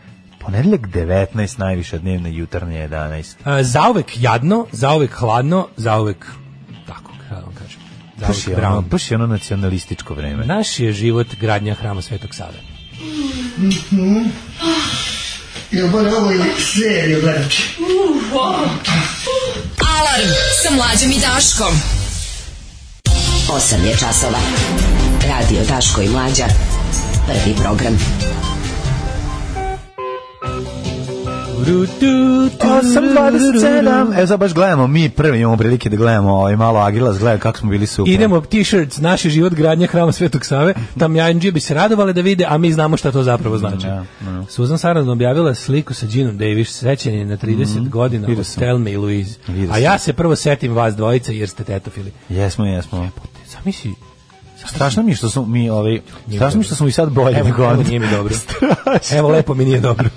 F: ponedeljak 19 najviša dnevna, jutarnje 11.
G: A, zauvek jadno, zauvek hladno, zauvek tako, kako vam kažem.
F: Baš
G: Zauvek
F: je, ono,
G: brown.
F: baš je ono nacionalističko vreme.
G: Naš je život gradnja hrama Svetog Save.
I: Alarm sa mlađom i Daškom.
E: 8 je časova. Radio Daško i Mlađa. Prvi program.
G: Ru, tu, tu,
F: 8.27, evo sad baš gledamo, mi prvi imamo prilike da gledamo ovaj malo Agilas, gledaj kako smo bili super.
G: Idemo t-shirts, naš je život gradnja hrama Svetog Save, tam jajanđije bi se radovali da vide, a mi znamo šta to zapravo znači.
F: Da, da.
G: Susan Sarandon objavila sliku sa Ginom Davis, srećen je na 30 godina,
F: Mhm, vidio
G: od
F: sam.
G: Tell Me Louise.
F: Vidio
G: A
F: sam.
G: ja se prvo setim vas dvojica jer ste tetofili.
F: Jesmo, jesmo.
G: Zamisli,
F: Strašno mi je što smo mi, ovaj, strašno mi je što smo i sad bolji
G: evo,
F: nego
G: evo
F: onda.
G: nije mi dobro.
F: Strašno.
G: Evo lepo mi nije dobro.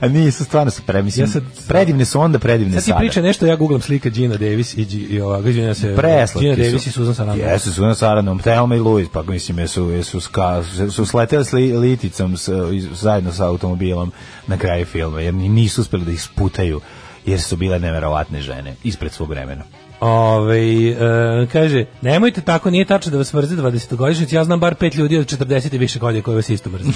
F: A nisu, stvarno su pre, mislim,
G: Ja sad-
F: predivne su onda, predivne
G: Sad ti
F: sada.
G: priča nešto, ja googlam slika Gina Davis i, Gi- i ovako, izvinjam se,
F: Preslatki
G: Gina Davis i Susan Sarandon.
F: Jesu, Susan Sarandon, Thelma i Louise, pa mislim, jesu, jesu, ska, su sleteli s li- liticom s, iz- zajedno sa automobilom na kraju filma, jer ni- nisu uspeli da ih sputaju, jer su bile neverovatne žene, ispred svog vremena.
G: Ove, e, kaže, nemojte tako, nije tačno da vas mrze 20-godišnjici, ja znam bar pet ljudi od 40 i više godina koji vas isto mrze.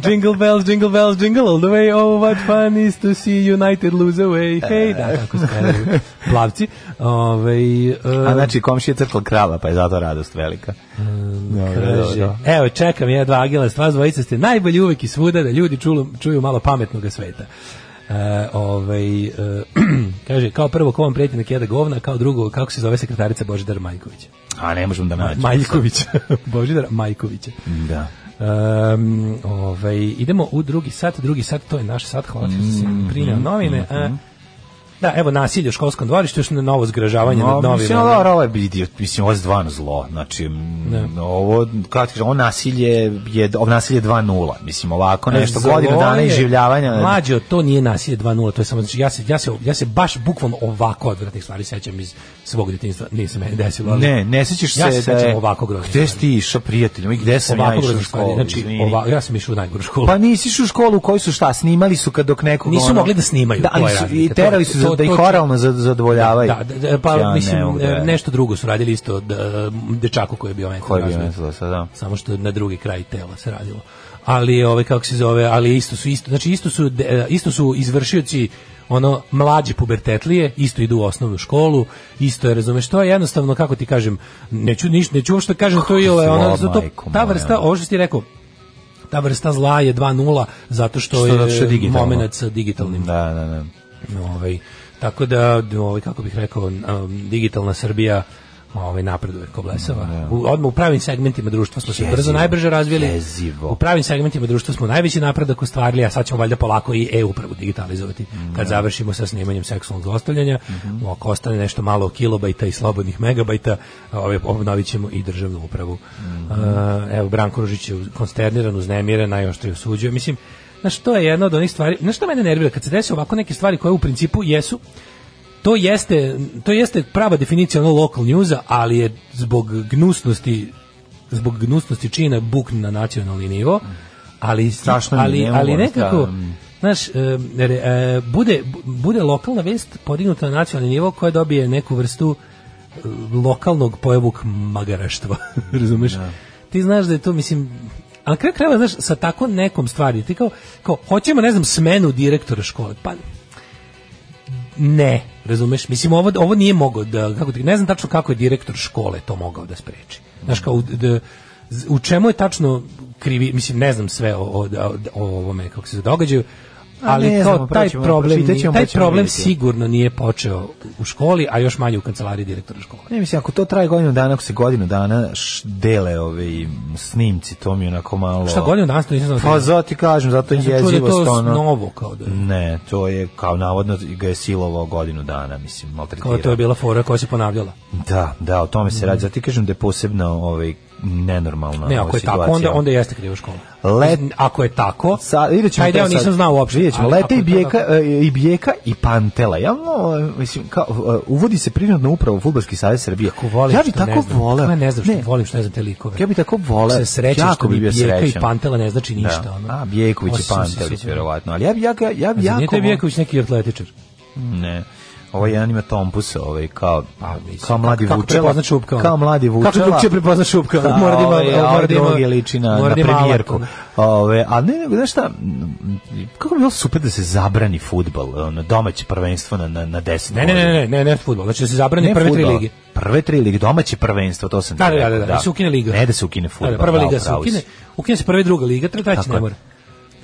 G: Jingle bells, jingle bells, jingle all the way. Oh, what fun is to see United lose away. Hey, da, tako se pevaju plavci. Ovaj, e,
F: A znači komšija crkla krava, pa je zato radost velika. Dobro,
G: Mm, Kaže,
F: dobro.
G: evo čekam ja dva agila, vas dvojica ste najbolji uvek i svuda da ljudi čulu, čuju malo pametnog sveta. E, ovaj, e, kaže, kao prvo ko vam prijeti neki jeda govna, kao drugo kako se zove sekretarica Božidar Majkovića.
F: A ne možemo da nađemo.
G: Majkovića. Božidar Majkovića.
F: Da.
G: Um, ovaj, idemo u drugi sat, drugi sat, to je naš sat, hvala ti što si
F: Mm,
G: prineo novine. a, da, evo nasilje u školskom dvorištu, još na novo zgražavanje
F: No,
G: nad
F: mislim, ono, ovo,
G: novinama.
F: ovo je idiot, mislim, ovo je stvarno zlo, znači, m, ovo, kako ti kažem, ovo nasilje je, ovo nasilje 2.0, mislim, ovako nešto,
G: Zlo
F: godinu dana
G: E, je-
F: iživljavanja,
G: Mlađo, to nije nasilje 2.0, to je samo znači ja se ja se ja se baš bukvalno ovako odvratnih stvari sećam iz svog djetinjstva, nije se meni desilo. ali-
F: ne, ne sećaš
G: ja
F: se,
G: se
F: da
G: sećam
F: je,
G: ovako groznih
F: gde si
G: stvari.
F: ti išao prijateljom i gde sam ja
G: Ovako
F: išao u
G: groznih stvari.
F: školu,
G: Znači,
F: izvini.
G: ova, ja sam išao u najgoru školu.
F: Pa nisi išao u školu u kojoj su šta, snimali su kad dok nekog... ono-
G: Nisu mogli da snimaju,
F: Da,
G: to
F: ali
G: je
F: su, i
G: razlika. To-
F: terali su
G: to-
F: za- da
G: to
F: ih
G: ću-
F: oralno za- zadovoljavaju.
G: Da, da, da, pa
F: Ja ne
G: mislim
F: mogu da-
G: e, nešto drugo su radili isto da, dečaku koji je bio mentalno
F: Koji bi
G: razvojen.
F: mislila sad, da.
G: samo što na drugi kraj tela se radilo. Ali ove kako se zove, ali isto su isto, znači isto su de- isto su izvršioci ono mlađe pubertetlije, isto idu u osnovnu školu, isto je razumeš to je jednostavno kako ti kažem, neću niš, neću uopšte kažem to ile
F: Zlo,
G: ono zato
F: majko
G: ta
F: moja.
G: vrsta ovo što si ti rekao ta vrsta zla je 2.0 zato što,
F: Što- zato što je
G: je
F: digitalno.
G: momenat sa digitalnim
F: Da, da, da.
G: Ovaj, tako da, ovaj, kako bih rekao, um, digitalna Srbija ovaj, napreduje ko blesava. U, odmah u pravim segmentima društva smo se
F: Jezivo,
G: brzo najbrže razvili.
F: jezivo.
G: U pravim segmentima društva smo najveći napredak ostvarili, a sad ćemo valjda polako i e-upravu digitalizovati. Kad završimo sa snimanjem seksualnog zlostavljanja, ako ostane nešto malo kilobajta i slobodnih megabajta, ovaj, obnovit ćemo i državnu upravu. Uh, evo, Branko Ružić je uz- konsterniran, uznemiren, najoštrije osuđuje. Mislim, Znaš, to je jedna od onih stvari, znaš što mene nervira, kad se desi ovako neke stvari koje u principu jesu, to jeste, to jeste prava definicija ono local newsa, ali je zbog gnusnosti zbog gnusnosti čina bukn na nacionalni nivo, ali
F: Strašno mi je,
G: ali,
F: ne mogu
G: ali
F: ono
G: nekako
F: strašno.
G: znaš, em, re- e, bude, bude lokalna vest podignuta na nacionalni nivo koja dobije neku vrstu e, lokalnog pojavuk magaraštva, razumeš? Ti znaš da je to, mislim, a na kraju krajeva, znaš, sa tako nekom stvari, ti kao, kao, hoćemo, ne znam, smenu direktora škole, pa ne, razumeš? Mislim, ovo, ovo nije mogao da, kako ti, ne znam tačno kako je direktor škole to mogao da spreči. Znaš, kao, u- da, z- u čemu je tačno krivi, mislim, ne znam sve o, o, o ovome, kako se događaju, ali
F: ne
G: kao
F: znamo,
G: taj
F: proćemo,
G: problem,
F: pročitat
G: ni-
F: ćemo,
G: taj
F: pa ćemo
G: problem
F: vidjeti.
G: sigurno nije počeo u školi, a još manje u kancelariji direktora škole.
F: Pa Ne mislim, ako to traje godinu dana, ako se godinu dana š- dele ove snimci, to mi je onako malo...
G: Šta godinu danas to nisam znao.
F: Pa zato ti kažem, zato je
G: Ja sam čuo da je
F: jezivost
G: to
F: ono...
G: novo kao da je.
F: Ne, to je kao navodno ga je silovao godinu dana, mislim, maltretirao.
G: Kao to je bila fora koja se ponavljala.
F: Da, da, o tome se radi. Zato ti kažem da je posebno ovaj, nenormalna
G: Ne,
F: ova
G: ako je tako,
F: situacija.
G: onda, onda jeste kriva škola.
F: Let-
G: Ako je tako,
F: Sa, vidjet ćemo
G: taj
F: to
G: deo
F: sad.
G: nisam znao uopšte.
F: Vidjet ćemo,
G: ali
F: lete
G: ako
F: i
G: je to
F: bijeka,
G: tako-
F: e, i bijeka i pantela. Ja, no, e, mislim, kao, e, uvodi se prirodno upravo u Futbolski savez Srbije.
G: Kako volim
F: ja bi
G: što ne
F: tako
G: znam.
F: voleo.
G: Kako Ja ne znam što volim što ne znam te likove.
F: Ja bi tako voleo.
G: se sreće
F: Jako
G: što
F: bi
G: mi
F: bio
G: Bijeka i
F: srećan.
G: Pantela ne znači ništa.
F: Da.
G: Ono.
F: A, Bijeković i
G: Osim se
F: Pantelić,
G: super-
F: verovatno. Ali ja bi, ja, ga- ja bi
G: A zar
F: jako...
G: Nije taj
F: voleo-
G: Bijeković neki atletičar.
F: Ne. Ovo jedan ima Tompusa, ovaj, kao,
G: mislim,
F: kao mladi
G: kako
F: Vučela.
G: prepozna Čupka, ono?
F: Kao mladi
G: Kako
F: Vučela.
G: drugčije prepozna Čupka?
F: Da,
G: ono? Mora da ima-
F: ovaj, a
G: mora da ima-
F: ovaj drugi liči na,
G: mora
F: na
G: da ima alat,
F: premijerku.
G: ono.
F: Ove, a ne, nego, znaš šta, m, kako bi bilo super da se zabrani futbal, ono, domaće prvenstvo na, na, na deset
G: Ne, ne, ne,
F: godina.
G: ne, ne, ne fudbal. Znači da se zabrane
F: Ne
G: prve tri
F: fudbal,
G: lige.
F: Prve tri lige, domaće prvenstvo, to sam ti
G: Da, da, da,
F: rekao,
G: da, da, se ukine liga.
F: Ne da se ukine
G: Da,
F: fudbal.
G: da, prva
F: da,
G: liga se
F: upravo si.
G: ukine, ukine se prva i druga liga, tre- treća
F: Tako
G: ne
F: je.
G: mora.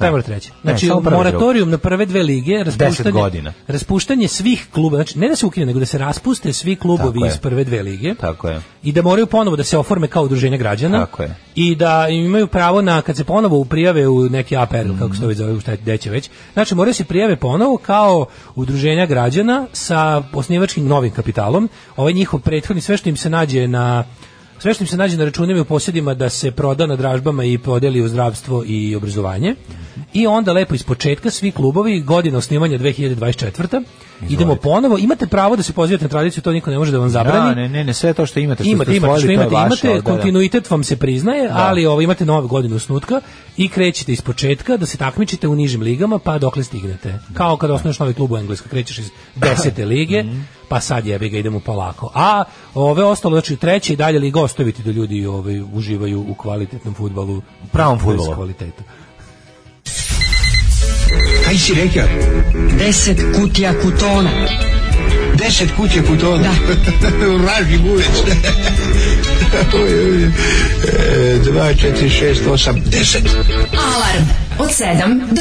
G: Ne mora treća.
F: Ne,
G: Znači,
F: samo prva i druga.
G: moratorijum na prve dve lige, raspuštanje,
F: godina.
G: raspuštanje svih kluba, znači ne da se ukine, nego da se raspuste svi klubovi
F: Tako je.
G: iz prve dve lige.
F: Tako je.
G: i da moraju ponovo da se oforme kao udruženje građana
F: Tako je.
G: i da im imaju pravo na kad se ponovo prijave u neki APR ili kako se to već zove, u šta gde će već. Znači moraju se prijave ponovo kao udruženja građana sa osnivačkim novim kapitalom. Ovaj njihov prethodni sve što im se nađe na sve što im se nađe na računima i u posjedima da se proda na dražbama i podeli u zdravstvo i obrazovanje. I onda lepo iz početka svi klubovi godina osnivanja 2024. Idemo ponovo, imate pravo da se pozivate na tradiciju, to niko ne može da vam zabrani
F: Da, ne, ne, ne, sve to što imate, što
G: imate,
F: ste
G: imate, što
F: osvojili, to je
G: imate,
F: vaše,
G: imate,
F: da, da.
G: kontinuitet vam se priznaje, ali ovo imate novu godinu snutka i krećete iz početka da se takmičite u nižim ligama pa dokle stignete. Kao kada osnoviš novi klub u Engleskoj, krećeš iz desete lige,
F: Mhm.
G: pa sad jebi ga, idemo polako. A ove ostalo, znači treće i dalje liga ostaviti da ljudi ovaj, uživaju u kvalitetnom futbalu.
F: pravom
G: bez
F: fudbalu.
G: kvaliteta.
J: Kaj si rekao?
A: Deset kutija kutona.
J: Deset kuće kod toga? Vraži guvec. Oj, oj, oj. E, Dva, četiri, šest, osam, deset.
I: Alarm od 7 do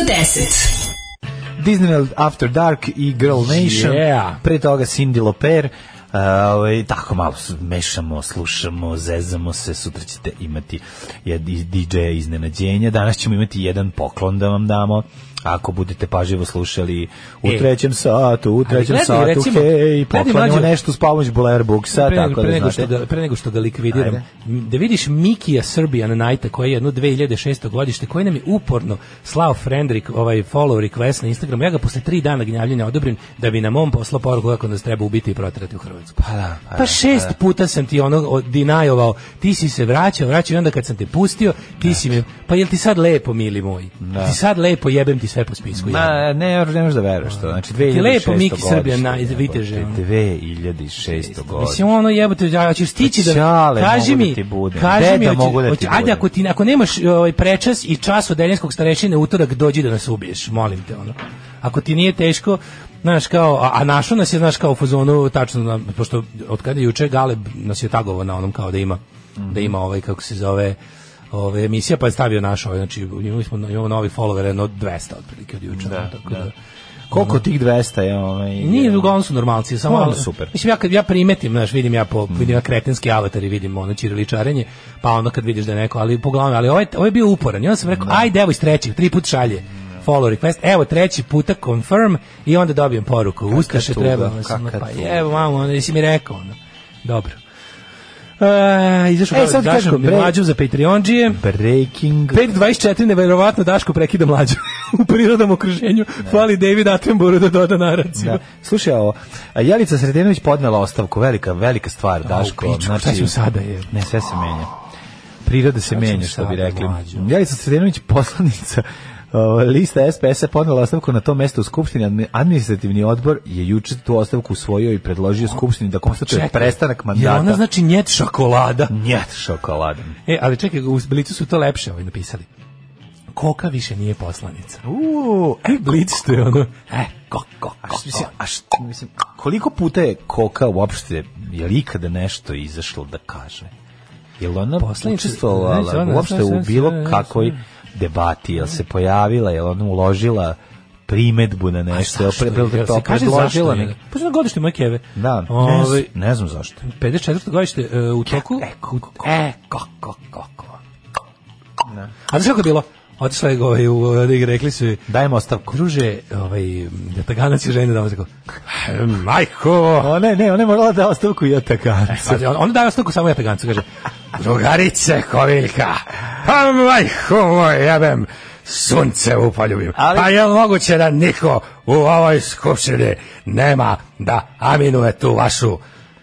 I: 10.
F: Disneyland After Dark i Girl Nation.
G: Yeah.
F: Pre toga Cindy Loper. Uh, ovaj, tako malo s- mešamo, slušamo, zezamo se, sutra ćete imati jed- i- DJ iznenađenja, danas ćemo imati jedan poklon da vam damo, ako budete pažljivo slušali u
G: E.
F: trećem satu, u trećem
G: gledaj,
F: satu,
G: recimo,
F: hej,
G: gledaj,
F: poklonimo
G: mlađo.
F: nešto s pomoć Blair Booksa,
G: pre,
F: tako
G: pre,
F: da
G: nego
F: znate.
G: što ga, pre nego što ga likvidiram,
F: Ajde.
G: m, da vidiš Mikija Serbian Knighta koji je jedno 2006. godište, koji nam je uporno slao friend, req- ovaj follow request na Instagramu, ja ga posle tri dana gnjavljenja odobrim da bi nam on poslao poruku kako nas treba ubiti i proterati u Hrvatsku.
F: Pa da, pa
G: Pa šest puta sam ti ono od- dinajovao, ti si se vraćao, vraćao i onda kad sam te pustio, ti si mi, pa jel ti sad lepo, mili moj? Ti sad lepo, jebem ti sve po spisku. jebem.
F: Ma, ne, ne možeš da veruješ to. Znači, 2006.
G: Ti lepo Miki
F: godište,
G: Srbija na-
F: jebote,
G: viteže, ono.
F: 2006.
G: Mislim
F: godine.
G: ono jebote, ja ćeš stići da
F: Ćale,
G: kaži
F: mogu da
G: mi,
F: ti budem.
G: kaži mi,
F: Deda,
G: hoće-
F: mogu da ti
G: hoće- ajde
F: budem.
G: ako ti ako nemaš ovaj prečas i čas od deljenskog starešine utorak dođi da nas ubiješ, molim te ono. Ako ti nije teško, znaš kao a, a našo nas je znaš kao u fazonu tačno na, pošto od kada je juče Galeb nas je tagovao na onom kao da ima
F: Mhm.
G: da ima ovaj kako se zove ove emisija pa je stavio naš ovaj, znači imali smo imamo novi follower jedno 200 otprilike od juče ono, tako da.
F: Koliko tih 200 je ovaj...
G: Nije, uglavnom su normalci, samo
F: Uglavnom
G: ono-
F: super. Mm.
G: Mislim ja kad ja primetim, znaš, vidim ja po vidim ja kretenski avatar i vidim ono ćiriličarenje, pa onda kad vidiš da je neko, ali poglavnom, ali ovaj ovaj je bio uporan. I onda sam rekao, ajde, evo iz trećeg, tri put šalje. Follow request. Evo treći puta confirm i onda dobijem poruku. Ustaše
F: tuga,
G: treba. vas,
F: kaka
G: ono, Pa
F: tuga.
G: evo mamo, ono, jesi mi rekao. Ono. Dobro. E, izašao
F: E,
G: e,
F: sad ti
G: Daško
F: kažem,
G: mi
F: bre-
G: mlađu za Patreonđije.
F: Breaking...
G: 5.24, neverovatno Daško prekida mlađu u prirodnom okruženju. Fali David Attenborough da doda naraciju.
F: Da. Slušaj, ovo, Jelica Sredenović podnela ostavku, velika, velika stvar, Daško. Znači,
G: pičku, šta ću sada, je?
F: Ne, sve se menja. Priroda se menja, što bi
G: sada,
F: rekli.
G: mlađo?
F: Jelica Sredenović, poslanica ovaj, lista SPS-a podnela ostavku na to mesto u Skupštini. Admi- Administrativni odbor je juče tu ostavku usvojio i predložio Skupštini da konstatuje
G: Čekaj,
F: prestanak
G: Je
F: mandata.
G: ona znači njet šokolada.
F: Njet šokoladan.
G: E, ali čekaj, u Blicu su to lepše ovaj napisali. Koka više nije poslanica.
F: Uuu,
G: E, Blic što je ono. E, ko, ko,
F: A
G: ko,
F: što, mislim, a što, mislim, koliko puta je Koka uopšte, je li ikada nešto izašlo da kaže? Je li ona
G: Poslanica-
F: učestvovala
G: znači, ona-
F: uopšte u
G: znači,
F: bilo
G: znači,
F: kakvoj debati? Je li se pojavila, je li ona uložila primetbu na nešto? Je li pre- pre- pre- predložila neki-
G: Pa što godište moje keve.
F: Da, ne,
G: Ove,
F: znam- ne znam zašto.
G: 54. godište e, u toku.
F: E, ko, ko, ko.
G: E, ko, ko, ko, ko. A znaš kako je bilo? Otišla je ovaj, u, ovaj, rekli su joj,
F: Dajmo ostavku.
G: kruže, ovaj, da taganac je žena da vam tako, majko, E,
F: O, ne, ne, ona je morala da ostavku i otakanca.
G: Pazi, on, on daje ostavku samo jatagancu, kaže Drugarice Koviljka, a majko moj, jebem, sunce mu poljubim.
F: Ali-
G: Pa je moguće da niko u ovoj skupštini nema da aminuje tu vašu,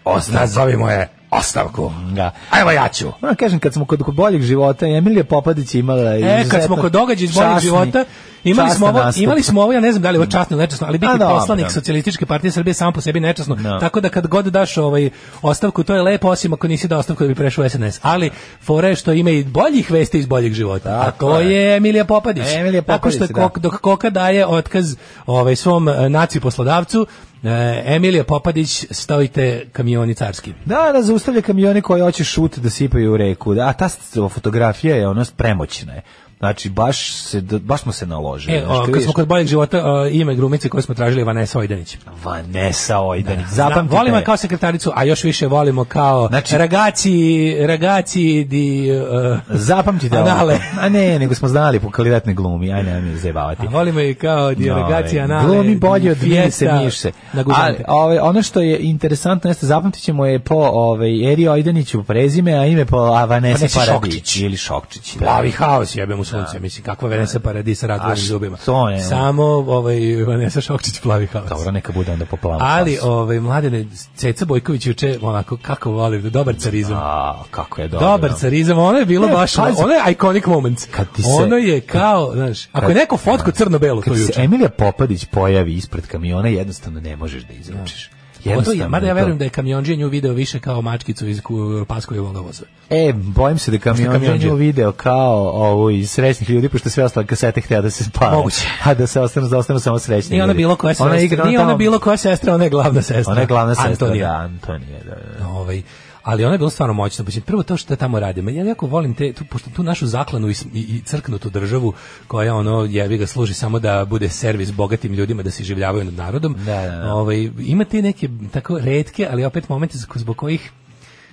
G: os- nazovimo je, ostavku.
F: Da.
G: A Evo ja ću.
F: Moram kažem, kad smo kod, kod boljeg života, Emilija Popadić je imala
G: E, kad smo kod događaja iz boljeg života, imali smo, ovo, imali smo ovo, ja ne znam da li je ovo časno ili nečasno, ali biti
F: A, dobro.
G: poslanik Socijalističke partije Srbije sam po sebi nečasno.
F: Da.
G: Tako da kad god daš ovaj ostavku, to je lepo, osim ako nisi dao ostavku da bi prešao u SNS. Ali fora je što ima i boljih vesti iz boljeg života. A
F: Tako
G: to
F: je.
G: je Emilija Popadić.
F: Emilija
G: Tako što je
F: Popadić, da.
G: Kok- dok Koka daje otkaz ovaj svom eh, naci poslodavcu, eh, Emilija Popadić stojite kamioni carski.
F: Da, da, zaustavlja kamione koji hoće šut da sipaju u reku. Da, a ta s- fotografija je ono premoćna je. Znači, baš, se, d- baš smo se naložili.
G: E,
F: Znači,
G: o,
F: kad
G: kad
F: vidiš-
G: smo kod boljeg života, eh, ime grumice koje smo tražili je Vanessa Ojdanić.
F: Vanessa Ojdanić,
G: Zna,
F: zapamtite.
G: volimo
F: je.
G: je kao sekretaricu, a još više volimo kao
F: Znači-
G: znači, ragaci, ragaci di... Uh,
F: Zapamtite ovo.
G: Anale.
F: A ne, nego smo znali po kvalitetnoj glumi. Ajde, ajde, zajebavati.
G: a volimo je kao di ragaci,
F: Ovaj,
G: anale.
F: Glumi bolje od
G: Fiesta,
F: Milice Miše.
G: Na
F: Ali,
G: gužante.
F: ovaj, ono što je interesantno jeste, zapamtit ćemo je po ovaj, Eri Ojdaniću prezime, a ime po a Vanessa
G: Vanesi
F: Paradić.
G: Šokčić.
F: Ili Šokčić. da.
G: Plavi haos jebem u sunce, mislim, kakva Vanessa Paradis sa
F: A
G: ratvanim
F: što
G: zubima.
F: to je?
G: Samo ovaj, Vanessa Šokčić plavi haos.
F: Dobro, neka bude onda po plavu.
G: Ali, ovaj, mladene, Ceca Bojković juče, onako, kako volim, dobar carizam.
F: A, kako je dobro.
G: ovaj, Dobar carizam, ono je bilo
F: Ne,
G: baš, ono,
F: pazi.
G: ono je iconic moment.
F: Kad ti se-
G: ono je kao, znaš, ako je neko fotko crno-belo, to
F: Kad
G: je
F: se
G: juče.
F: Emilija Popadić pojavi ispred kamiona, jednostavno ne možeš da izručiš.
G: Ovo to je,
F: Jednostavno
G: mada ja
F: je to.
G: verujem da je kamionđija nju video više kao mačkicu iz ku- Paskovog voza.
F: E, bojim se da kamion
G: kamionđe?
F: je video kao ovo iz srećnih ljudi, pošto sve ostale kasete htjela da se spale.
G: Moguće.
F: A da se ostanu, da ostanu samo srećni
G: Nije ona
F: ljudi.
G: bilo koja sestra,
F: Ona igra
G: nije ona
F: tamo-
G: bilo koja sestra, ona je glavna sestra.
F: Ona je glavna sestra,
G: Antonija.
F: da, Antonija, da, da.
G: Ovaj, ali ona je bila stvarno moćna. Mislim, prvo to što tamo radimo. Ja jako volim te, tu, pošto tu našu zaklanu i, s- i, i crknutu državu koja ono jebi ga služi samo da bude servis bogatim ljudima da se življavaju nad narodom.
F: Da, da, da.
G: Ovaj, ima te neke tako redke, ali opet momente zbog- zbog kojih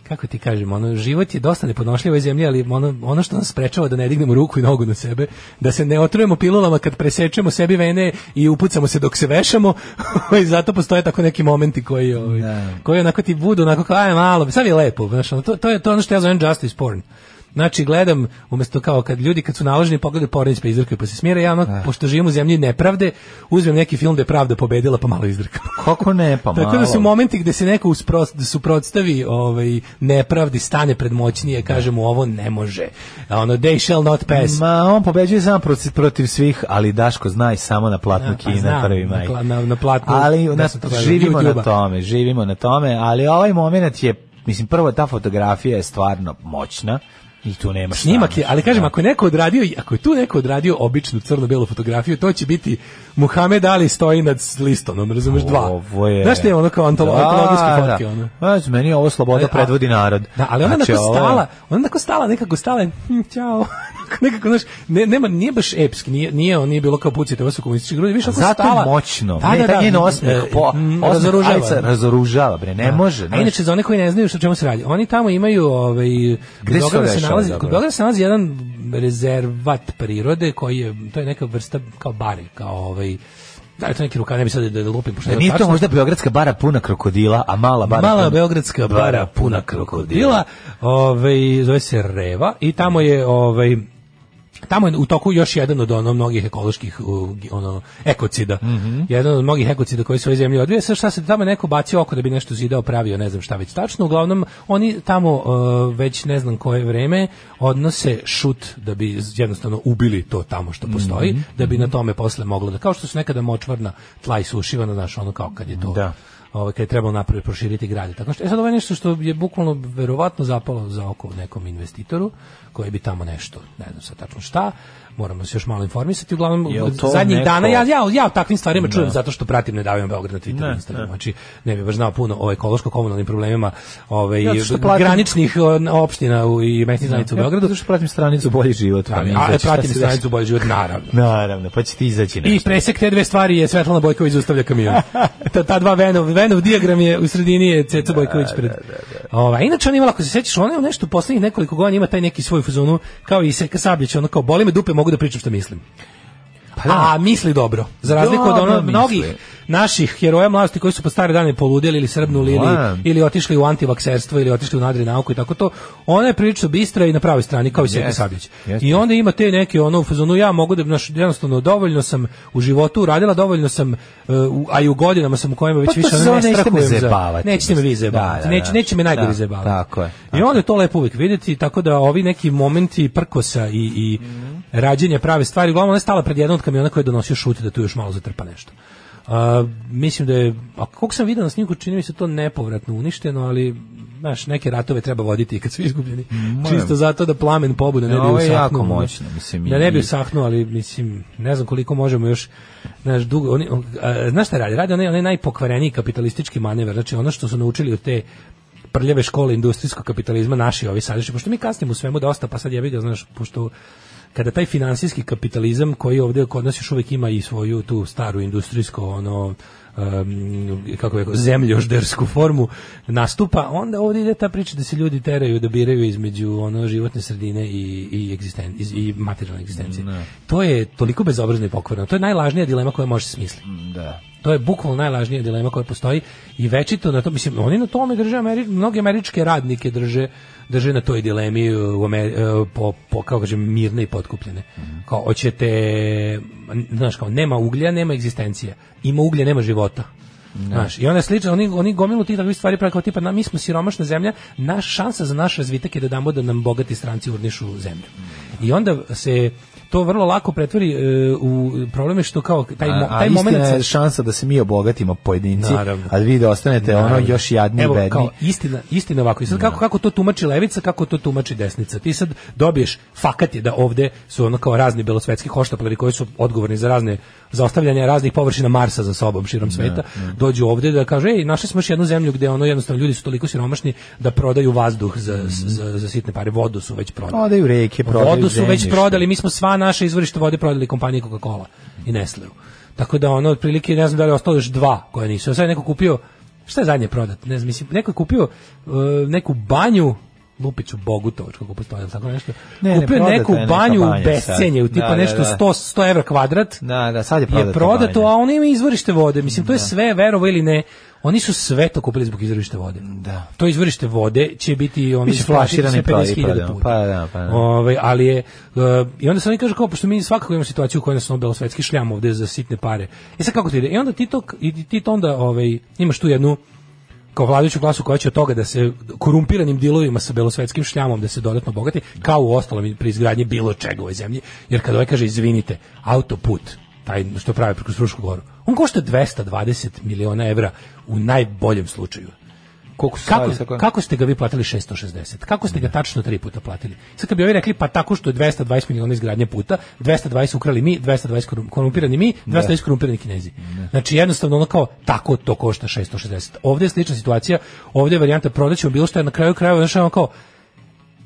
G: kako ti kažem, ono, život je dosta neponošljiv u ovoj zemlji, ali ono, ono što nas sprečava da ne dignemo ruku i nogu na sebe, da se ne otrujemo pilulama kad presečemo sebi vene i upucamo se dok se vešamo, i zato postoje tako neki momenti koji, ovaj, koji onako ti budu, onako kao, aj malo, sad je lepo, znaš, ono, to, to je to je ono što ja zovem justice porn. Znači, gledam, umjesto kao kad ljudi kad su naloženi pogledaju pornić pa izdrkaju pa se smire, ja ono, pošto živim u zemlji nepravde, uzmem neki film da je pravda pobedila pa malo izdrkam.
F: Kako ne, pa malo.
G: Tako da su momenti gde se neko uspro- suprotstavi ovaj, nepravdi, stane pred moćnije, kaže mu ovo ne može. A ono, they shall not pass.
F: Ma, on pobeđuje samo protiv, protiv svih, ali Daško znaj samo na platnu
G: Ja, pa
F: Kina
G: znam,
F: prvi
G: na
F: maj.
G: pla- na- na platnu,
F: ali
G: da
F: na-
G: sam to gledao,
F: živimo na
G: YouTube-a.
F: tome, živimo na tome, ali ovaj moment je, mislim, prvo ta fotografija je stvarno moćna i tu nema šta.
G: Snimak je, ali kažem,
F: Da.
G: ako je neko odradio, ako je tu neko odradio običnu crno-belu fotografiju, to će biti Muhammed Ali stoji nad s- listonom, razumeš, dva.
F: Ovo je...
G: Znaš te ono kao antolo,
F: Da,
G: antologijske
F: da.
G: fotke, ono.
F: Znaš, meni je ovo sloboda
G: Ali, a-
F: predvodi narod.
G: Da, ali ona
F: Znači,
G: onako
F: ovo je-
G: stala, ona onako stala, nekako stala, je, hm, ćao. nekako, znaš, ne, nema, nije baš epski, nije, nije, on nije bilo kao pucite, ovo su komunistički grudi, više onako
F: Zato
G: stala.
F: je moćno.
G: Da,
F: ne,
G: da,
F: taj
G: da,
F: njen
G: e,
F: osmeh po,
G: mm,
F: osmeh
G: razoružava.
F: ajca razoružava, bre, ne može.
G: A
F: znaš.
G: inače za one koji ne znaju o čemu se radi, oni tamo imaju ovaj kod
F: se to
G: Beograda se
F: dešava
G: nalazi, kod
F: zapravo?
G: Beograda se nalazi jedan rezervat prirode koji je to je neka vrsta kao bari, kao ovaj da li je to neki rukav, ne bi sad da, da lupim, pošto
F: Da
G: ne znam
F: E, nije to
G: tačno.
F: možda Beogradska bara puna krokodila, a mala bara
G: Mala
F: puna-
G: beogradska bara puna krokodila, ovaj, zove se Reva i tamo je ovaj tamo je u toku još jedan od ono mnogih ekoloških u, gi- ono ekocida.
F: Mhm.
G: Jedan od mnogih ekocida koji se u ovoj zemlji odvija. Sve šta se tamo je neko bacio oko da bi nešto zidao, pravio, ne znam šta već tačno. Uglavnom oni tamo eh, već ne znam koje vreme odnose šut da bi jednostavno ubili to tamo što postoji,
F: Mhm.
G: da bi na tome posle moglo da kao što su nekada močvarna tla isušivana, znaš, ono kao kad je to
F: Da.
G: ovaj kad je trebalo napraviti proširiti grad i tako što. E sad ovo je nešto što je bukvalno verovatno zapalo za oko nekom investitoru koji bi tamo nešto, ne znam sad tačno šta, moramo se još malo informisati. Uglavnom
F: Jel to
G: zadnjih
F: neko-
G: dana ja ja ja o takvim stvarima čujem zato što pratim ne davim Beograd na Twitteru i Instagramu. Znači ne bih baš znao puno o ekološko komunalnim problemima, ovaj
F: Ja, zato što platim-
G: graničnih o, opština u, i mesnih zajednica u Beogradu.
F: Zato što pratim stranicu Bolji život. pa mi
G: A, e,
F: izaći šta
G: pratim
F: se
G: stranicu Bolji život naravno.
F: dešava. Naravno, pa će ti izaći
G: I
F: nešto.
G: presek te dve stvari je Svetlana Bojković zaustavlja kamion. ta, ta dva Venov, Venov dijagram je u sredini je Ceca Bojković pred. Ovaj, inače ona imala, ako se sećaš, ona je u nešto u poslednjih nekoliko godina ima taj neki svoj fuzonu, kao i Seka Sabljić, ono kao boli me dupe, mogu da pričam što mislim.
F: Pa da.
G: A misli dobro. Za razliku od
F: Dobro
G: ono
F: misli.
G: mnogih naših heroja mladosti koji su po stare dane poludeli ili srbnuli ili,
F: Mladen.
G: ili otišli u antivakserstvo ili otišli u nadri nauku i tako to. Ona je prilično bistra i na pravoj strani kao i Seka
F: Jeste,
G: Sabljić.
F: jeste.
G: I onda ima te neke ono u fazonu ja mogu da naš jednostavno dovoljno sam u životu uradila, dovoljno sam e, u- a i u godinama sam u kojima već
F: Pa to
G: više
F: se
G: ono
F: zove,
G: ne
F: nećete me
G: strahujem za.
F: zajebavati,
G: Nećete me vi
F: mislim.
G: zajebavati.
F: Da, da,
G: Neće
F: da.
G: neće me najgore
F: Da,
G: zajebavati.
F: tako je,
G: I onda je to lepo uvijek vidjeti, tako da ovi neki momenti prkosa i, i rađenja prave stvari, uglavnom ona je stala pred jednom od kamiona koji je donosio šut da tu još malo zatrpa nešto. A, mislim da je, a koliko sam vidio na snimku, čini mi se to nepovratno uništeno, ali znaš, neke ratove treba voditi i kad su izgubljeni. Čisto zato da plamen pobude ne bi
F: Ne, ovo je
G: usahnuo,
F: jako
G: ono.
F: moćno, mislim,
G: Da ne bi
F: i-
G: usahnuo, ali mislim, ne znam koliko možemo još, znaš, dugo, oni, a, znaš šta radi? Radi onaj, onaj najpokvareniji kapitalistički manever, znači ono što su naučili od te prljave škole industrijskog kapitalizma naši ovi sadašnji, pošto mi kasnimo u svemu dosta, pa sad jebi ga, znaš, pošto kada taj finansijski kapitalizam koji ovdje kod nas još uvijek ima i svoju tu staru industrijsko ono um, kako bih rekao, zemljoždersku formu nastupa, onda ovdje ide ta priča da se ljudi teraju da biraju između ono životne sredine i, i, egzisten, iz- i materijalne egzistencije. To je toliko bezobrazno i pokvarno. To je najlažnija dilema koja može se smisliti.
F: Da.
G: To je bukvalno najlažnija dilema koja postoji i večito na to, mislim, oni na tome drže, Ameri- mnoge američke radnike drže drže na toj dilemi e, u Ameri- e, po, po, kako kažem, mirne i potkupljene. Kao, hoćete, n- znaš, kao, nema uglja, nema egzistencije. Ima uglja, nema života. Znaš, I onda je slično, oni, oni gomilu tih takvih stvari prave kao tipa, na, mi smo siromašna zemlja, naš šansa za naš razvitak je da damo da nam bogati stranci urnišu zemlju. I onda se to to vrlo lako pretvori e, u problem je što kao taj, mo,
F: a,
G: taj
F: a
G: moment...
F: istina je šansa da se mi obogatimo pojedinci,
G: Naravno.
F: a vi da ostanete ono
G: Naravno.
F: još jadni i
G: Evo,
F: bedni.
G: Kao, istina, istina ovako. I sad kako, kako to tumači levica, kako to tumači desnica. Ti sad dobiješ, fakat je da ovde su ono kao razni belosvetski hoštapleri koji su odgovorni za razne, za ostavljanje raznih površina Marsa za sobom širom sveta, dođu ovde da kažu, ej, našli smo još jednu zemlju gde ono jednostavno ljudi su toliko siromašni da prodaju vazduh za, za, za sitne pare, vodu su već prodali.
F: Prodaju reke, prodaju
G: Vodu su već
F: zemljište.
G: prodali, mi smo sva naša izvorišta vode prodali kompaniji Coca-Cola i Nestleu. Tako da ono otprilike ne znam da li je ostalo još dva koja nisu. Sad je neko kupio šta je zadnje prodat? Ne znam, mislim neko je kupio e, neku banju Lupiću Bogutovačku kako postoji ili tako nešto.
F: Ne, ne,
G: kupio
F: prodata
G: neku
F: je neka
G: banju u
F: banja
G: bescenje, u
F: sad.
G: tipa
F: Da, da,
G: nešto
F: da.
G: 100 100 evra kvadrat.
F: Da, da, sad je
G: je
F: prodata
G: prodato,
F: banja.
G: a oni imaju izvorište vode. Mislim to je sve verovo ili ne. Oni su sve to kupili zbog izvorište vode.
F: Da.
G: To izvorište vode će biti ono
F: Biće flaširani proizvod,
G: 50.000 puta.
F: pa da, pa da.
G: Ovaj, ali je e, i onda se oni kažu kao pošto mi svakako imamo situaciju u kojoj nas ono belosvetski šljam ovde za sitne pare. I sad kako ti ide? I onda ti to i ti to onda ovaj imaš tu jednu kao vladajuću klasu koja će od toga da se korumpiranim dilovima sa belosvetskim šljamom da se dodatno bogati, kao u ostalom i pri izgradnji bilo čega u ovoj zemlji. Jer kad ovaj kaže, izvinite, autoput, taj što pravi preko Frušku goru, on košta 220 miliona evra u najboljem slučaju.
F: Koliko su
G: Kako,
F: stvari, tako je?
G: kako ste ga vi platili 660? Kako ste ga tačno tri puta platili? Sad kad bi ovi rekli, pa tako što je 220 miliona izgradnje puta, 220 ukrali mi, 220 korum- korumpirani mi, 220 korumpirani kinezi. Znači jednostavno ono kao, tako to košta 660. Ovde je slična situacija, ovde je varijanta prodaćemo bilo što je na kraju krajeva, znaš ono kao,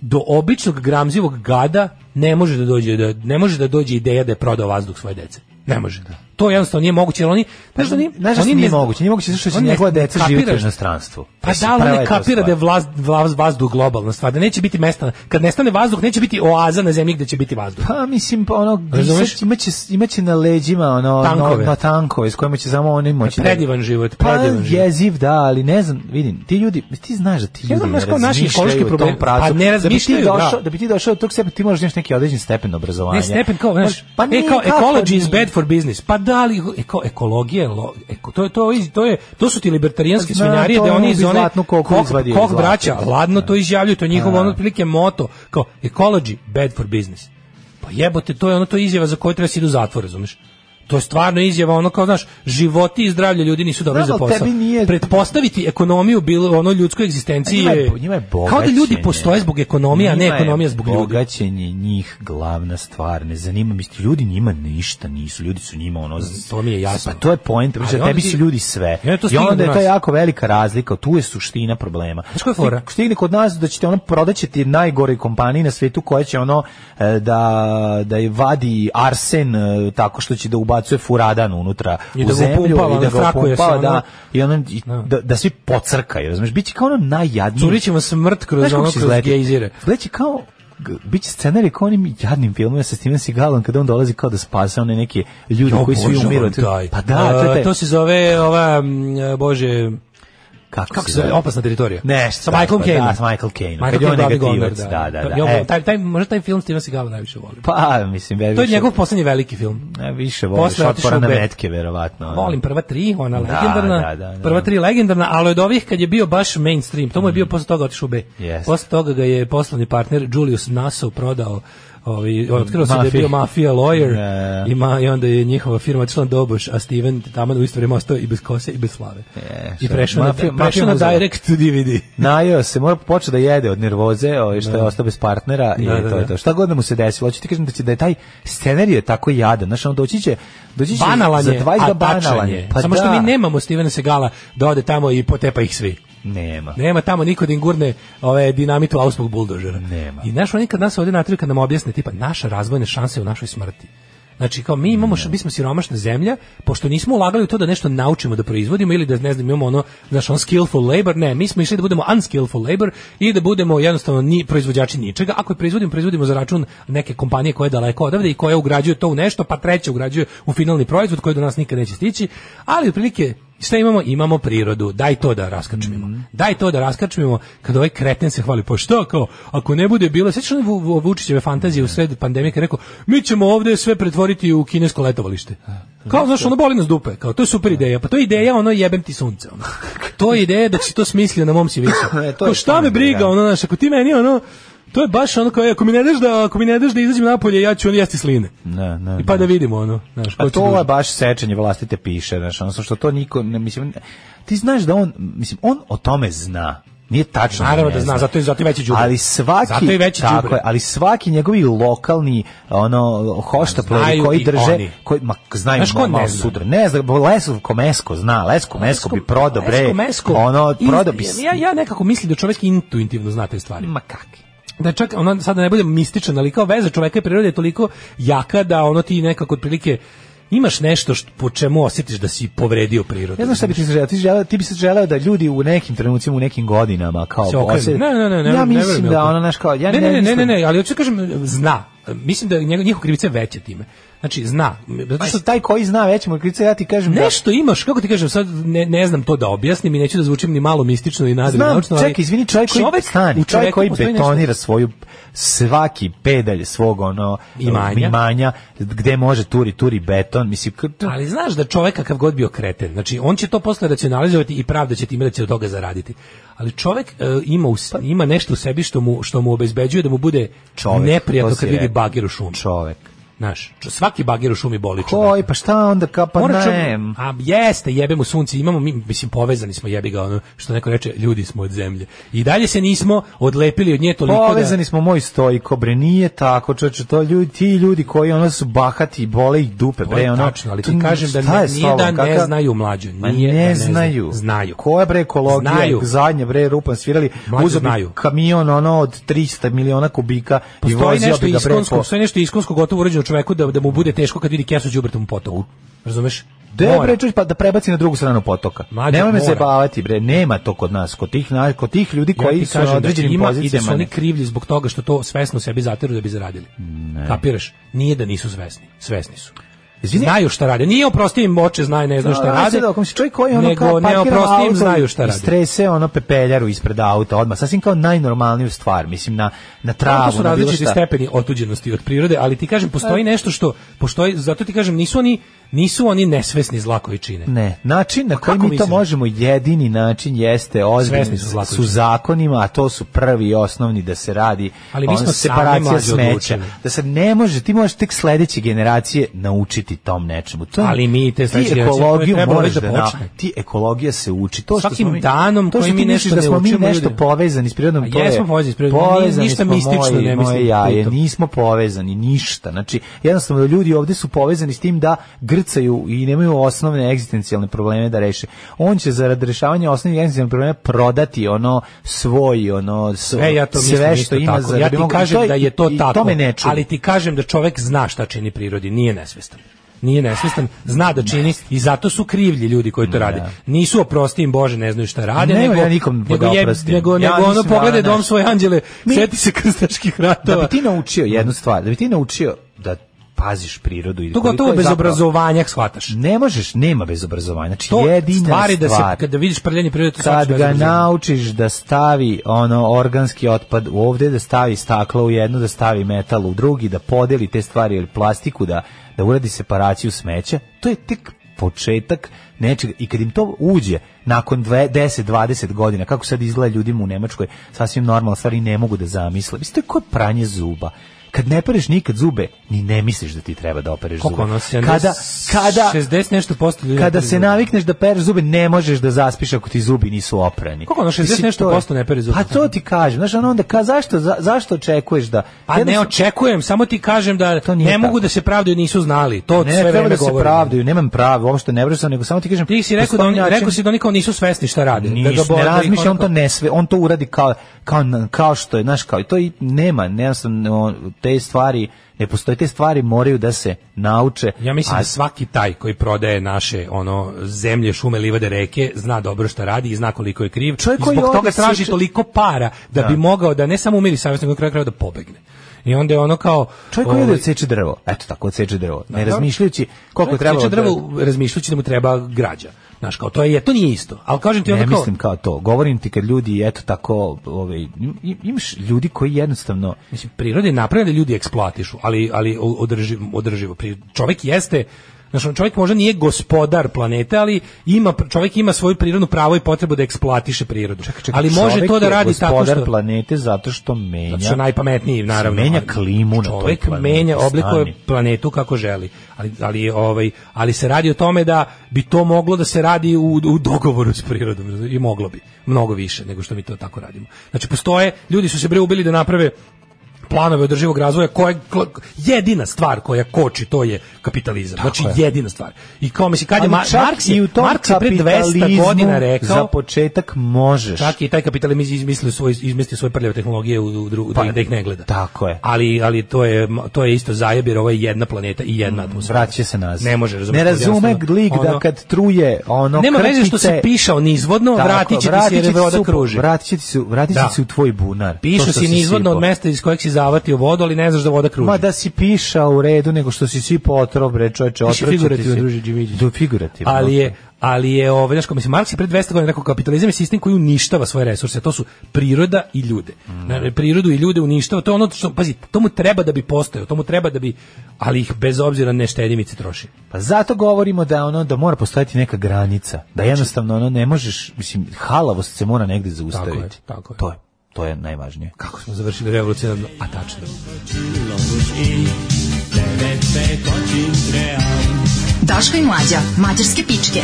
G: do običnog gramzivog gada ne može da dođe da ne može da dođe ideja da je prodao vazduh svoje dece. Ne može. To jednostavno nije moguće, jer oni, znaš da oni,
F: Pa Znaš da
G: oni
F: nije
G: ne-
F: moguće, nije moguće zato što će
G: oni ne-
F: njegova deca živjeti u
G: kapiraš-
F: inostranstvu.
G: pa
F: Mislim,
G: da, ali
F: prava
G: ne
F: je to
G: kapira
F: stvar.
G: da je vlaz, vlaz, vazduh globalna stvar, da neće biti mesta. Kad nestane vazduh, neće biti oaza na zemlji gde će biti vazduh.
F: Pa mislim pa ono
G: Razumeš?
F: disat- imaće imaće na leđima ono
G: Tankove.
F: na tankove s kojima će samo oni moći. da-
G: Predivan život,
F: Pa
G: predivan život.
F: jeziv, da, ali ne znam, vidim, ti ljudi, ti znaš da ti ljudi
G: Ja znam,
F: ne
G: znaš kao, naši
F: razmišljaju
G: ekološki
F: u tom
G: problemi-
F: pravcu.
G: pa ne razmišljaju,
F: da. Bi
G: da.
F: ti došao, da bi ti došao do tog sebe, ti moraš da imaš neki određen stepen obrazovanja.
G: Ne, stepen kao, znaš,
F: pa
G: pa
F: nije,
G: e, kao
F: kako
G: ecology is
F: nije?
G: bad for business. Pa da, ali eko, ekologija, je lo, eko, to, je, to, je, to, je, to su ti libertarijanske
F: Ma,
G: svinjarije
F: to
G: da
F: ono
G: oni iz
F: bi
G: one
F: zlatnu koku izvadio iz
G: kog
F: zlata.
G: braća, ladno to izjavljuju, to je njihovo
F: Da.
G: ono otprilike moto, kao ecology, bad for business. Pa jebote, to je ono to je izjava za koju treba se idu u zatvor, razumeš? To je stvarno izjava, ono kao, znaš, životi i zdravlje ljudi nisu dobri
F: Znam,
G: za
F: ali
G: posao.
F: tebi nije- Pa
G: Pretpostaviti ekonomiju bilo ono ljudskoj egzistenciji
F: Njima
G: je,
F: je- njima je
G: kao da ljudi
F: bogaćenje.
G: postoje zbog ekonomije, a ne
F: Njima je
G: ekonomija zbog ljudi.
F: Bogaćenje njih glavna stvar, ne zanima mi se, ljudi njima ništa nisu, ljudi su njima ono
G: To mi je jasno.
F: Pa to je point,
G: Ali
F: znači
G: onda
F: tebi
G: ti-
F: su ljudi sve.
G: I onda to
F: I
G: stigne
F: onda
G: do
F: je to
G: nas.
F: jako velika razlika, tu je suština problema.
G: Znaš koja je fora?
F: Stig- Stigne kod nas da ćete ono prodaće ti najgore kompaniji na svetu koja će ono e, da da je vadi arsen e, tako što će da ubacuje furadan unutra
G: I
F: u
G: da ga
F: zemlju
G: upumpava,
F: i da ga
G: nafrakuje se
F: upumpava,
G: ono.
F: da, i ono i da, da svi pocrkaju, razumeš? Biće kao ono najjadnije.
G: Curit će vam smrt
F: Znaš
G: kroz
F: kako
G: ono,
F: će
G: kroz
F: izgledati?
G: gejzire.
F: Izgledat će kao g- biće scenarij kao onim jadnim filmovima sa Steven Seagalom kada on dolazi kao da spasa one neke ljude
G: Jo,
F: koji svi
G: Bože,
F: umiru.
G: on taj.
F: Pa da, to je taj-
G: A, to se zove ova mm, Bože
F: kako,
G: kako se zove opasna teritorija. Pa
F: Nešto
G: sa Michael
F: tako,
G: Caine.
F: da, sa Michael Caineom,
G: Michael
F: kad je on
G: Caine glavni
F: negativac,
G: govnar,
F: da, da, da.
G: Ja,
F: E.
G: taj taj možda taj film Steven Seagal najviše volim.
F: Pa, mislim, ja
G: To je
F: više-
G: njegov poslednji veliki film.
F: Ja više voliš
G: Posle je otišao
F: otpora
G: u
F: na
G: bed.
F: metke, verovatno. ono.
G: Volim prva tri, ona
F: Da,
G: legendarna.
F: da, da, da.
G: Prva tri legendarna, ali od ovih kad je bio baš mainstream, to mu je bio posle toga otišao u B.
F: Mm. Jeste.
G: Posle toga ga je poslovni partner Julius Nassau prodao Ovi, otkrio se da je
F: Mafiji.
G: bio mafija lawyer
F: Da, da.
G: i, ma, i onda je njihova firma otišla na doboš, a Steven tamo u isto vrijeme ostao i bez kose i bez slave.
F: E,
G: I
F: šta,
G: prešao na,
F: mafija-
G: prešao
F: mafija
G: na
F: muzea.
G: direct to DVD.
F: Najeo se, mora početi da jede od nervoze, ovaj što je ostao bez partnera i
G: Da, da,
F: to je
G: da.
F: to. Šta god da mu se desilo, hoću ti kažem da će da je taj scenarij je tako jadan, znači on doći će, doći će
G: Banalan
F: za
G: je,
F: 20
G: a
F: ga
G: banalan je.
F: Pa
G: Samo što mi nemamo Stevena Segala da ode tamo i potepa ih svi.
F: nema.
G: Nema tamo niko da im gurne ove dinamitu auspog buldožera.
F: Nema.
G: I znaš, oni kad nas ovdje natriju, kad nam objasne, tipa, naša razvojna šansa je u našoj smrti. Znači, kao mi imamo, š- mi smo siromašna zemlja, pošto nismo ulagali u to da nešto naučimo da proizvodimo ili da, ne znam, imamo ono, znaš, on skillful labor, ne, mi smo išli da budemo unskillful labor i da budemo jednostavno ni proizvođači ničega. Ako je proizvodimo, proizvodimo za račun neke kompanije koja je daleko odavde i koja ugrađuje to u nešto, pa treća ugrađuje u finalni proizvod koji do nas nikad neće stići, ali otprilike Šta imamo? Imamo prirodu. Daj to da raskačmimo.
F: Mhm.
G: Daj to da raskačmimo kad ovaj kreten se hvali. Pa šta kao? Ako ne bude bilo, sećaš li Vu- Vu- Vučićeve fantazije u sred pandemije kad je rekao mi ćemo ovde sve pretvoriti u kinesko letovalište. Kao, znaš, ono boli nas dupe. Kao, to je super ideja. Pa to je ideja, ono, jebem ti sunce. Ono. To je ideja dok si to smislio na mom si
F: E, to je
G: Kao, šta me
F: stvarno,
G: briga,
F: da.
G: ono, znaš, ako ti meni, ono, To je baš ono kao, ako mi ne daš da, ako mi ne daš da izađem napolje, ja ću on jesti sline.
F: Ne, ne,
G: I pa
F: ne.
G: da vidimo ono, znaš, ko
F: Pa
G: će
F: to je
G: družiti.
F: baš sečenje vlastite piše, znaš, ono što to niko, ne, mislim, ti znaš da on, mislim, on o tome zna. Nije tačno.
G: Naravno
F: ne
G: da zna, zato je zato je veći đubre.
F: Ali svaki
G: Zato je veći
F: tako
G: đubre.
F: je, ali svaki njegovi lokalni ono hoštapleri
G: Znaju
F: koji
G: i
F: drže
G: oni.
F: koji ma znaju
G: Znaš ko
F: ma-
G: ne
F: malo
G: zna?
F: sutra. Ne znam, bo Lesko Komesko zna, Lesko Komesko bi prodao bre.
G: Mesko, mesko.
F: Ono
G: Inst-
F: prodao bi. s-
G: Ja, ja nekako mislim da čovjek intuitivno zna te stvari.
F: ma kakvi.
G: da čak ono sad da ne budem mističan, ali kao veza čoveka i prirode je toliko jaka da ono ti nekako otprilike imaš nešto što, po čemu osjetiš da si povredio prirodu.
F: Ne znam šta bi ti želeo, ti, želeo, ti bi se želeo da ljudi u nekim trenucima, u nekim godinama kao
G: se okrenu.
F: osjete-
G: Ne, ne, ne, ne,
F: ja
G: ne
F: mislim
G: verujem
F: da
G: u to.
F: ono naš kao ja ne,
G: ne, ne, ne, ne,
F: mislim-
G: ne, ne, ali hoću da kažem zna. Mislim da njegov njihov krivica je veća time. Znači zna. Zato
F: Pa
G: što
F: što taj koji zna već mu je krivica, ja ti kažem da...
G: nešto imaš, kako ti kažem, sad ne, ne znam to da objasnim i neću da zvučim ni malo mistično i
F: Znam,
G: nadrenaučno, ali...
F: čekaj, izvini, čovjek koji
G: Čovek-
F: stani,
G: u
F: čovjek,
G: čoveku
F: koji
G: postoji nešto.
F: betonira svoju svaki pedalj svog ono
G: Imanja.
F: imanja gde može turi turi beton, mislim k- t-
G: Ali znaš da čovek kakav god bio kreten, znači on će to posle racionalizovati i pravda će time da će od toga zaraditi. Ali čovek e, ima u s- ima nešto u sebi što mu što mu obezbeđuje da mu bude
F: Pa- Čovek,
G: neprijatno
F: to si
G: kad vidi
F: rekao.
G: bagir u šumi.
F: čovjek.
G: Znaš, čo- svaki bagir u šumi boli čoveka.
F: Koji, pa šta onda ka pa
G: Mora čov-
F: ne.
G: a jeste, jebe mu sunce, imamo mi, mislim, povezani smo, jebi ga, ono, što neko reče, ljudi smo od zemlje. I dalje se nismo odlepili od nje toliko
F: Povezani smo moj stojko, bre, nije tako, čoče, to ljudi, ti ljudi koji ono su bahati, bole ih dupe,
G: da... To je
F: bre, ono.
G: tačno, ali
F: to-
G: ti kažem da
F: šta
G: ne,
F: je s
G: nije da
F: tobom,
G: ne
F: kakav-
G: znaju mlađu.
F: Ma
G: Nije, da
F: ne,
G: ne
F: znaju.
G: Znaju.
F: Koja bre ekologija,
G: Znaju.
F: zadnje bre rupan svirali,
G: Mlađe
F: uzeo bi
G: znaju.
F: kamion ono od 300 miliona kubika i
G: Postoji
F: vozio
G: nešto
F: bi ga bre
G: iskonsko,
F: po...
G: postoji nešto iskonsko gotovo urađeno čoveku da, da mu bude teško kad vidi kesu đubretom u potoku. Razumeš?
F: De
G: Mora.
F: bre, čuj, pa da prebaci na drugu stranu potoka.
G: Mlađe,
F: Nemoj me
G: mora.
F: se bavati bre, nema to kod nas, kod tih, na- kod tih ljudi
G: Ja ti
F: koji su
G: kažem
F: na
G: da
F: određenim
G: ima i da
F: pozicijama.
G: su oni
F: ne.
G: krivlji zbog toga što to svesno sebi zatiru da bi zaradili. Kapiraš? Nije da nisu svesni. Svesni su.
F: Izvini.
G: Znaju šta rade. Nije oprosti im oče, znaju, ne znaju šta
F: Da,
G: rade.
F: sad Ako mi se čovjek koji ono
G: nego
F: kao
G: ne
F: parkira
G: oprosti im
F: auto
G: znaju
F: i-
G: šta
F: i
G: rade.
F: Strese ono pepeljaru ispred auta odmah, sasvim kao najnormalniju stvar, mislim na na travu,
G: To
F: na
G: su
F: bilo
G: različiti
F: šta. Pa-
G: stepeni otuđenosti od prirode, ali ti kažem postoji nešto što postoji, zato ti kažem nisu oni nisu oni nesvesni zla koji čine.
F: Ne, način na koji mi
G: kako
F: to
G: mislim?
F: možemo jedini način jeste
G: Svesni
F: ozbiljni
G: su
F: su,
G: zlakovići.
F: zakonima, a to su prvi i osnovni da se radi
G: Ali mi
F: ono,
G: smo sami
F: separacija
G: mlađi
F: smeća,
G: odlučili.
F: da se ne može, ti možeš tek sledeće generacije naučiti tom nečemu. To,
G: Ali mi te sledeće
F: ti
G: generacije
F: ekologiju
G: trebalo
F: moraš
G: već
F: da,
G: da
F: na-
G: počne.
F: ti ekologija se uči. To što
G: Svakim
F: smo mi-
G: danom
F: to što
G: kojim
F: ti
G: mi
F: misliš
G: nešto
F: da
G: ne
F: smo mi
G: učimo,
F: nešto
G: ljudi.
F: povezani s prirodom,
G: A
F: to je-
G: jesmo povezani s prirodom,
F: povezani
G: ništa
F: smo,
G: mistično
F: moje- moje
G: ne mislim
F: jaje,
G: pritom.
F: nismo povezani ništa. Znači, jednostavno ljudi ovdje su povezani s tim da grcaju i nemaju osnovne egzistencijalne probleme da reše. On će zarad rešavanja osnovnih egzistencijalnih problema prodati ono svoj, ono
G: Sve E, ja to
F: sve
G: mislim isto
F: što ima
G: tako.
F: za
G: ja
F: da bi
G: ti
F: mogao-
G: kažem
F: i to-
G: da je to
F: i- i
G: tako.
F: To me ne čudi.
G: ali ti kažem da čovek zna šta čini prirodi, nije nesvestan. Nije nesvestan, zna da čini i zato su krivlji ljudi koji to rade. Nisu oprosti im Bože, ne znaju šta rade,
F: Nema
G: nego
F: ja nikom
G: nego,
F: da
G: je-
F: oprostim.
G: nego,
F: Ja
G: nego ono
F: mislim,
G: pogleda
F: Ana,
G: dom
F: znaš.
G: svoje anđele,
F: Mi-
G: seti se krstaških ratova.
F: da bi ti naučio jednu stvar, da bi ti naučio da paziš prirodu i
G: to
F: koliko
G: gotovo
F: je
G: bez
F: zapravo-
G: obrazovanja shvataš.
F: Ne možeš, nema bez obrazovanja. Znači
G: To
F: jedina
G: stvari da se
F: stvar.
G: kada vidiš prljanje prirode to shvataš
F: kad
G: bez
F: ga
G: obrazovanja.
F: naučiš da stavi ono organski otpad u ovde, da stavi staklo u jedno, da stavi metal u drugi, da podeli te stvari ili plastiku, da, da uradi separaciju smeća, to je tek početak nečega i kad im to uđe nakon dve- 10-20 godina kako sad izgleda ljudima u Nemačkoj sasvim normalna stvar i ne mogu da zamisle mislim to je kao pranje zuba kad ne pereš nikad zube ni ne misliš da ti treba da opereš
G: Koliko ono,
F: zube
G: 70,
F: kada kada
G: 60 nešto posto ljudi ne
F: kada
G: pere
F: se
G: zube.
F: navikneš da pereš zube, ne možeš da zaspiš ako ti zubi nisu oprani.
G: Koliko ono, 60
F: Mislim,
G: nešto
F: to je-
G: posto ne pere zube?
F: Pa to ti kažem, znaš, ono onda, ka, zašto, za- zašto očekuješ da...
G: Pa ne
F: Jednostavno-
G: očekujem, samo ti kažem da
F: To
G: ne
F: nije tako.
G: mogu da se pravdaju nisu znali. To
F: Ne,
G: sve
F: treba
G: vreme
F: da se
G: govorim.
F: pravdaju, nemam pravo, uopšte ne vraćam, nego samo ti kažem...
G: Ti si rekao da
F: postoji
G: oni,
F: način-
G: rekao si da oni kao nisu svesni šta rade. da
F: Nis,
G: ga bo-
F: ne
G: da ih ono
F: razmišlja, on
G: onako-
F: to ne sve, on to uradi kao, kao, kao što je, znaš, kao, i to i nema, ne znam, no, te stvari, ne postoje, te stvari moraju da se nauče.
G: Ja mislim
F: a
G: da svaki taj koji prodaje naše ono zemlje, šume, livade, reke zna dobro šta radi i zna koliko je kriv.
F: Čovjek
G: I
F: koji
G: zbog
F: ovdje
G: toga traži
F: sječe-
G: toliko para da, bi mogao da ne samo umiri savjesno, nego na kraju krajeva da pobegne. I onda je ono kao
F: Čovjek koji ide
G: ovaj,
F: od seče drvo, eto tako, od seče drvo, ne
G: dobro.
F: razmišljajući koliko
G: čovjek
F: treba...
G: seče drvo razmišljajući da mu treba građa. Znaš, kao to je, to nije isto. Ali kažem ti
F: Ne
G: onda kao,
F: mislim kao to. Govorim ti kad ljudi eto tako, ovaj im- im- imaš ljudi koji jednostavno
G: Mislim, priroda je napravljena da ljudi eksploatišu, ali, ali o- održivo, održivo. Pri- Čovek jeste Znaš, on čovjek možda nije gospodar planete, ali ima čovjek ima svoju prirodnu pravo i potrebu da eksploatiše prirodu. ali može to da radi tako što
F: planete zato što menja.
G: zato što je najpametniji naravno
F: menja
G: ali
F: klimu na toj
G: čovjek
F: planeti,
G: menja oblikuje
F: stani.
G: planetu kako želi ali, ali je, ovaj ali se radi o tome da bi to moglo da se radi u, u dogovoru s prirodom i moglo bi mnogo više nego što mi to tako radimo znači postoje ljudi su se bre ubili da naprave planove održivog razvoja koje jedina stvar koja koči to je kapitalizam. znači jedina stvar. I kao mislim kad je
F: Ali
G: Ma-
F: čak
G: Marks je,
F: i u tom
G: Marks je pre 200
F: kapitalizmu
G: godina rekao
F: za početak možeš.
G: Čak i taj kapitalizam iz- izmislio svoj izmislio svoje prljave tehnologije u, u dru- da, ih, da ih ne gleda.
F: Pa, tako je.
G: Ali ali to je to je isto zajeb jer ovo je jedna planeta i jedna atmosfera.
F: Mm, Vraća se nazad.
G: Ne može razumeti.
F: Ne razume lik da kad truje ono
G: ono- Nema veze što
F: krtice-
G: se pišao nizvodno,
F: Tako,
G: vratit će ti se jer je voda
F: u-
G: kruži.
F: Vratit će ti se, vratit će
G: Da.
F: ti se u tvoj bunar. To
G: Pišao
F: što
G: si nizvodno
F: sipao.
G: od mesta iz kojeg si zavatio vodu, ali ne znaš da voda kruži.
F: Ma da si pišao u redu, nego što si sipao otrov, bre, čoveče,
G: Piše
F: otrov će ti
G: figurativno,
F: se.
G: druže Đimiđić.
F: Do figurativno.
G: ali je ali je ovaj znači mislim Marks je pre 200 godina rekao kapitalizam je sistem koji uništava svoje resurse to su priroda i ljude
F: Mm.
G: Na- prirodu i ljude uništava to je ono što pazi to mu treba da bi postojao to mu treba da bi ali ih bez obzira ne štedimice troši
F: Pa zato govorimo da ono da mora postojati neka granica, da jednostavno ono ne možeš, mislim, halavost se mora negdje zaustaviti.
G: Znači- Tako je, tako je.
F: To je, to je najvažnije.
G: kako smo završili revolucionarno a tačno
I: Daško i mlađa, mađarske pičke.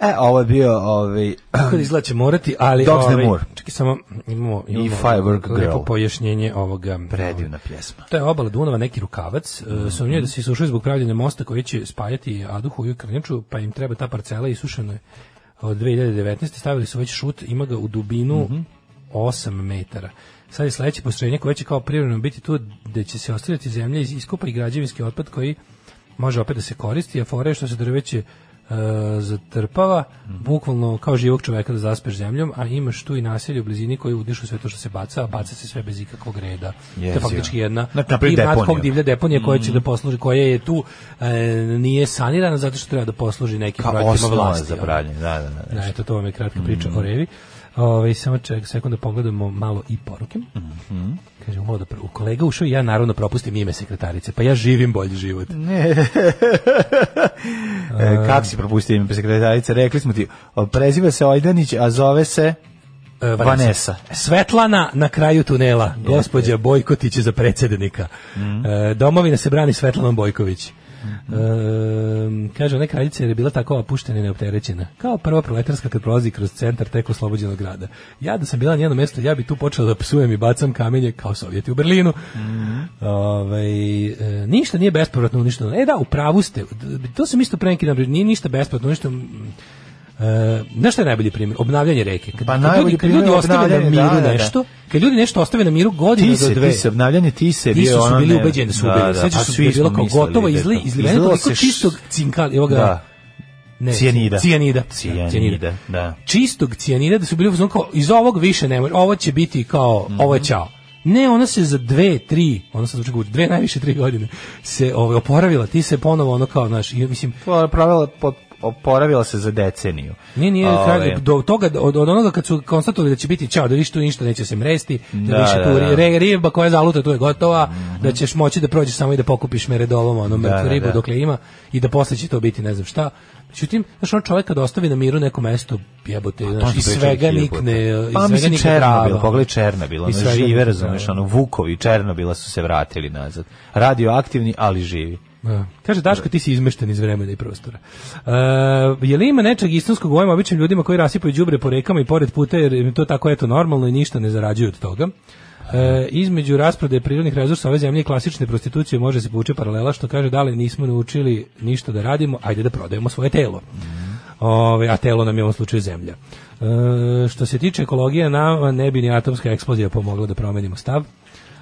F: E, ovo je bio ovaj
G: kako da izgleda će morati ali
F: Dogs the
G: ovaj,
F: Moor.
G: čekaj samo imamo, imamo
F: Firework Girl.
G: lepo pojašnjenje ovoga
F: predivna pjesma.
G: To je obala Dunava neki rukavac. Mm. Sumnjuje da se isušuje zbog pravljenja mosta koji će spajati Aduhu i Krnjaču, pa im treba ta parcela isušena je od 2019. Stavili su već šut, ima ga u dubinu 8 metara. Sad je sledeće postrojenje koje će kao privremeno biti tu gde će se ostavljati zemlja iz iskopa i građevinski otpad koji može opet da se koristi, a fore što se drveće e, zatrpava, bukvalno kao živog čoveka da zaspeš zemljom, a imaš tu i naselje u blizini koji udišu sve to što se baca, a baca se sve bez ikakvog reda. to je
F: Jezivo.
G: faktički jedna
F: Znači, napravi
G: i
F: deponiju.
G: nadkog divlja deponija koja
F: Mm.
G: će da posluži, koja je tu e, nije sanirana zato što treba da posluži nekim
F: Kao
G: projektima
F: osnova
G: vlasti.
F: za Mm.
G: ono.
F: pravljenje, da, da, da.
G: Da, eto, to vam je kratka priča o Revi. Ove, samo ček, sekund da pogledamo malo i poruke.
F: Mhm.
G: Kaže, umalo da prvo, kolega ušao i ja naravno propustim ime sekretarice, pa ja živim bolji život.
F: E, kako si propustio ime sekretarice? Rekli smo ti, o, preziva se Ojdanić, a zove se
G: E,
F: Pa Vanessa.
G: Svetlana na kraju tunela, gospođa Bojkotić je za predsjednika. E, domovina se brani Svetlanom Bojković. E, kaže, ona kraljica jer je bila tako opuštena i neopterećena. Kao prva proletarska kad prolazi kroz centar tek oslobođenog grada. Ja da sam bila na njenom mjestu, ja bi tu počela da psujem i bacam kamenje kao sovjeti u Berlinu. Ovaj, e, ništa nije bespovratno uništeno. E da, u pravu ste. To sam isto pre neki dan, nije ništa bespovratno uništeno. Mm, E, znaš šta je najbolji primjer? Obnavljanje reke. Kad,
F: Pa
G: kad
F: najbolji
G: ljudi, kad
F: primjer
G: ljudi ostave na
F: obnavljanje,
G: miru
F: da, da, da.
G: nešto, kad ljudi nešto ostave na miru godinu
F: Ti
G: do
F: se,
G: dve.
F: ti se, obnavljanje ti se
G: Ti
F: bio
G: su,
F: ono...
G: bili
F: ne-
G: ubeđeni da su
F: da,
G: ubili.
F: da,
G: Sećaš
F: pa
G: se da
F: svi
G: je bilo
F: smo
G: kao
F: mislili
G: gotovo
F: da je
G: izli,
F: to.
G: izliveno
F: Izlilo
G: toliko
F: se š-
G: čistog cinkal, evo ga.
F: Da.
G: Ne,
F: Cijanida.
G: Cijanida.
F: Cijanida, da.
G: Čistog cijanida da su bili u fazonu kao iz ovog više ne može. Ovo će biti kao ovo je
F: Mhm.
G: ćao. Ne, ona se za dve, tri, ona se zvuči guđe, dve najviše tri godine se ovaj, oporavila, ti se ponovo ono kao, znaš, i, mislim,
F: Po- pravila- po- oporavila se za deceniju.
G: nije, nije,
F: Ovaj,
G: kralj, do toga, od, od onoga kad su konstatovali da će biti čao, da više tu ništa neće se mresti, da,
F: Da,
G: više
F: da,
G: tu
F: da. Mhm.
G: ri- re- riba koja zaluta tu je gotova, da ćeš moći da prođeš samo i da pokupiš meredolom onu mrtvu
F: da,
G: ribu
F: da.
G: dokle ima i da posle će to biti ne znam šta. Međutim, znaš, on čovjek kad ostavi na miru neko mesto, jebote,
F: To
G: znaš,
F: smo
G: iz svega
F: pričali
G: nikne,
F: hiljadu puta.
G: iz
F: Pa
G: svega
F: mislim
G: nikne trava.
F: Černobil, pogledaj Černobil, ono
G: Iz svega
F: žive,
G: nikne
F: razumeš,
G: trava.
F: ono Vukovi i Černobila su se vratili nazad. Radioaktivni, ali živi.
G: Da. Kaže Daško ti si izmešten iz vremena i prostora. E, je li ima nečeg istinskog u ovim običnim ljudima koji rasipaju đubre po rekama i pored puta jer im je to tako eto normalno i ništa ne zarađuju od toga? E, između rasprodaje prirodnih resursa ove zemlje i klasične prostitucije može se povući paralela što kaže da li nismo naučili ništa da radimo, ajde da prodajemo svoje telo. Ove, a telo nam je u ovom slučaju zemlja. E, što se tiče ekologije, nama ne bi ni atomska eksplozija pomogla da promenimo stav.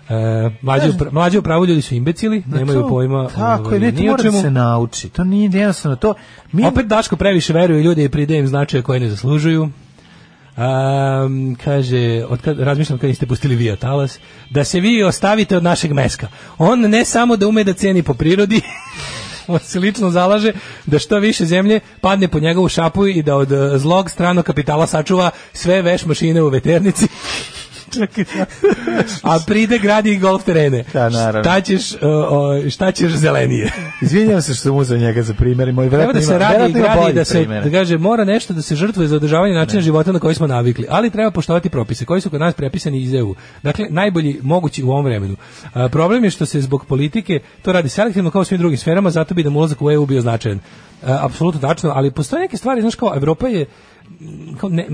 G: E, mlađi, u pra- mlađi u pravu ljudi su imbecili, nemaju
F: To-
G: pojma
F: Tako
G: ovaj,
F: je, ne, to
G: ni o
F: mora da
G: čemu.
F: se nauči. To nije jednostavno, to... Mi,
G: Opet Daško previše veruje ljudi i pridaje im značaje koje ne zaslužuju. Um, kaže, od kad, razmišljam kad niste pustili vi talas, da se vi ostavite od našeg meska. On ne samo da ume da ceni po prirodi, on se lično zalaže da što više zemlje padne po njegovu eh, šapu i da od e, zlog stranog kapitala sačuva sve veš mašine u veternici Čekaj. A pride gradi i golf terene.
F: Da, naravno.
G: Šta ćeš, uh, uh, šta ćeš zelenije?
F: Izvinjavam se što sam uzeo njega za primjer i moj
G: Treba
F: vjerojatno
G: da se
F: ima-
G: radi i
F: vjerojatno ima
G: gradi i
F: boljih
G: da se,
F: primjera.
G: da kaže, mora nešto da se žrtvuje za održavanje načina života na koji smo navikli, ali treba poštovati propise koji su kod nas prepisani iz EU. Dakle, najbolji mogući u ovom vremenu. A, problem je što se zbog politike to radi selektivno kao u svim drugim sferama, zato bi da mu ulazak u EU bio značajan. A, apsolutno tačno, ali postoje neke stvari, znaš kao, Evropa je mm, kao ne,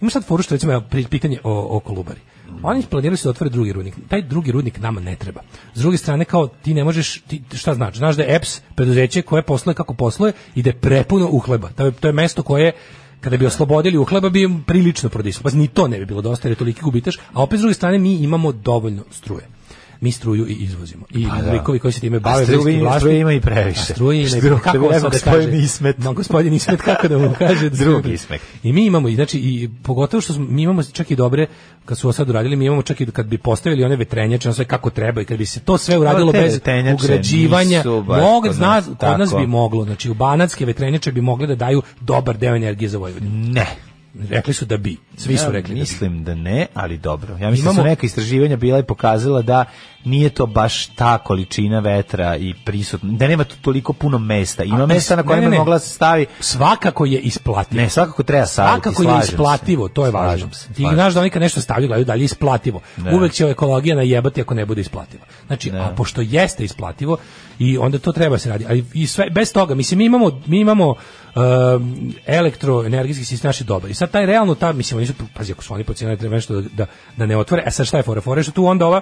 G: ima sad foru što recimo evo, pri- pitanje o, o Kolubari. Oni planirali su da otvore drugi rudnik. Taj drugi rudnik nama ne treba. S druge strane, kao ti ne možeš, ti, šta znaš? Znaš da je EPS preduzeće koje posluje kako posluje i da je prepuno uhleba. To je, to je mesto koje kada bi oslobodili uhleba bi im prilično prodisalo. Pa ni to ne bi bilo dosta jer je toliki gubitaš, a opet s druge strane mi imamo dovoljno struje. Mi struju i izvozimo. I
F: Pa da.
G: likovi koji se time
F: A
G: bave
F: struje-
G: veliki vlasnik-
F: struje ima i previše.
G: A struje ima i
F: Struje-
G: kako
F: evo,
G: on sad da
F: gospodin
G: kaže?
F: Ismet.
G: Ma, gospodin Ismet, kako da mu kaže? da
F: Drugi
G: struje-
F: Ismet.
G: i mi imamo, i znači, i pogotovo što smo, mi imamo čak i dobre, kad su ovo sad uradili, mi imamo čak i kad bi postavili one vetrenjače, ono sve kako treba i kad bi se to sve uradilo
F: te
G: bez
F: vetrenjače
G: ugrađivanja,
F: nisu baš
G: mog,
F: kod
G: zna,
F: nas,
G: kod nas
F: tako.
G: bi moglo, znači u banatske vetrenjače bi mogle da daju dobar deo energije za Vojvodinu.
F: Ne.
G: Rekli su da bi, svi su
F: Ja
G: rekli da bi.
F: mislim da ne, ali dobro. Ja mislim da su
G: Imamo-
F: neka istraživanja bila i pokazala da nije to baš ta količina vetra i prisutno, da nema tu toliko puno mesta. Ima
G: A,
F: mesta na
G: ne,
F: kojima
G: ne,
F: bi
G: ne.
F: mogla se stavi.
G: Svakako je isplativo.
F: Ne, svakako treba saviti,
G: Svakako je
F: slažem se.
G: isplativo, to je važno.
F: Slažem se,
G: Ti
F: slažem
G: znaš da oni kad nešto stavljaju, gledaju dalje isplativo. Uvek će ekologija najebati ako ne bude isplativo. Znači, a pošto jeste isplativo i onda to treba se radi. Ali i sve bez toga, mislim mi imamo mi imamo um, elektroenergetski sistem naši dobar. I sad taj realno ta mislim oni su pazi ako su oni procenili da treba nešto da, da, da ne otvore. E sad šta je fora? Fora je što tu onda ova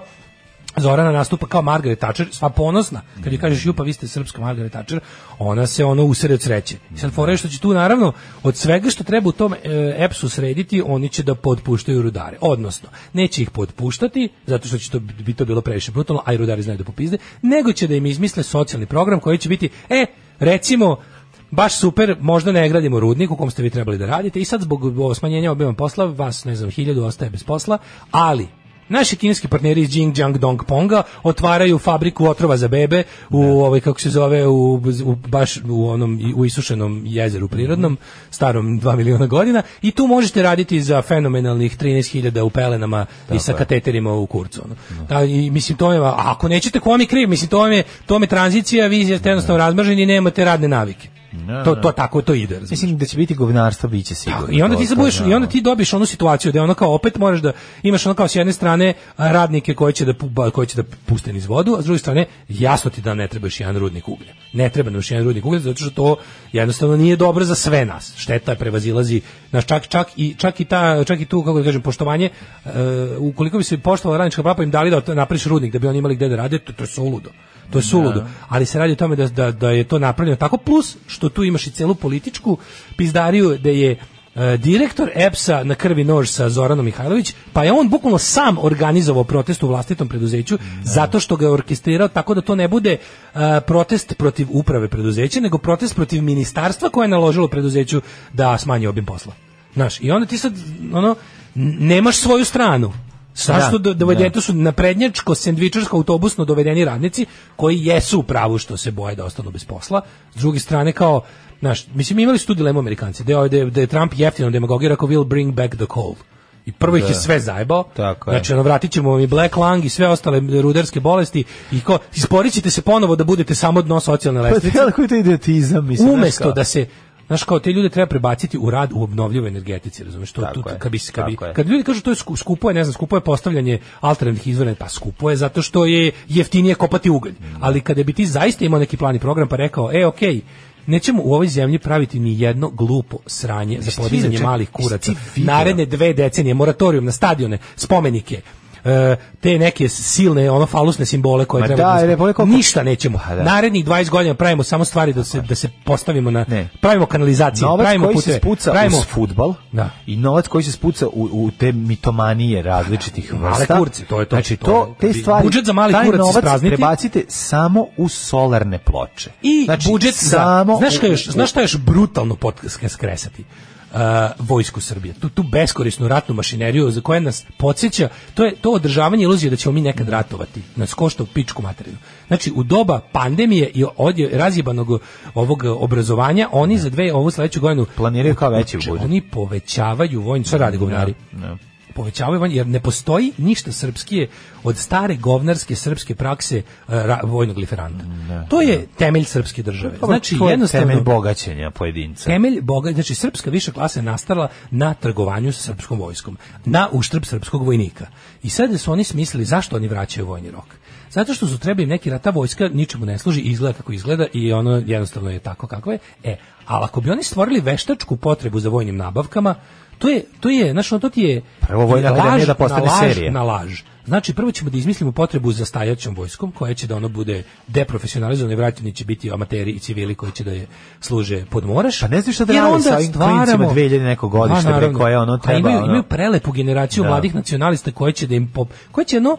G: Zorana nastupa kao Margaret Thatcher, sva ponosna. Kad joj kažeš, ju pa vi ste srpska Margaret Thatcher, ona se ono usere od sreće. I sad fora je što će tu naravno od svega što treba u tom e, EPS-u srediti, oni će da podpuštaju rudare. Odnosno, neće ih podpuštati, zato što će to bi to bilo previše brutalno, a i rudari znaju da popizde, nego će da im izmisle socijalni program koji će biti, e, recimo, baš super, možda ne gradimo rudnik u kom ste vi trebali da radite i sad zbog o, smanjenja obima posla, vas, ne znam, hiljadu ostaje bez posla, ali Naši kineski partneri iz Xinjiang Dongponga otvaraju fabriku otrova za bebe u ovaj kako se zove u, u baš u onom i- u isušenom jezeru prirodnom starom 2 miliona godina i tu možete raditi za fenomenalnih 13.000 u pelenama i sa kateterima u kurcu. ono. Da, i mislim to je a ako nećete ko vam je kriv, mislim to vam je to vam je tranzicija, vi ste jednostavno razmrženi i nemate radne navike. To to tako to ide. razumeš?
F: Mislim da će biti govnarstvo, bit će sigurno.
G: Tako, I onda ti
F: To-
G: se
F: to
G: budeš, i
F: znamo.
G: onda ti dobiš onu situaciju da je ono kao opet moraš da imaš ono kao s jedne strane radnike koji će da pu- ba- koji će da puste niz vodu, a s druge strane jasno ti da ne trebaš jedan rudnik uglja. Ne treba nam još jedan rudnik uglja zato što to jednostavno nije dobro za sve nas. Šteta je prevazilazi naš čak čak i čak i ta čak i tu kako da kažem poštovanje e, ukoliko bi se poštovala radnička prava pa im dali da to napraviš rudnik da bi oni imali gde da rade, to, to je suludo. To je suludo. Ali se radi o tome da, da, da je to napravljeno tako plus što tu imaš i celu političku pizdariju da je E, direktor EPS-a na krvi nož sa Zoranom Mihajlović, pa je on bukvalno sam organizovao protest u vlastitom preduzeću zato što ga je orkestrirao tako da to ne bude e, protest protiv uprave preduzeća, nego protest protiv ministarstva koje je naložilo preduzeću da smanji obim posla. Znaš, i onda ti sad, ono, n- nemaš svoju stranu. Zašto
F: Da,
G: da, dovedete su na prednjačko, sendvičarsko, autobusno dovedeni radnici koji jesu u pravu što se boje da ostanu bez posla. S druge strane kao Znaš, mislim, imali su tu dilemu Amerikanci, da je, ovaj, da je, da je Trump jeftino demagogira kao will bring back the coal. I prvo ih je sve zajebao.
F: Tako je.
G: znači, ono, vratit ćemo vam i Black Lung i sve ostale rudarske bolesti i kao, isporit ćete se ponovo da budete samo dno socijalne
F: Pa
G: lestvice.
F: ti gledaj koji to idiotizam, mislim. znaš
G: Umesto
F: kao.
G: da se Znaš, kao te ljude treba prebaciti u rad u obnovljivoj energetici, razumeš? To,
F: Tako
G: tu,
F: je,
G: kad, bi, se- kad, bi,
F: tako je.
G: kad ljudi kažu to je sku- skupo je, ne znam, skupo je postavljanje alternativnih izvora, pa skupo je zato što je jeftinije kopati ugalj. Ali kada bi ti zaista imao neki plan i program pa rekao, e, okej, nećemo u ovoj zemlji praviti ni jedno glupo sranje za
F: ti
G: podizanje
F: vidio,
G: malih
F: čekaj,
G: kuraca.
F: jesi ti vidio?
G: Naredne dve decenije, moratorijum na stadione, spomenike, e, te neke silne ono falusne simbole koje
F: Ma
G: treba
F: da,
G: nas-
F: jer je bolje koliko-
G: ništa nećemo
F: Pa da.
G: narednih 20 godina pravimo samo stvari da se da se postavimo na
F: Ne.
G: pravimo kanalizacije,
F: novac
G: pravimo
F: koji
G: puteve,
F: se spuca
G: pravimo
F: uz futbal
G: Da.
F: i novac koji se spuca u, u te mitomanije različitih
G: Male
F: vrsta.
G: kurce, to je to,
F: Znači,
G: to
F: to,
G: je- kad
F: te
G: bi-
F: stvari,
G: budžet za mali
F: taj
G: kurac
F: novac
G: isprazniti.
F: prebacite samo u solarne ploče.
G: i
F: znači,
G: budžet za-
F: samo
G: znaš šta
F: u-
G: još, znaš šta još brutalno pot skresati. Uh, vojsku Srbije. Tu, tu beskorisnu ratnu mašineriju za koja nas podsjeća, to je to održavanje iluzije da ćemo mi nekad ratovati. Nas košta u pičku materinu. Znači, u doba pandemije i od razjebanog ovog obrazovanja, oni za dve ovu sledeću godinu
F: Planiraju kao veći
G: Znači,
F: budžet.
G: Oni povećavaju vojnu, šta radi govnari? povećavaju vojni, jer ne postoji ništa srpskije od stare govnarske srpske prakse uh, ra- vojnog liferanta. to je temelj srpske države. Znači,
F: to je
G: jednostavno...
F: temelj bogaćenja pojedinca.
G: Temelj boga, znači srpska viša klasa je nastala na trgovanju sa srpskom vojskom, na uštrb srpskog vojnika. I sad su oni smislili zašto oni vraćaju vojni rok. Zato što su trebali neki rata vojska ničemu ne služi, izgleda kako izgleda i ono jednostavno je tako kako je. E, ali ako bi oni stvorili veštačku potrebu za vojnim nabavkama, to je, to je, znaš, ono, to ti je
F: Prvo Pa Vojna
G: laž
F: akademija da postane
G: na laž,
F: serija.
G: na laž. Znači, prvo ćemo da izmislimo potrebu za stajaćom vojskom, koja će da ono bude deprofesionalizovana i vraćeni će biti amateri i civili koji će da je služe pod moraš.
F: Pa ne znam šta da
G: Jer
F: rade
G: onda
F: sa ovim klincima
G: stvaramo-
F: 2000 nekog
G: Pa,
F: godišta, bre,
G: naravno.
F: koje ono
G: A
F: treba,
G: Imaju,
F: ono-
G: imaju prelepu generaciju
F: Da.
G: mladih nacionalista koji će da im pop, koji će ono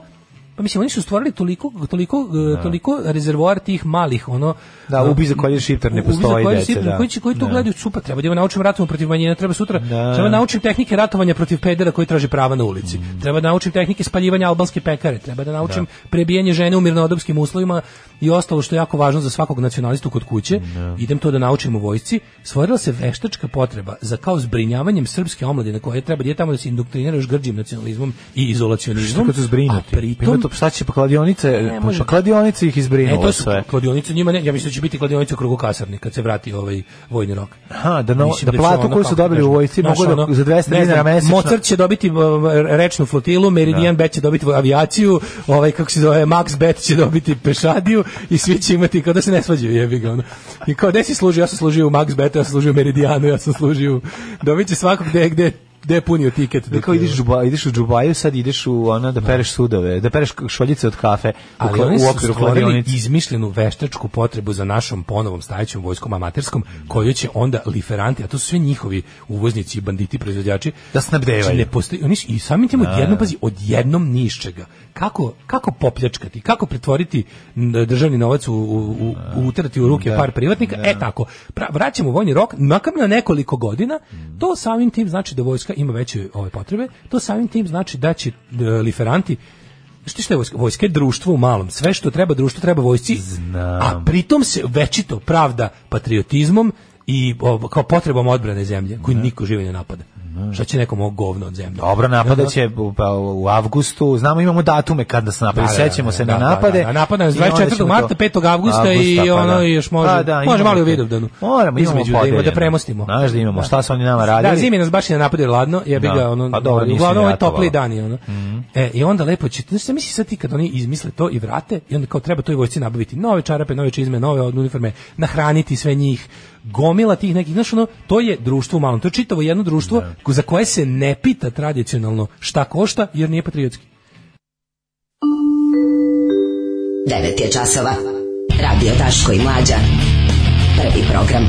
G: Pa mislim, oni su stvorili toliko, toliko, eh, toliko rezervoar tih malih, ono...
F: Da, ubi za kolje šiptar ne
G: ubi za
F: postoji,
G: kolje
F: dece,
G: šiptar,
F: da.
G: Koji, će, koji to
F: Da.
G: gledaju, super, treba da ima naučim ratovanje protiv manjina, treba sutra,
F: Da.
G: treba da naučim tehnike ratovanja protiv pedera koji traži prava na ulici.
F: Mm.
G: Treba da naučim tehnike spaljivanja albanske pekare, treba da naučim prebijanje žene u mirnodopskim uslovima i ostalo što je jako važno za svakog nacionalistu kod kuće. Idem to da naučim u vojsci. Stvorila se veštačka potreba za kao zbrinjavanjem srpske omladine koja treba da je tamo da se indoktrinira još grđim nacionalizmom i izolacionizmom.
F: Što Znači, kad su zbrinuti?
G: A pritom,
F: Pa šta će, pa kladionice,
G: može.
F: pa kladionice ih
G: E,
F: izbrinulo
G: to su
F: sve.
G: kladionice njima, ne, ja mislim da će biti kladionice u krugu kasarni kad se vrati ovaj vojni rok.
F: Aha, da, no,
G: Mislim
F: da
G: će
F: platu
G: ono,
F: koju su
G: kako
F: dobili u
G: kažem,
F: vojsci
G: znaš,
F: mogu da,
G: ono,
F: za 200
G: ne
F: dinara
G: znam,
F: mesečno.
G: Mozart će dobiti uh, rečnu flotilu, Meridian Bet će dobiti avijaciju, ovaj, kako se zove, Max Bet će dobiti pešadiju i svi će imati, kao da se ne svađaju, jebi ga, ono. I kao, gde si služio? Ja sam služio u Max Betu, ja sam služio u Meridianu, ja sam služio u... Dobit će svakog gde, gde, gde je punio tiket.
F: Ti
G: dok
F: kao
G: je-
F: ideš, u Džuba- ideš u Džubaju, sad ideš u ono da pereš sudove, da pereš šoljice od kafe u,
G: ali
F: kla-
G: oni
F: u
G: su
F: okviru
G: stvorili
F: kladionice.
G: izmišljenu veštačku potrebu za našom ponovom stajećom vojskom amaterskom koju će onda liferanti, a to su sve njihovi uvoznici i banditi proizvođači
F: Da snabdevaju.
G: Znači, ne postoji, oni su- i samim tim odjednom pazi odjednom ni iz čega. Kako kako popljačkati, kako pretvoriti m, državni novac u, u, u utrati u ruke par privatnika? E tako. Pra, vraćamo vojni rok makar na nekoliko godina. To samim tim znači da vojska ima veće ove potrebe. To samim tim znači da će e, liferanti Što što je vojska? Vojska je društvo u malom. Sve što treba društvo treba vojsci. A pritom se večito pravda patriotizmom i o, kao potrebom odbrane zemlje, koju niko žive ne napada. Šta će nekom ovo govno od zemlje?
F: Dobro, napada će u, pa, u avgustu, znamo imamo datume kada se napada,
G: Da, da,
F: sećamo
G: da,
F: se
G: da,
F: na
G: da,
F: napade.
G: da, da, napada nas
F: i onda
G: 24.
F: ćemo to- pa
G: marta, 5. avgusta i ono, i još može- može
F: imamo
G: malo i u
F: to.
G: Vidovdanu.
F: Moramo, imamo
G: Između da ima- da
F: podeljeno.
G: premostimo.
F: Znaš da imamo,
G: Da.
F: šta su oni nama radili?
G: Da, zimi nas baš i ne napadaju ladno, jebi
F: Da.
G: ga, ono,
F: Pa dobro, Mhm. nisu
G: uglavnom
F: ni
G: ovaj topli
F: ratovalo.
G: dani, ono. E, i onda lepo će, znaš, šta misli sad ti kad oni izmisle to i vrate, i onda kao treba toj vojsci nabaviti nove čarape, nove čizme, nove uniforme, nahraniti sve njih, gomila tih nekih, znaš, ono, to je društvo u malom, to je čitavo jedno društvo ko- za koje se ne pita tradicionalno šta košta, jer nije patriotski.
I: 9 je časova. Radio Daško i Mlađa. Prvi program.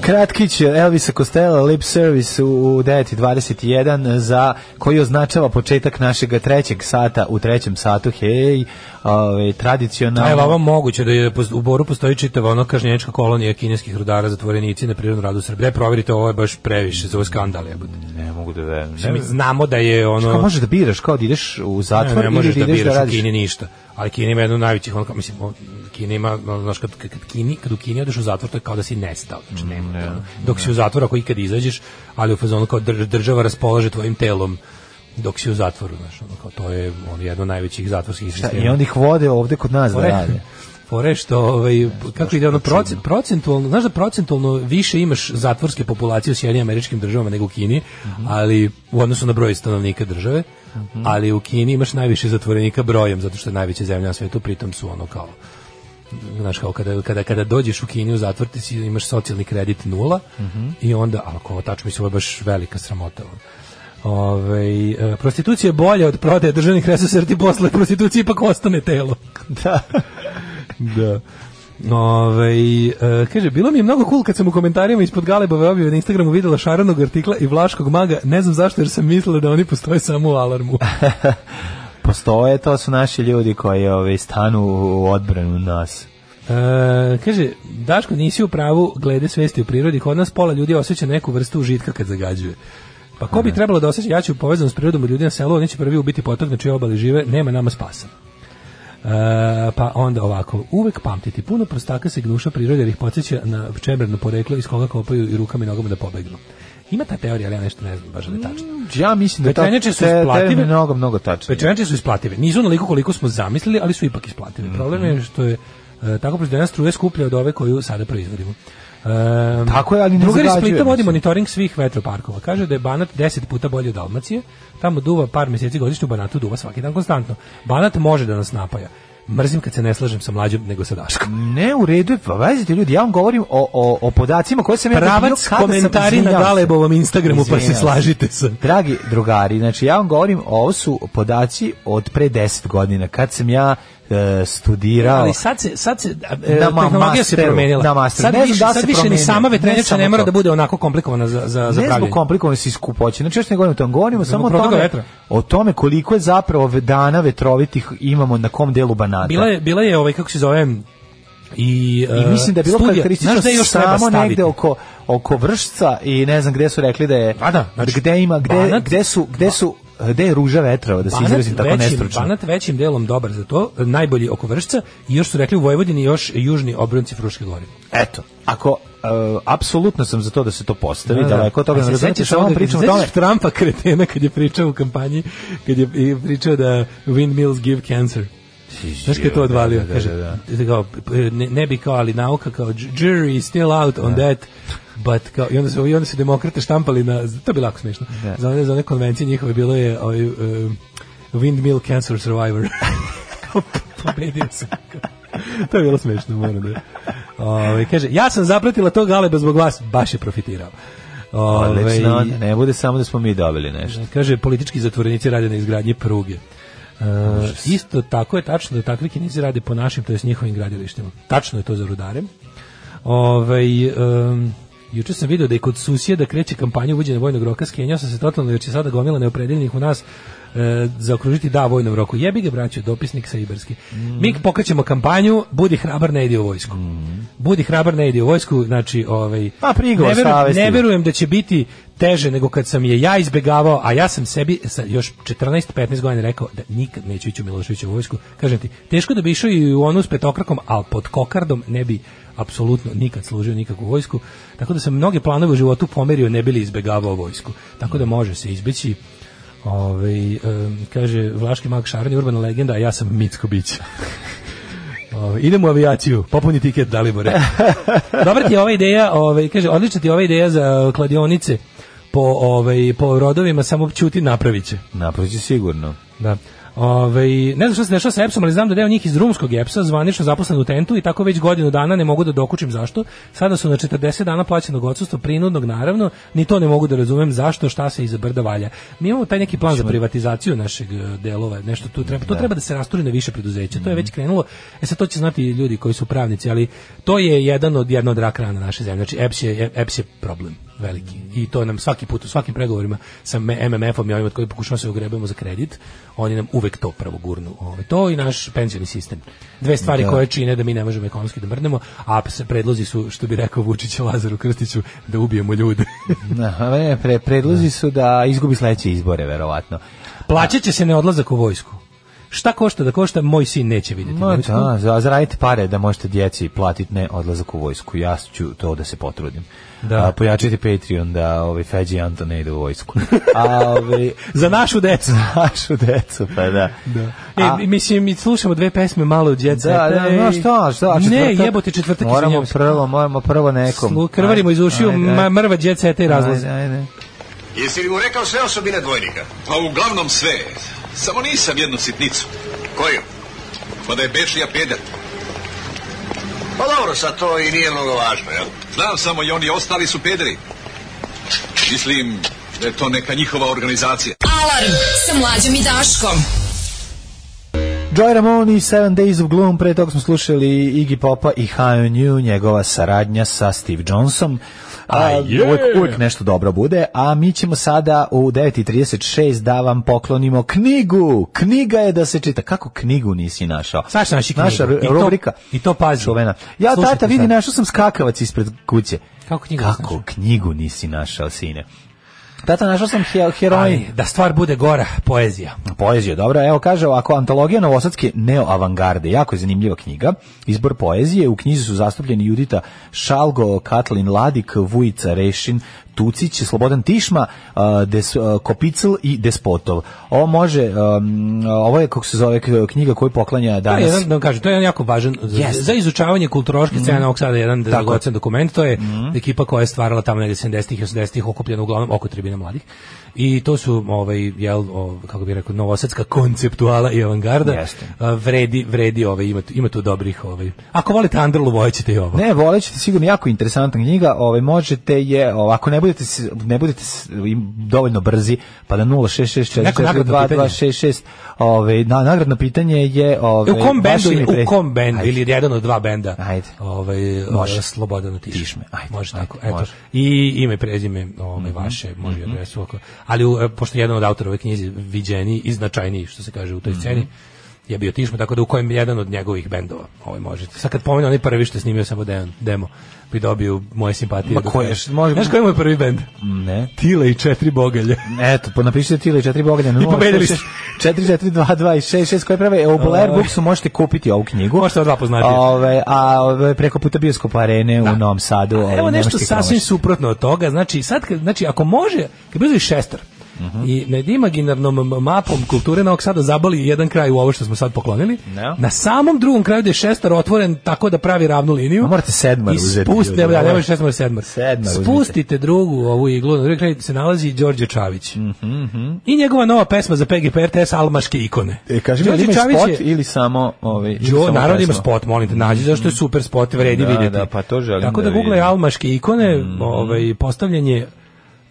F: Kratkić Elvisa Costello Lip Service u u 9.21 za koji označava početak našeg trećeg sata u trećem satu hej ovaj,
G: A evo, ovo
F: tradicionalno
G: moguće da je poz- u Boru postoji čitava ono kažnjenička kolonija kineskih rudara, zatvorenici na prirodnom radu Srbije. Daj, Proverite, ovo je baš previše, za ovo je skandal, jebote.
F: ne mogu da verujem
G: Mi znamo da je ono...
F: Kao možeš da biraš, kao da ideš u
G: Ne,
F: zatvor
G: ne, možeš
F: ili
G: da
F: da ideš da,
G: biraš u
F: radiš.
G: Kini ništa. Ali Kina ima jednu od najvećih, ono, kao, mislim, o, Kina ima, ono, znaš, kad, kad, kad, Kini, kad u Kini odeš u zatvor, to je kao da si nestao. Znači,
F: Mm,
G: nema, to, ono. dok si u zatvoru, ako ikad izađeš, ali u fazonu kao dr- država raspolaže tvojim telom dok si u zatvoru, znaš, ono, kao, to je ono, jedno od najvećih zatvorskih
F: Šta,
G: sistema.
F: I onda ih vode ovde kod nas da
G: Fore-
F: rade.
G: Fore što, ovaj, kako ide ono, procen, procentualno, znaš da procentualno više imaš zatvorske populacije u Sjedinim američkim državama nego u Kini, ali u odnosu na broj stanovnika države, ali u Kini imaš najviše zatvorenika brojem, zato što je najveća zemlja na svetu, pritom su ono kao znaš kao kada, kada, kada dođeš u Kini u zatvor ti si- imaš socijalni kredit nula i onda, ali kao tačno mi se ovo je baš velika sramota ono. Ove, e, prostitucija je bolja od prodaje državnih resursa jer ti posle prostitucije ipak ostane telo
F: Da. da.
G: Ove, Ovaj, e, kaže, bilo mi je mnogo cool kad sam u komentarima ispod Galebove objave na Instagramu videla šaranog artikla i vlaškog maga, ne znam zašto jer sam mislila da oni postoje samo u alarmu.
F: Postoje, to su naši ljudi koji ovaj, stanu u odbranu nas.
G: E, kaže, Daško, nisi u pravu glede svesti u prirodi, kod nas pola ljudi osjeća neku vrstu užitka kad zagađuje. Pa ko bi trebalo da osjeća, ja ću povezan s prirodom od ljudi na selu, oni će prvi ubiti potok na čijoj obali žive, nema nama spasa. E, pa onda ovako, uvek pamtiti, puno prostaka se gnuša prirode jer ih podsjeća na čemerno poreklo iz koga kopaju i rukama i nogama da pobegnu. Ima ta teorija, ali ja nešto ne znam, baš da je tačno.
F: Ja mislim da
G: Pečenjače su isplative.
F: termin mnogo, mnogo tačno.
G: Pečenjače su isplative. Nisu onoliko koliko smo zamislili, ali su ipak isplative. Problem je što je e, tako proizvedena struja skuplja od ove koju sada proizvodimo. Um,
F: Tako je, ali ne
G: Drugari
F: zagađuje,
G: Splita vodi
F: mislim.
G: monitoring svih vetroparkova. Kaže da je Banat 10 puta bolji od Dalmacije. Tamo duva par mjeseci godišnje, u Banatu duva svaki dan konstantno. Banat može da nas napaja. Mrzim kad se ne slažem sa mlađom nego sa Daškom.
F: Ne u redu, je, pa vezite ljudi, ja vam govorim o, o, o podacima koje sam ja dobio
G: Pravac
F: kada sam-
G: komentari na
F: izvinjavam se.
G: Galebovom Instagramu pa se
F: Izvinjavam
G: slažite sa.
F: Dragi drugari, znači ja vam govorim, ovo su podaci od pre 10 godina, kad sam ja e, studirao.
G: Ali sad se sad se e,
F: Na ma-
G: tehnologija se
F: masteru,
G: promenila.
F: na masteru.
G: Sad
F: Ne znam
G: više,
F: da li
G: sad
F: se
G: više ni
F: promenila.
G: sama
F: Ne
G: vetrenička
F: samo
G: ne mora
F: to.
G: da bude onako komplikovana za za za
F: ne zbog
G: pravljenje.
F: komplikovanosti i skupoće, znači još ne govorim o tom, govorimo
G: Zbog
F: samo o
G: protoka
F: tome,
G: vetra.
F: o tome koliko je zapravo ve- dana vetrovitih imamo na kom delu banata.
G: Bila je bila je ovaj kako se zove i,
F: I
G: e,
F: mislim da je bilo
G: studija.
F: karakteristično
G: Znaš gde još treba
F: samo
G: staviti?
F: negde oko oko vršca i ne znam gde su rekli da je
G: A da, znači,
F: gde ima gde
G: Banat-
F: gde su gde su gde je ruža vetrova da se
G: Banat
F: izrazim tako
G: većim-
F: nestručno.
G: Banat većim delom dobar za to, e, najbolji oko vršca i još su rekli u Vojvodini još južni obronci Fruške gore.
F: Eto, ako e, apsolutno sam za to da se to postavi,
G: Da, da.
F: daleko od toga
G: A
F: ne
G: se
F: razumete,
G: sećaš
F: samo
G: ovoga-
F: vam pričam o
G: se
F: tome.
G: sećaš Trumpa kretena kad je pričao u kampanji, kad je i pričao da windmills give cancer. Znaš kada je to odvalio?
F: Da, da,
G: Kaže,
F: da, da.
G: kao, ne, ne bi kao, ali nauka kao, jury is still out on that, but kao, i onda su, i onda su demokrate štampali na, to bi lako smiješno, za, one, za one konvencije njihove bilo je ovaj, um, windmill cancer survivor. Kao, Pobedio sam. to je bilo smiješno, moram da. Ovaj, kaže, ja sam zapratila to galeba zbog vas, baš je profitirao. Ovaj,
F: Odlično, ne bude samo da smo mi dobili nešto.
G: Kaže, politički zatvorenici rade na izgradnji pruge. E, isto tako je tačno da takvi kinezi rade po našim, to je s njihovim gradilištima. Tačno je to za rudare. Ovaj, em, juče sam video da je kod susjeda kreće kampanja uvođenja vojnog roka, skenjao sam se totalno jer će sada gomila neopredeljenih u nas e, zaokružiti da vojnom roku. Jebi ga braćo, dopisnik sa Iberski. Mi pokrećemo kampanju, budi hrabar, ne ide u vojsku. Budi hrabar, ne ide u vojsku, znači, ovaj,
F: Pa, prigovor
G: ne verujem-
F: savesti.
G: ne verujem verujem da će biti teže nego kad sam je ja izbegavao, a ja sam sebi sa još 14-15 godina rekao da nikad neću ići u Miloševiću vojsku. Kažem ti, teško da bi išao i u onu s petokrakom, ali pod kokardom ne bi apsolutno nikad služio nikakvu vojsku. Tako da sam mnoge planove u životu pomerio, ne bi li izbegavao vojsku. Tako da može se izbeći. Ove, kaže, Vlaški mag Šaran je urbana legenda, a ja sam Micko Bić. Ovaj, idem u avijaciju, popuni tiket Dalibore. Dobra ti je ova ideja, ovaj, kaže, odlična ti je ova ideja za e, kladionice po, ovaj, po rodovima, samo ćuti napravit će.
F: Naproći sigurno.
G: Da. Ovaj, ne znam što se dešava sa EPS-om, ali znam da deo njih iz rumskog EPS-a zvanično zaposlen u tentu i tako već godinu dana ne mogu da dokučim zašto. Sada su na 40 dana plaćenog odsustva, prinudnog naravno, ni to ne mogu da razumem zašto, šta se iza brda valja. Mi imamo taj neki plan za privatizaciju našeg e, delova, nešto tu treba, to treba da se rasturi na više preduzeća, to je već krenulo, e sad to će znati ljudi koji su pravnici, ali to je jedan od, jedna od rak rana naše zemlje, znači EPS je, EPS je problem veliki. I to nam svaki put u svakim pregovorima sa M- MMF-om i ovim od kojih pokušavamo se ogrebemo za kredit, oni nam uvek to pravo gurnu. Ovaj, to i naš penzioni sistem. Dve stvari koje čine da mi ne možemo ekonomski da mrnemo, a se predlozi su, što bi rekao Vučić i Lazaru Krstiću, da ubijemo ljude.
F: Na, ne, pre, predlozi su da izgubi sledeće izbore, verovatno.
G: Plaćat će se ne odlazak u vojsku. Šta košta da košta, moj sin neće vidjeti
F: No,
G: vojsku.
F: da, za- zaradite pare da možete djeci platiti ne odlazak u vojsku. Ja ću to da se potrudim.
G: Da.
F: A, pojačajte Patreon da ovaj, Feđi i Anto ne ide u vojsku. A, ovaj,
G: Za našu decu.
F: našu decu, pa da. A-
G: E, mislim, mi slušamo dve pesme malo od djeca.
F: Da, da, no šta, šta,
G: Ne,
F: četvrtak-
G: jebote, četvrtak izvinjavam
F: Moramo
G: se.
F: prvo, moramo prvo nekom.
G: Slu, krvarimo iz ušiju,
F: Ajde,
G: ma-
F: ajde.
G: mrva djeca i razlozi.
F: Ajde, ajde.
K: Jesi li mu rekao sve osobine dvojnika?
B: Pa uglavnom sve. Samo nisam jednu sitnicu.
K: Koju?
B: Pa da je Bečija peder.
K: Pa dobro, sad to i nije mnogo važno, jel?
B: Znam samo i oni ostali su pederi. Mislim da je to neka njihova organizacija.
I: Alarm sa mlađom i Daškom.
F: Joy Ramone i Seven Days of Gloom, pre toga smo slušali Iggy Popa i High on You, njegova saradnja sa Steve Johnson. A, uvek, uvek nešto dobro bude, a mi ćemo sada u 9.36 da vam poklonimo knjigu. Knjiga je da se čita. Kako knjigu nisi našao?
G: Saša naši knjigu.
F: Naša
G: I to-
F: rubrika.
G: i to pazi.
F: Čuvena. Ja,
G: Slušajte
F: tata, vidi,
G: sad.
F: našao sam skakavac ispred kuće.
G: Kako knjigu nisi
F: Kako
G: našao?
F: knjigu nisi našao, sine? Tata, našao sam he- heroin.
G: Ali, da stvar bude gora, poezija.
F: Poezija, dobro. Evo kaže ovako, antologija novosadske neoavangarde, jako je zanimljiva knjiga. Izbor poezije, u knjizi su zastupljeni Judita Šalgo, Katlin Ladik, Vujica Rešin, Tucić, Slobodan Tišma, a, Des, a, Kopicl i Despotov. Ovo može, um, ovo je, kako se zove, k- knjiga koju poklanja
G: To je
F: danas.
G: jedan, da vam kažem, to je jedan jako važan za-
F: Jeste. Mm.
G: za izučavanje kulturološke scene Novog Sada, jedan
F: Tako je. Mm.
G: dragocen dokument, to je ekipa koja je stvarala tamo negde 70-ih i 80-ih okupljena uglavnom oko tribine mladih. I to su ovaj jel o, kako bih rekao novosadska konceptuala i avangarda.
F: Jeste.
G: A, vredi vredi ovaj ima tu, ima tu dobrih ovaj. Ako volite Andrlu vojećete i ovo.
F: Ne, volet ćete sigurno jako interesantna knjiga. Ovaj možete je, o, ako ne budete s- ne budete s- im dovoljno brzi, pa na
G: Neko nagradno
F: 066422266, ovaj na nagradno pitanje je ovaj
G: E, u kom
F: vaše
G: bendu,
F: ime i pre-
G: u kom bendu
F: Ajde.
G: ili jedan od dva benda.
F: Ajde.
G: Ovaj
F: Može.
G: može Slobodan Tišme.
F: Tišme, ajde,
G: Može
F: ajde,
G: tako. Eto.
F: može. Mhm,
G: I ime i prezime ovaj vaše, može i adresu ako. Ali u, e, pošto je jedan od autora ove knjizi viđeni i značajniji što se kaže u toj
F: Mhm.
G: sceni je bio Tišme, tako da u kojem jedan od njegovih bendova ovaj možete. Sad kad pomenu onaj prvi što je snimio samo demo, demo bi dobio moje simpatije.
F: Ma
G: do
F: koje
G: kraja.
F: š- može-
G: Znaš koji je moj prvi bend?
F: Ne.
G: Tile i četiri bogalje.
F: Eto, pa napišite ti ili četiri bogalja na
G: I pobedili ste. Ovaj.
F: 4422 koje prave u Blair Booksu možete kupiti ovu knjigu.
G: Možete ova dva poznatije.
F: Ove, a ove, preko puta bioskopa arene u Novom Sadu. ovaj,
G: Evo
F: ne
G: nešto
F: možete ih
G: sasvim
F: promašiti.
G: suprotno od toga. Znači, sad, kad- znači ako može, kad bi uzeli šestar, i nad imaginarnom m- mapom kulture Novog Sada zabali jedan kraj u ovo što smo sad poklonili.
F: Ne.
G: Na samom drugom kraju gdje je šestar otvoren tako da pravi ravnu liniju.
F: Ma morate sedmar
G: I
F: uzeti,
G: spustite,
F: ljudi,
G: da,
F: ovo je-
G: nemoj šestar, sedmar.
F: Sedmar uzmite.
G: Spustite drugu ovu iglu, na drugi kraj se nalazi Đorđe Čavić.
F: Mhm,
G: I njegova nova pesma za PGP RTS Almaške ikone.
F: E, kaži mi, ali
G: Đorđe
F: ima i
G: Čavić
F: spot
G: je-
F: ili samo... Ovaj, ili
G: Jo,
F: samo
G: narod ima
F: pesma?
G: spot, molim te, nađi zašto je super spot, vredi
F: Da,
G: vidjeti.
F: da, pa to želim
G: Tako
F: da
G: da, google
F: vidim. Mhm.
G: almaške ikone, ovaj, postavljen je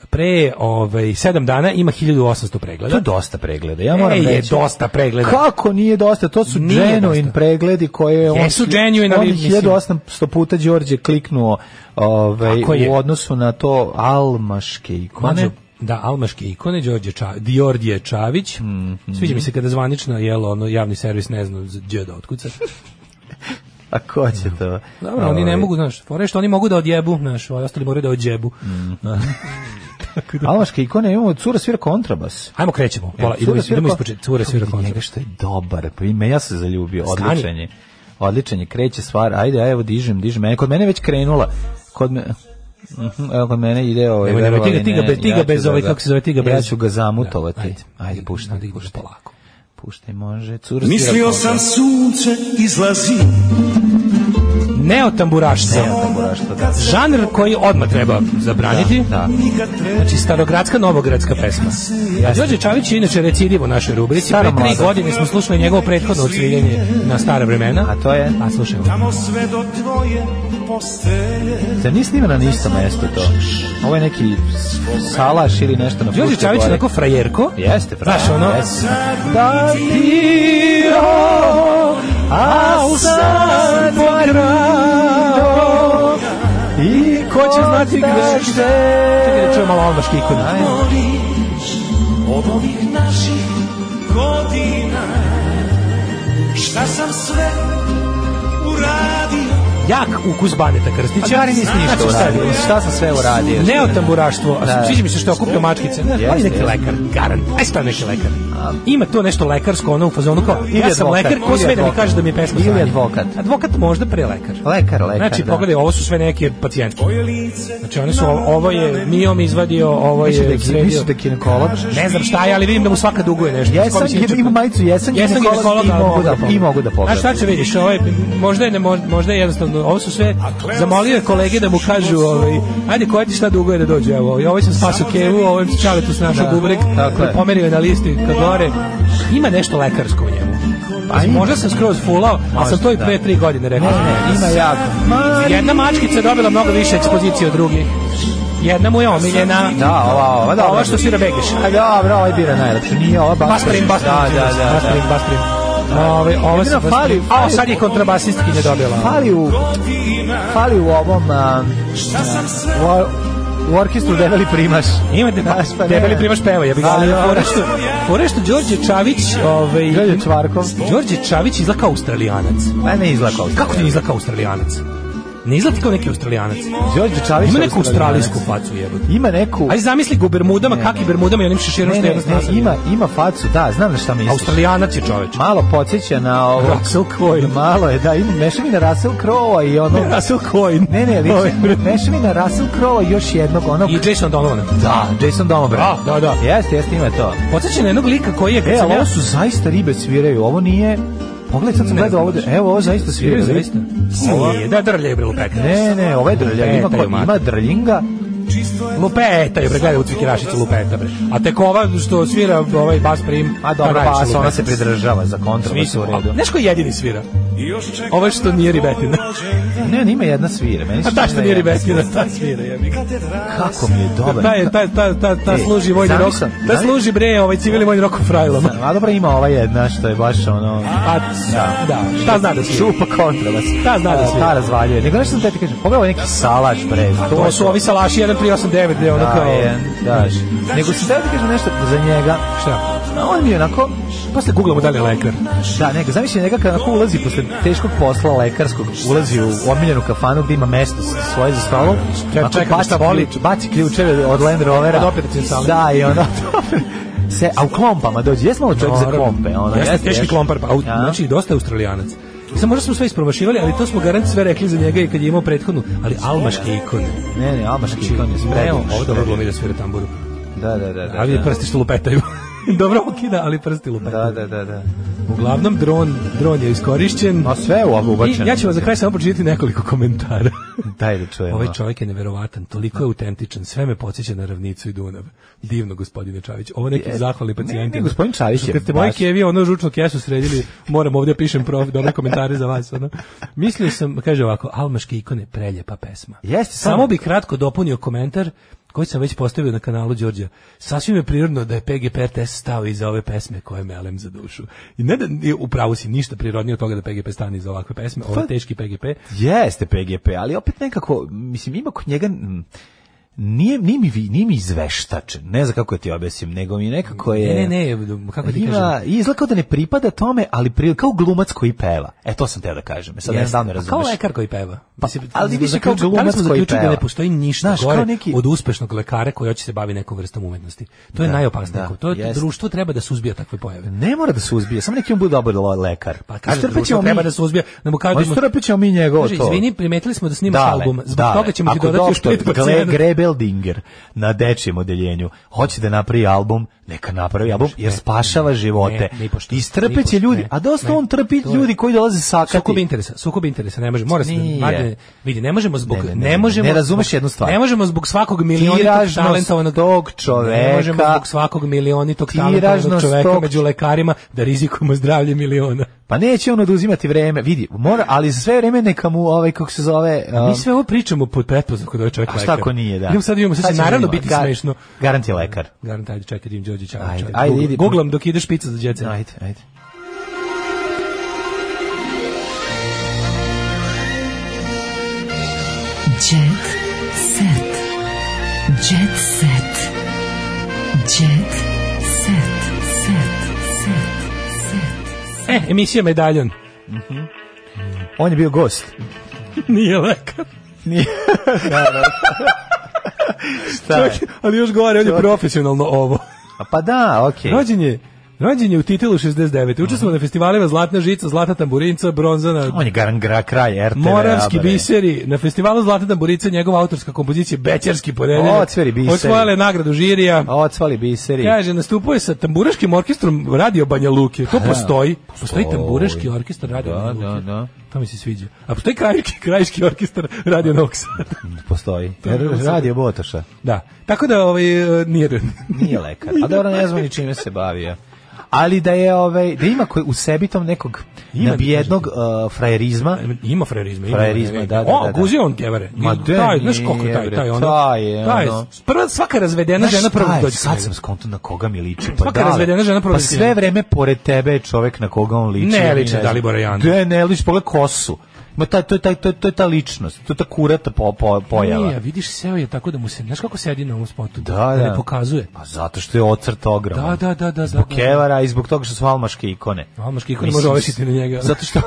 G: pre ovaj, sedam dana, ima 1800 pregleda.
F: To je dosta pregleda, ja moram
G: Ej,
F: reći.
G: E, je dosta pregleda.
F: Kako nije dosta? To su
G: Nije
F: genuine
G: dosta.
F: pregledi koje je on...
G: Jesu genuine, ali
F: on
G: mislim-
F: 1800 puta Đorđe kliknuo ovaj,
G: Tako je.
F: u odnosu na to almaške ikone.
G: Mlađo, Da, almaške ikone, Đorđe Ča, Diordije Čavić.
F: Mhm.
G: Sviđa mi se kada zvanično, jel, ono, javni servis ne zna za gdje da otkuca.
F: A ko će to?
G: Dobro, oni ne
F: Ovaj,
G: mogu, znaš, fore što oni mogu da odjebu, znaš, ovi ostali moraju da odjebu.
F: Mhm. Almaške ikone, imamo cura svira kontrabas.
G: Ajmo krećemo, Pola,
F: Cura
G: idemo, iz-
F: svira
G: idemo
F: kon-
G: ispočeti, cure
F: Kako
G: svira
F: vidi
G: koncert.
F: Njega što je dobar, pa ime, ja se zaljubio,
G: Stani.
F: odličan je. Odličan je, kreće stvar, ajde, ajde, evo dižem, dižem, mene, kod mene je već krenula, kod me... Mhm, Evo kod mene ide ovaj
G: Nemoj, nemoj,
F: verovali
G: ti ga- ti ga
F: ne,
G: bez- ti
F: ja
G: ga
F: ću
G: bez
F: da
G: ovaj,
F: ga-
G: kako se zove, ti ga
F: Ja
G: bez-
F: ću ga zamutovati.
G: Da, ajde.
F: ajde, puštaj,
G: Ajde,
F: puštaj.
G: polako.
F: Puštaj, može. Cura
L: Mislio sam sunce izlazi
G: Neotamburašca.
F: da.
G: Žanr koji odmah treba zabraniti.
F: Da.
L: nikad treba
G: Znači, starogradska, novogradska pesma. A Đorđe Čavić je inače recidiv u našoj rubrici. Pre
F: Staromladan.
G: tri godine smo slušali njegovo prethodno odsviljenje na stara vremena.
F: A to je?
G: A slušajmo.
L: tamo sve do tvoje postelje
F: Zar nije snimano na istom mestu to? Ovo je neki s- salaš ili nešto na
G: Đorđe
F: Fruškoj
G: Čavić je
F: gori.
G: onako frajerko.
F: Jeste, pravo.
G: Znaš, ono-
F: jeste. Da ti o, a u sad moj rado, i ko će znati gde
G: Čekaj da
F: će
G: čujem malo ono Alma Škikuna.
L: moriš od ovih naših godina Šta sam sve uradio
G: Jak ukus Baneta Krstića.
F: Čari nisi
G: Znači,
F: ništa
G: šta je
F: uradio.
G: bilo?
F: Šta sam sve uradio?
G: Neotamburaštvo,
F: Da.
G: a sviđa mi se što je okupio mačkice. On je neki lekar, garan. Aj stav neki lekar. Ima to nešto lekarsko, ono u fazonu kao,
F: Ili
G: ja sam
F: advokat,
G: lekar, ko
F: ili
G: sme da mi
F: advokat.
G: kaže da mi je pesma
F: Ili
G: sranje?
F: advokat.
G: Advokat možda pre lekar.
F: Lekar, lekar,
G: Znači,
F: da.
G: pogledaj, ovo su sve neke pacijentke.
L: Tvoje lice
G: Znači, one su, ovo je Mijom izvadio, ovo
F: Mislim da
G: je
F: je-
G: sredio.
F: mislim da je ginekolog.
G: Ne znam šta je, ali vidim da mu svaka duguje nešto.
F: Jesam,
G: Mislim,
F: jer ima majicu, jesam ginekolog i
G: ali
F: mogu da- i mogu da pogledam.
G: Znaš šta će vidiš, ovo je, možda je, ne, mož- možda je jednostavno, ovo su sve, zamolio je kolege da mu kažu, ovaj, ajde, koja ti šta duguje da dođe, evo, ovaj, ovaj sam spaso kevu, ovaj sam čaletu s našo
F: Da,
G: bubreg,
F: tako je.
G: pomerio je na listi ka gore. Ima nešto lekarsko u njemu.
F: A Pa ima.
G: možda sam skroz fulao, ali sam to i
F: Možda,
G: pre
F: da.
G: tri godine rekao.
F: Ne, ne, ima jako.
G: Jedna mačkica je dobila mnogo više ekspozicije od drugih. Jedna mu je omiljena.
F: Da, ova, ova, dobro.
G: Ova što svira Begeš.
F: A dobro, ovaj bira najlepše. Nije ova baš.
G: Pa, Basprim, basprim.
F: Da, da, da.
G: Basprim,
F: da.
G: basprim. Ove, ova se
F: Jedino fali-
G: A, sad je kontrabasistki ne dobila. ono.
F: Fali u,
L: godina
F: fali u ovom... a, u, o- u orkestru debeli primaš.
G: Ima de,
F: Znaš, pa ne.
G: debeli primaš peva, ja bih
F: Da,
G: ali
F: da.
G: fore što, fore što Đorđe Čavić, ovaj,
F: Đorđe Čvarkov.
G: Đorđe Čavić izlaka australijanac.
F: Ma ne izlako.
G: Kako ti izlaka australijanac? Ne izgleda kao neki australijanac.
F: Đorđe Čavić
G: Ima
F: Australijanac.
G: neku australijsku facu jebote.
F: Ima neku...
G: Aj zamisli ga u Bermudama,
F: Ne,
G: kakvi
F: ne.
G: Bermudama i onim šeširom
F: Ne,
G: što
F: ne,
G: je
F: ne, ima, ima facu, da, znam na šta misliš.
G: Australijanac je čoveč.
F: Malo podsjeća na ovo...
G: Russell Coin.
F: Malo je, da, ima, meša mi na Russell Crowe-a i ono...
G: Russell Coin.
F: Ne,
G: Ovaj,
F: ne, liči, meša mi na Russell Crowe-a i još jednog onog...
G: I Jason Donovan.
F: Da, Jason Domobran.
G: Da, da, da.
F: Jeste, jeste, ima to.
G: Podseća na jednog lika koji je kad
F: E,
G: sam
F: ali
G: ja-
F: ovo su zaista ribe sviraju, ovo nije... Pogledaj, sad sam
G: Ne
F: gledao
G: znam
F: ovde,
G: baš.
F: evo ovo zaista sviraju.
G: Sviraju zaista?
F: Ova-
G: Nije, da drlje bre lupeta.
F: Ne, ne, ovo je drlja, ima, ko- ima drljinga,
G: Lupeta je bre, gledaj u cvikirašicu lupeta bre. A tek ova što svira ovaj bas prim,
F: a dobro,
G: najviše
F: bas, ona
G: lupeta.
F: se pridržava za kontrabasu u
G: Mislim,
F: redu.
G: a- Znaš ko jedini svira?
L: Još čekam
G: Ovo što nije ribetina.
F: Ne, on ima jedna svira, meni
G: A
F: se
G: ta
F: čini
G: što
F: da
G: nije
F: je-
G: ribetina, ta svira jebi ga.
F: Kako mi je dobar.
G: Ta je, ta, ta, ta, ta
F: E,
G: služi vojni rok.
F: zamislim,
G: Ta
F: zamislim.
G: služi bre, ovaj civilni vojni rok u frajlama.
F: A dobro ima ova jedna što je baš ono...
G: A, da, ta zna da svira.
F: Šupa kontrabas.
G: Ta zna da
F: A,
G: svira.
F: Ta razvaljuje. Nego nešto sam te ti kažem, pogledaj ovaj neki salaš, bre.
G: To su ovi salaši 1389 gde ono
F: Da,
G: kao...
F: je, daš. Nego se da ti kažem nešto za njega.
G: Šta?
F: A On mi je onako,
G: Posle googlamo da li je lekar.
F: Da, nego, zamisli njega kad onako ulazi posle teškog posla lekarskog, ulazi u omiljenu kafanu gdje ima mesto s- svoje za stolom,
G: Čekam,
F: onako
G: čekam
F: baci
G: šta voli.
F: ključ- baci ključeve od Land Rovera.
G: Od operacione sale.
F: Da, i onda se, a u klompama dođe, jesmo li čovjek za
G: Naravno.
F: klompe? Ono,
G: Jeste,
F: jeste,
G: teški
F: jeste.
G: klompar, pa, au-
F: A?
G: znači dosta je australijanac. Samo možda smo sve ispromašivali, ali to smo garant sve rekli za njega i kad je imao prethodnu, ali almaške ikone.
F: Ne, ne, Almaš Kikon Znači, je
G: Ne,
F: spremio.
G: ovo dobro glumi da svira tamburu.
F: Da, da, da. da,
G: Ali
F: da.
G: prsti što lupetaju. Dobro okida, ali prsti lupetaju.
F: Da, da, da, da.
G: Uglavnom, dron, dron je iskorišćen.
F: A sve je u ovo
G: I
F: ubačeno.
G: ja ću vam za kraj samo pročitati nekoliko komentara.
F: Daj da čujemo.
G: Ovaj čovjek je neverovatan, toliko je autentičan, sve me podsjeća na Ravnicu i Dunav. Divno, gospodine Čavić. Ovo neki
F: Je.
G: zahvali pacijenti.
F: Ne, ne, gospodin Čavić je
G: Kad ste moje
F: baš-
G: kevi, ono žučnu kesu sredili, moram ovdje pišem prof, dobre komentare za vas. Ono. Mislio sam, kaže ovako, Almaške ikone, preljepa pesma.
F: Jeste, samo-
G: Samo bi kratko dopunio komentar koji sam već postavio na kanalu Đorđa. Sasvim je prirodno da je PGP RTS stao iza ove pesme koje melem za dušu. I ne da, upravo si ništa prirodnije od toga da PGP stane iza ovakve pesme, ovo je
F: Pa-
G: teški PGP.
F: Jeste PGP, ali opet nekako, mislim, ima kod njega... mm, Nije, nije, mi, vi- nije mi izveštačen, ne znam kako ti objasnim, nego mi nekako je...
G: Ne, ne, ne, kako ti kažem?
F: Ima, izgleda kao da ne pripada tome, ali pri, kao glumac koji peva. E, to sam teo da kažem. Sad ne
G: Jeste.
F: znam, ne
G: Pa
F: razumeš.
G: Kao lekar koji peva.
F: Pa,
G: Mislim,
F: ali
G: smo
F: više kao
G: zaključili-
F: glumac
G: da li smo
F: koji
G: zaključili da ne
F: peva.
G: postoji ništa
F: Znaš,
G: gore
F: kao neki-
G: od uspešnog lekara koji hoće se bavi nekom vrstom umetnosti. To je
F: Da,
G: najopasnije.
F: da,
G: to je,
F: jeste.
G: društvo treba da suzbija takve pojave.
F: Ne mora da se uzbije, samo neki on bude dobar lo- lekar.
G: Pa kaže,
F: Istrpet
G: društvo
F: ćemo mi- Pa
G: treba da se uzbija, da mu kažemo-
F: Ma, istrpet ćemo mi njegovo
G: Kaže,
F: to.
G: izvini, primetili smo da snimaš album, zbog toga ćemo ti
F: Ako
G: dodati još
F: doktor
G: pet
F: Gle-
G: pacijenata.
F: Grebeldinger na dečijem odeljenju hoće da napravi album, neka napravi album, jer spašava živote.
G: ne, nipošto,
F: Istrpet
G: nipošto,
F: će ljudi,
G: ne,
F: a dosta
G: ne,
F: on trpi
G: to je-
F: ljudi koji dolaze sakati.
G: Sukob interesa, sukob interesa ne može, mora se
F: Nije.
G: Mladen, vidi, ne možemo zbog
F: Ne,
G: ne,
F: ne, ne,
G: možemo
F: ne razumeš
G: zbog-
F: jednu stvar.
G: Ne možemo zbog svakog milionitog
F: Tiražnost
G: talentovanog
F: tog
G: Ne
F: čoveka.
G: možemo zbog svakog milionitog talentovanog
F: Tiražnost
G: čoveka
F: tog-
G: među lekarima da rizikujemo zdravlje miliona.
F: Pa neće on oduzimati vreme, vidi, mora, ali za sve vreme neka mu ovaj kako se zove,
G: A Mi
F: um,
G: sve ovo pričamo pod pretpostavkom da je čovjek
F: a šta
G: lekar.
F: ako nije, da.
G: Idemo sad imamo, sad će
F: ćemo
G: naravno
F: vidjeti.
G: biti
F: Gar-
G: smešno.
F: Garant je lekar.
G: Garant, ajde, čekaj, Dim Đorđe Čavić.
F: Ajde,
G: Ajde,
F: ajde,
G: Google-
F: idi.
G: Googlam dok ide špica za djece.
F: Ajde, ajde.
I: Jet set. Jet set. Jet set. Set. Set.
G: E, emisija Medaljon.
F: On je bio gost.
G: Nije lekar.
F: Šta je?
G: Čovjek- ali još gore, on je profesionalno ovo.
F: A pa da, okej.
G: Rođen je Rođen je u titelu 69. Učestvovao na festivalima Zlatna žica, Zlata tamburinca, Bronza na
F: On je garan gra kraj RTV.
G: Moravski
F: a, bre.
G: biseri. Na festivalu Zlata tamburica njegova autorska kompozicija Bećarski ponedeljak.
F: Ocveri biseri.
G: Osvojila je nagradu žirija.
F: A Ocvali biseri.
G: Kaže, nastupao je sa tamburaškim orkestrom Radio Banja Luke. To postoji. Postoji tamburaški orkestar Radio
F: Da,
G: Banja Luke.
F: da, da.
G: To mi se sviđa. A postoji krajiški, krajiški orkestar Radio Novog Sada.
F: Postoji.
G: To je bilo
F: Radio Botoša.
G: Da. Tako da, ovaj, e, nije
F: Nije lekar. A dobro, ne znam ni čime se bavio. Ali da je ovaj da ima koji u sebi tom nekog
G: Ima,
F: nabijednog uh, frajerizma.
G: Ima frajerizma, ima
F: Frajerizma, da, da,
G: O,
F: da, da.
G: guzio on kevare.
F: Ma
G: I
F: da
G: taj, znaš koliko
F: nije,
G: taj,
F: bre,
G: taj ono.
F: taj je, ono.
G: prva svaka razvedena
F: Znaš
G: žena
F: šta
G: prvo
F: je,
G: dođe.
F: Sad sam skonto na koga mi liči. Pa
G: Svaka
F: da,
G: razvedena žena prvo
F: Pa
G: liči
F: sve
G: njemu.
F: vreme pored tebe je čovek na koga on liči.
G: Ne
F: ja ni
G: liči
F: znam.
G: Dalibora Janda.
F: Da, ne liči, pogled kosu. Ma taj, to, je taj, to, je- to je ta ličnost, to je ta kurata po, po, pojava.
G: Nije, vidiš, seo je tako da mu se, znaš kako sedi na ovom spotu?
F: Da,
G: Da ne
F: da.
G: pokazuje.
F: Pa zato što je ocrt ogroman.
G: Da, da, da, da,
F: Zbog
G: da, da.
F: kevara i zbog toga što su almaške ikone.
G: Almaške ikone
F: Mislim,
G: može ovešiti na njega.
F: Zato Pa, što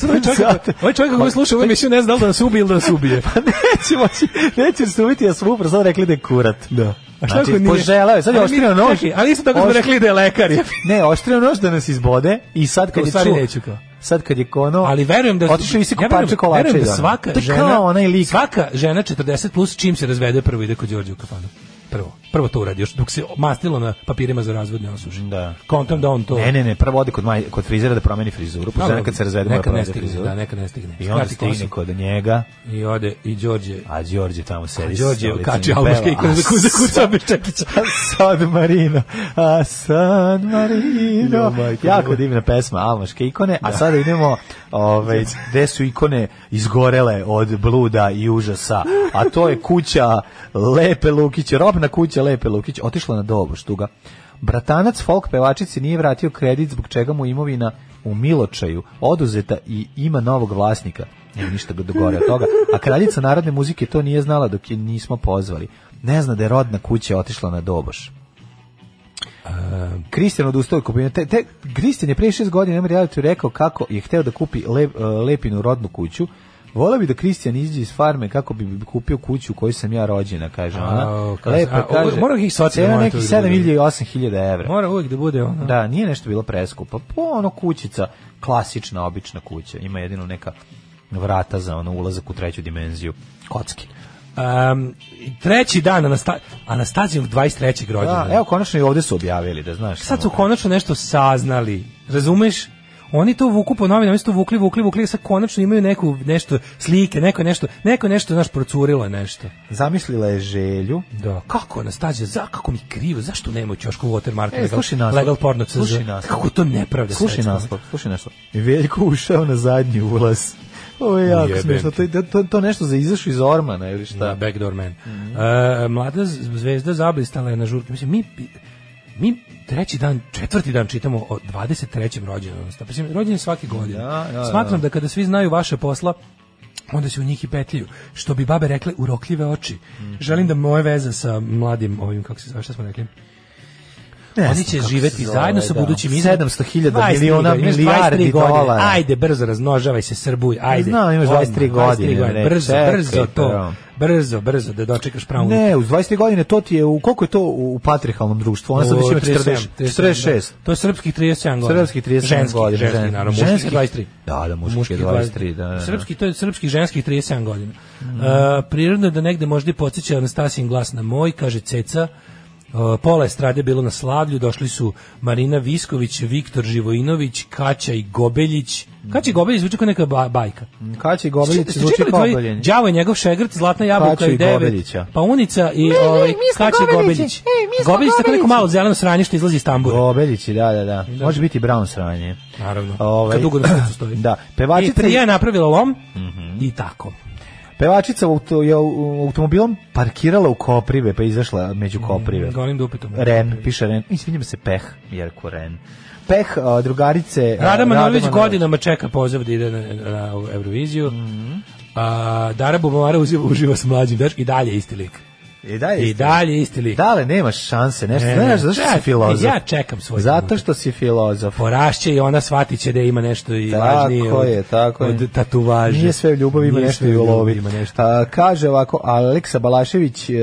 G: Sad ovaj čovjek, ovaj čovjek koji sluša ovu emisiju ne zna da li da nas ubije ili da nas ubije.
F: Pa neće moći, neće se ubiti, ja sam upravo sad rekli da je kurat.
G: Da. A šta
F: Znači,
G: ako nije?
F: poželeo je, sad je
G: Ali mi-
F: oštrio nož.
G: čekaj, ali isto tako smo
F: Oštri-
G: rekli da je lekar. je.
F: Ne, oštrio nož da nas izbode i sad
G: Kao,
F: kad je
G: u stvari
F: čuo...
G: neću kao.
F: Sad kad je kono...
G: Ali verujem da
F: Otišao i si
G: ja verujem-
F: kupače kolače.
G: verujem da
F: jedan.
G: svaka
F: to je
G: žena,
F: ono. kao onaj lik.
G: svaka žena 40 plus čim se razvede prvo ide kod Đorđe u kafanu. Prvo. Prvo to uradi još dok se mastilo na papirima za razvod ne osuži.
F: Da.
G: Kontam da on to
F: Ne, ne, ne, prvo ode kod, maj, kod frizera da promeni frizuru, pa
G: Dobro,
F: žena kad se razvede mora
G: nekad ne
F: promeni
G: stigne,
F: frizuru.
G: da, nekad ne stigne.
F: I onda
G: Skrati
F: stigne
G: kosu.
F: kod njega,
G: I ode i Đorđe.
F: a Đorđe tamo sedi.
G: A
F: sa
G: Đorđe
F: ulicom
G: kači
F: i peva.
G: albanske ikone za kuza kuca Bečekića.
F: A San Marino, a San Marino.
G: Jo, majko
F: jako
G: moja.
F: divna pesma, almaške ikone. A sada idemo, ovaj, gde su ikone izgorele od bluda i užasa. A to je kuća Lepe Lukić, robna kuća Lepe Lukić, otišla na dobu štuga. Bratanac folk pevačici nije vratio kredit zbog čega mu imovina u Miločaju oduzeta i ima novog vlasnika. Nema ništa dogore od toga. A kraljica narodne muzike to nije znala dok je nismo pozvali. Ne zna da je rodna kuća otišla na doboš. Kristijan odustao od kupovine. Te, te, Kristijan je prije šest godina na realitiju rekao kako je hteo da kupi le, e, Lepinu rodnu kuću. Vola bi da Kristijan iđe iz farme kako bi kupio kuću u kojoj sam ja rođena, kaže ona.
G: Au, kaže- a, ovo- mora ih socijalno
F: Cena
G: monitor
F: nekih
G: da bude.
F: 7.000 i 8.000 evra.
G: Mora uvijek da bude ono.
F: Da, nije nešto bilo preskupo. Po ono kućica, klasična, obična kuća. Ima jedino neka vrata za ono ulazak u treću dimenziju. Kocki.
G: Um, treći dan Anasta Anastazijom 23. rođena.
F: Da, evo, konačno i ovde su objavili, da znaš. ono,
G: Sad su
F: samo.
G: konačno nešto saznali. Razumeš? Oni to vuku po novinama, oni su to vukli, vukli, vukli, sad konačno imaju neku nešto slike, neko je nešto, neko je nešto, znaš, procurilo je nešto.
F: Zamislila je želju.
G: Da, kako Anastazija, za kako mi je krivo, zašto nema u ćošku Watermark
F: E,
G: legal,
F: slušaj naslov.
G: legal porno CZ?
F: Slušaj naslov.
G: Kako je to nepravda
F: Slušaj
G: svetska?
F: naslov, slušaj naslov. Veljko ušao na zadnji ulaz. Ovo je jako
G: Jebem
F: smiješno. To, je- to, to nešto za izašu iz ormana ili
G: Da,
F: šta.
G: Mm.
F: Mm-hmm.
G: backdoor man. E, mlada z- zvezda zablistala je na žurke. Mislim, mi, mi treći dan, četvrti dan čitamo o 23. rođenju. Mislim, rođen je svake godine.
F: Da, da, da.
G: Smatram da kada svi znaju vaše posla, onda se u njih i petljuju. Što bi babe rekle, urokljive oči.
F: Mhm.
G: Želim da moje veze sa mladim ovim, kako se zove, šta smo rekli?
F: Ne
G: Oni
F: znam
G: će
F: kako se
G: živeti
F: zove,
G: zajedno sa
F: da.
G: budućim izazovima.
F: 700.000
G: 23
F: miliona
G: godine, imaš 23
F: milijardi
G: godine.
F: dolara.
G: Ajde, brzo, razmnožavaj se, srbuj, ajde.
F: Znam, imaš
G: Odmah,
F: 23 godine, bre,
G: Brzo,
F: čekaj,
G: brzo
F: prvo.
G: to. Brzo, brzo, da dočekaš pravu
F: Ne, uz 20 godine to ti je, u, koliko je to u patrihalnom društvu? Ona sad već ima 40, 46.
G: To je srpskih 37 godina.
F: Srpskih 37
G: ženski,
F: godina,
G: Ženski,
F: žen-
G: naravno, muških
F: ženskih-
G: 23.
F: Da, da, muških
G: Muških
F: 23, da, Mhm. da, da.
G: Srpski, to je srpskih ženskih 37 godina. E, prirodno je da negde možda i podsjeća Anastasijin glas na moj, kaže Ceca. E, pola estrade je bilo na Slavlju, došli su Marina Visković, Viktor Živojinović, Kaća i Gobeljić. Kaća i Gobeljić zvuči kao neka ba- bajka.
F: Kaća i Gobeljić
G: Ste
F: zvuči
G: čitali
F: kao
G: tvoji
F: Gobeljić.
G: Đavo je njegov šegrt, zlatna jabuka
F: Kaću i
G: i devet.
F: Gobeljića.
G: Pa unica i ovaj Kači Gobeljić. Gobeljić tako neko malo zeleno sranje što izlazi iz tambura.
F: Gobeljići, da, da, da. Može biti brown sranje.
G: Naravno.
F: Ovaj-
G: Kad dugo na srcu stoji.
F: Da,
G: I
F: pevačica, Mhm.
G: prije je napravila lom i tako.
F: pevačica auto, je u- automobilom parkirala u Koprive, pa izašla
G: Mm,
F: među Koprive.
G: Golim dupetom.
F: Ren, piše Ren. Izvinjam se, Peh, Jerko Ren. Peh, a, drugarice... a,
G: Rada Manojlović
F: Manojlović.
G: godinama čeka poziv da ide na, na Euroviziju.
F: Mhm.
G: A Dara Bubamara uziva- uživa s mlađim daš i dalje isti lik.
F: I dalje,
G: I dalje isti lik.
F: Dale, nemaš šanse, nešto.
G: Ne, ne,
F: Znaš, zašto si
G: čekaj, e,
F: filozof?
G: ja čekam svoj
F: Zato
G: trenutak.
F: što si filozof.
G: porašće i ona shvatit će da ima nešto i
F: Tako
G: važnije od,
F: je, tako je.
G: od tatuvaže.
F: Nije sve u ljubavi, ima
G: Nije
F: nešto
G: sve
F: i u lovi.
G: ljubavi, ima nešto.
F: A, kaže ovako, Aleksa Balašević, e,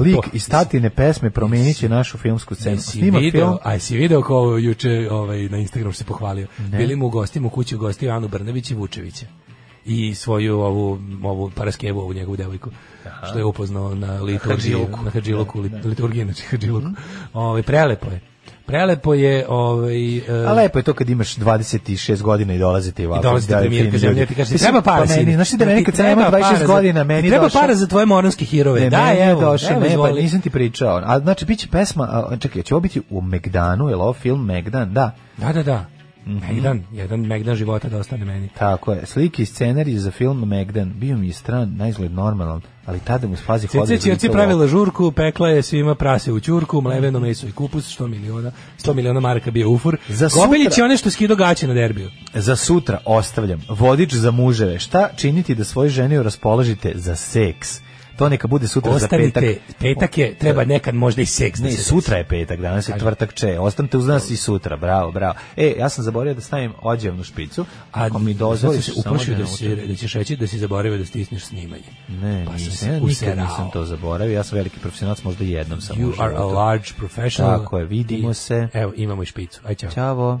F: lik
G: to.
F: iz tatine pesme promenit će našu filmsku scenu.
G: Jesi
F: Pa Snima
G: video,
F: film,
G: a jesi video ko juče ovaj, na Instagramu se pohvalio. Bili mu u gostima u kući gostio Anu Brnević i Vučevića i svoju ovu ovu paraskevu ovu njegovu devojku što je upoznao na liturgiji
F: Hadžiluku.
G: na hadžiluku lit- liturgiji znači hadžiluku
F: Mhm.
G: ovaj prelepo je prelepo je ovaj e,
F: A lepo je to kad imaš 26 godina i dolazi ti ovako.
G: I dolazi ti
F: da,
G: premijer,
F: fini
G: kaže,
F: ljudi.
G: ja ti kažem,
F: Mislim,
G: treba para,
F: pa meni,
G: sine.
F: Znaš ti da meni
G: Ti
F: kad sam imao
G: treba para
F: 26
G: za-
F: godina,
G: ti
F: meni
G: treba
F: došao-
G: para za tvoje moranske hirove.
F: Ne,
G: da,
F: meni je
G: evo,
F: došao,
G: evo,
F: ne, pa
G: izvoli.
F: nisam ti pričao. A znači, bit će pesma, a, čekaj, će ovo biti u Megdanu, je li ovo film Megdan? Da,
G: Da, da, da. Megdan, jedan Megdan života da ostane meni.
F: tako je. Slike i scenarij za film Megdan. Bio mi je stran, najizgled normalan, ali tada mu spazi hodili.
G: Cice Ćirci pravila žurku, pekla je svima prase u ćurku, mleveno meso i kupus, 100 miliona, 100 miliona maraka bio ufur.
F: Za
G: Gobelić
F: sutra-
G: je one što skido gaće na derbiju.
F: Za sutra ostavljam. Vodič za muževe. Šta činiti da svoj ženi raspoložite za seks? to neka bude sutra za
G: Ostanite,
F: petak.
G: petak je, treba nekad možda i seks da
F: Ne,
G: se desi.
F: sutra je petak, danas je tvrtak če. Ostanite uz nas i sutra, bravo, bravo. E, ja sam zaboravio da stavim ođevnu špicu. Ako mi dozvoliš,
G: Zato sam se
F: samo
G: uplašio da,
F: naučim.
G: si, da ćeš reći da si zaboravio da stisneš snimanje.
F: Ne,
G: Pa sam
F: nisam,
G: se
F: ja nikad
G: userao.
F: nisam to zaboravio. Ja sam veliki profesionalac, možda jednom sam u
G: You are a
F: životu.
G: large professional.
F: Tako je, vidimo
G: I-
F: se.
G: Evo, imamo i špicu. Aj, čao.
F: Ćavo.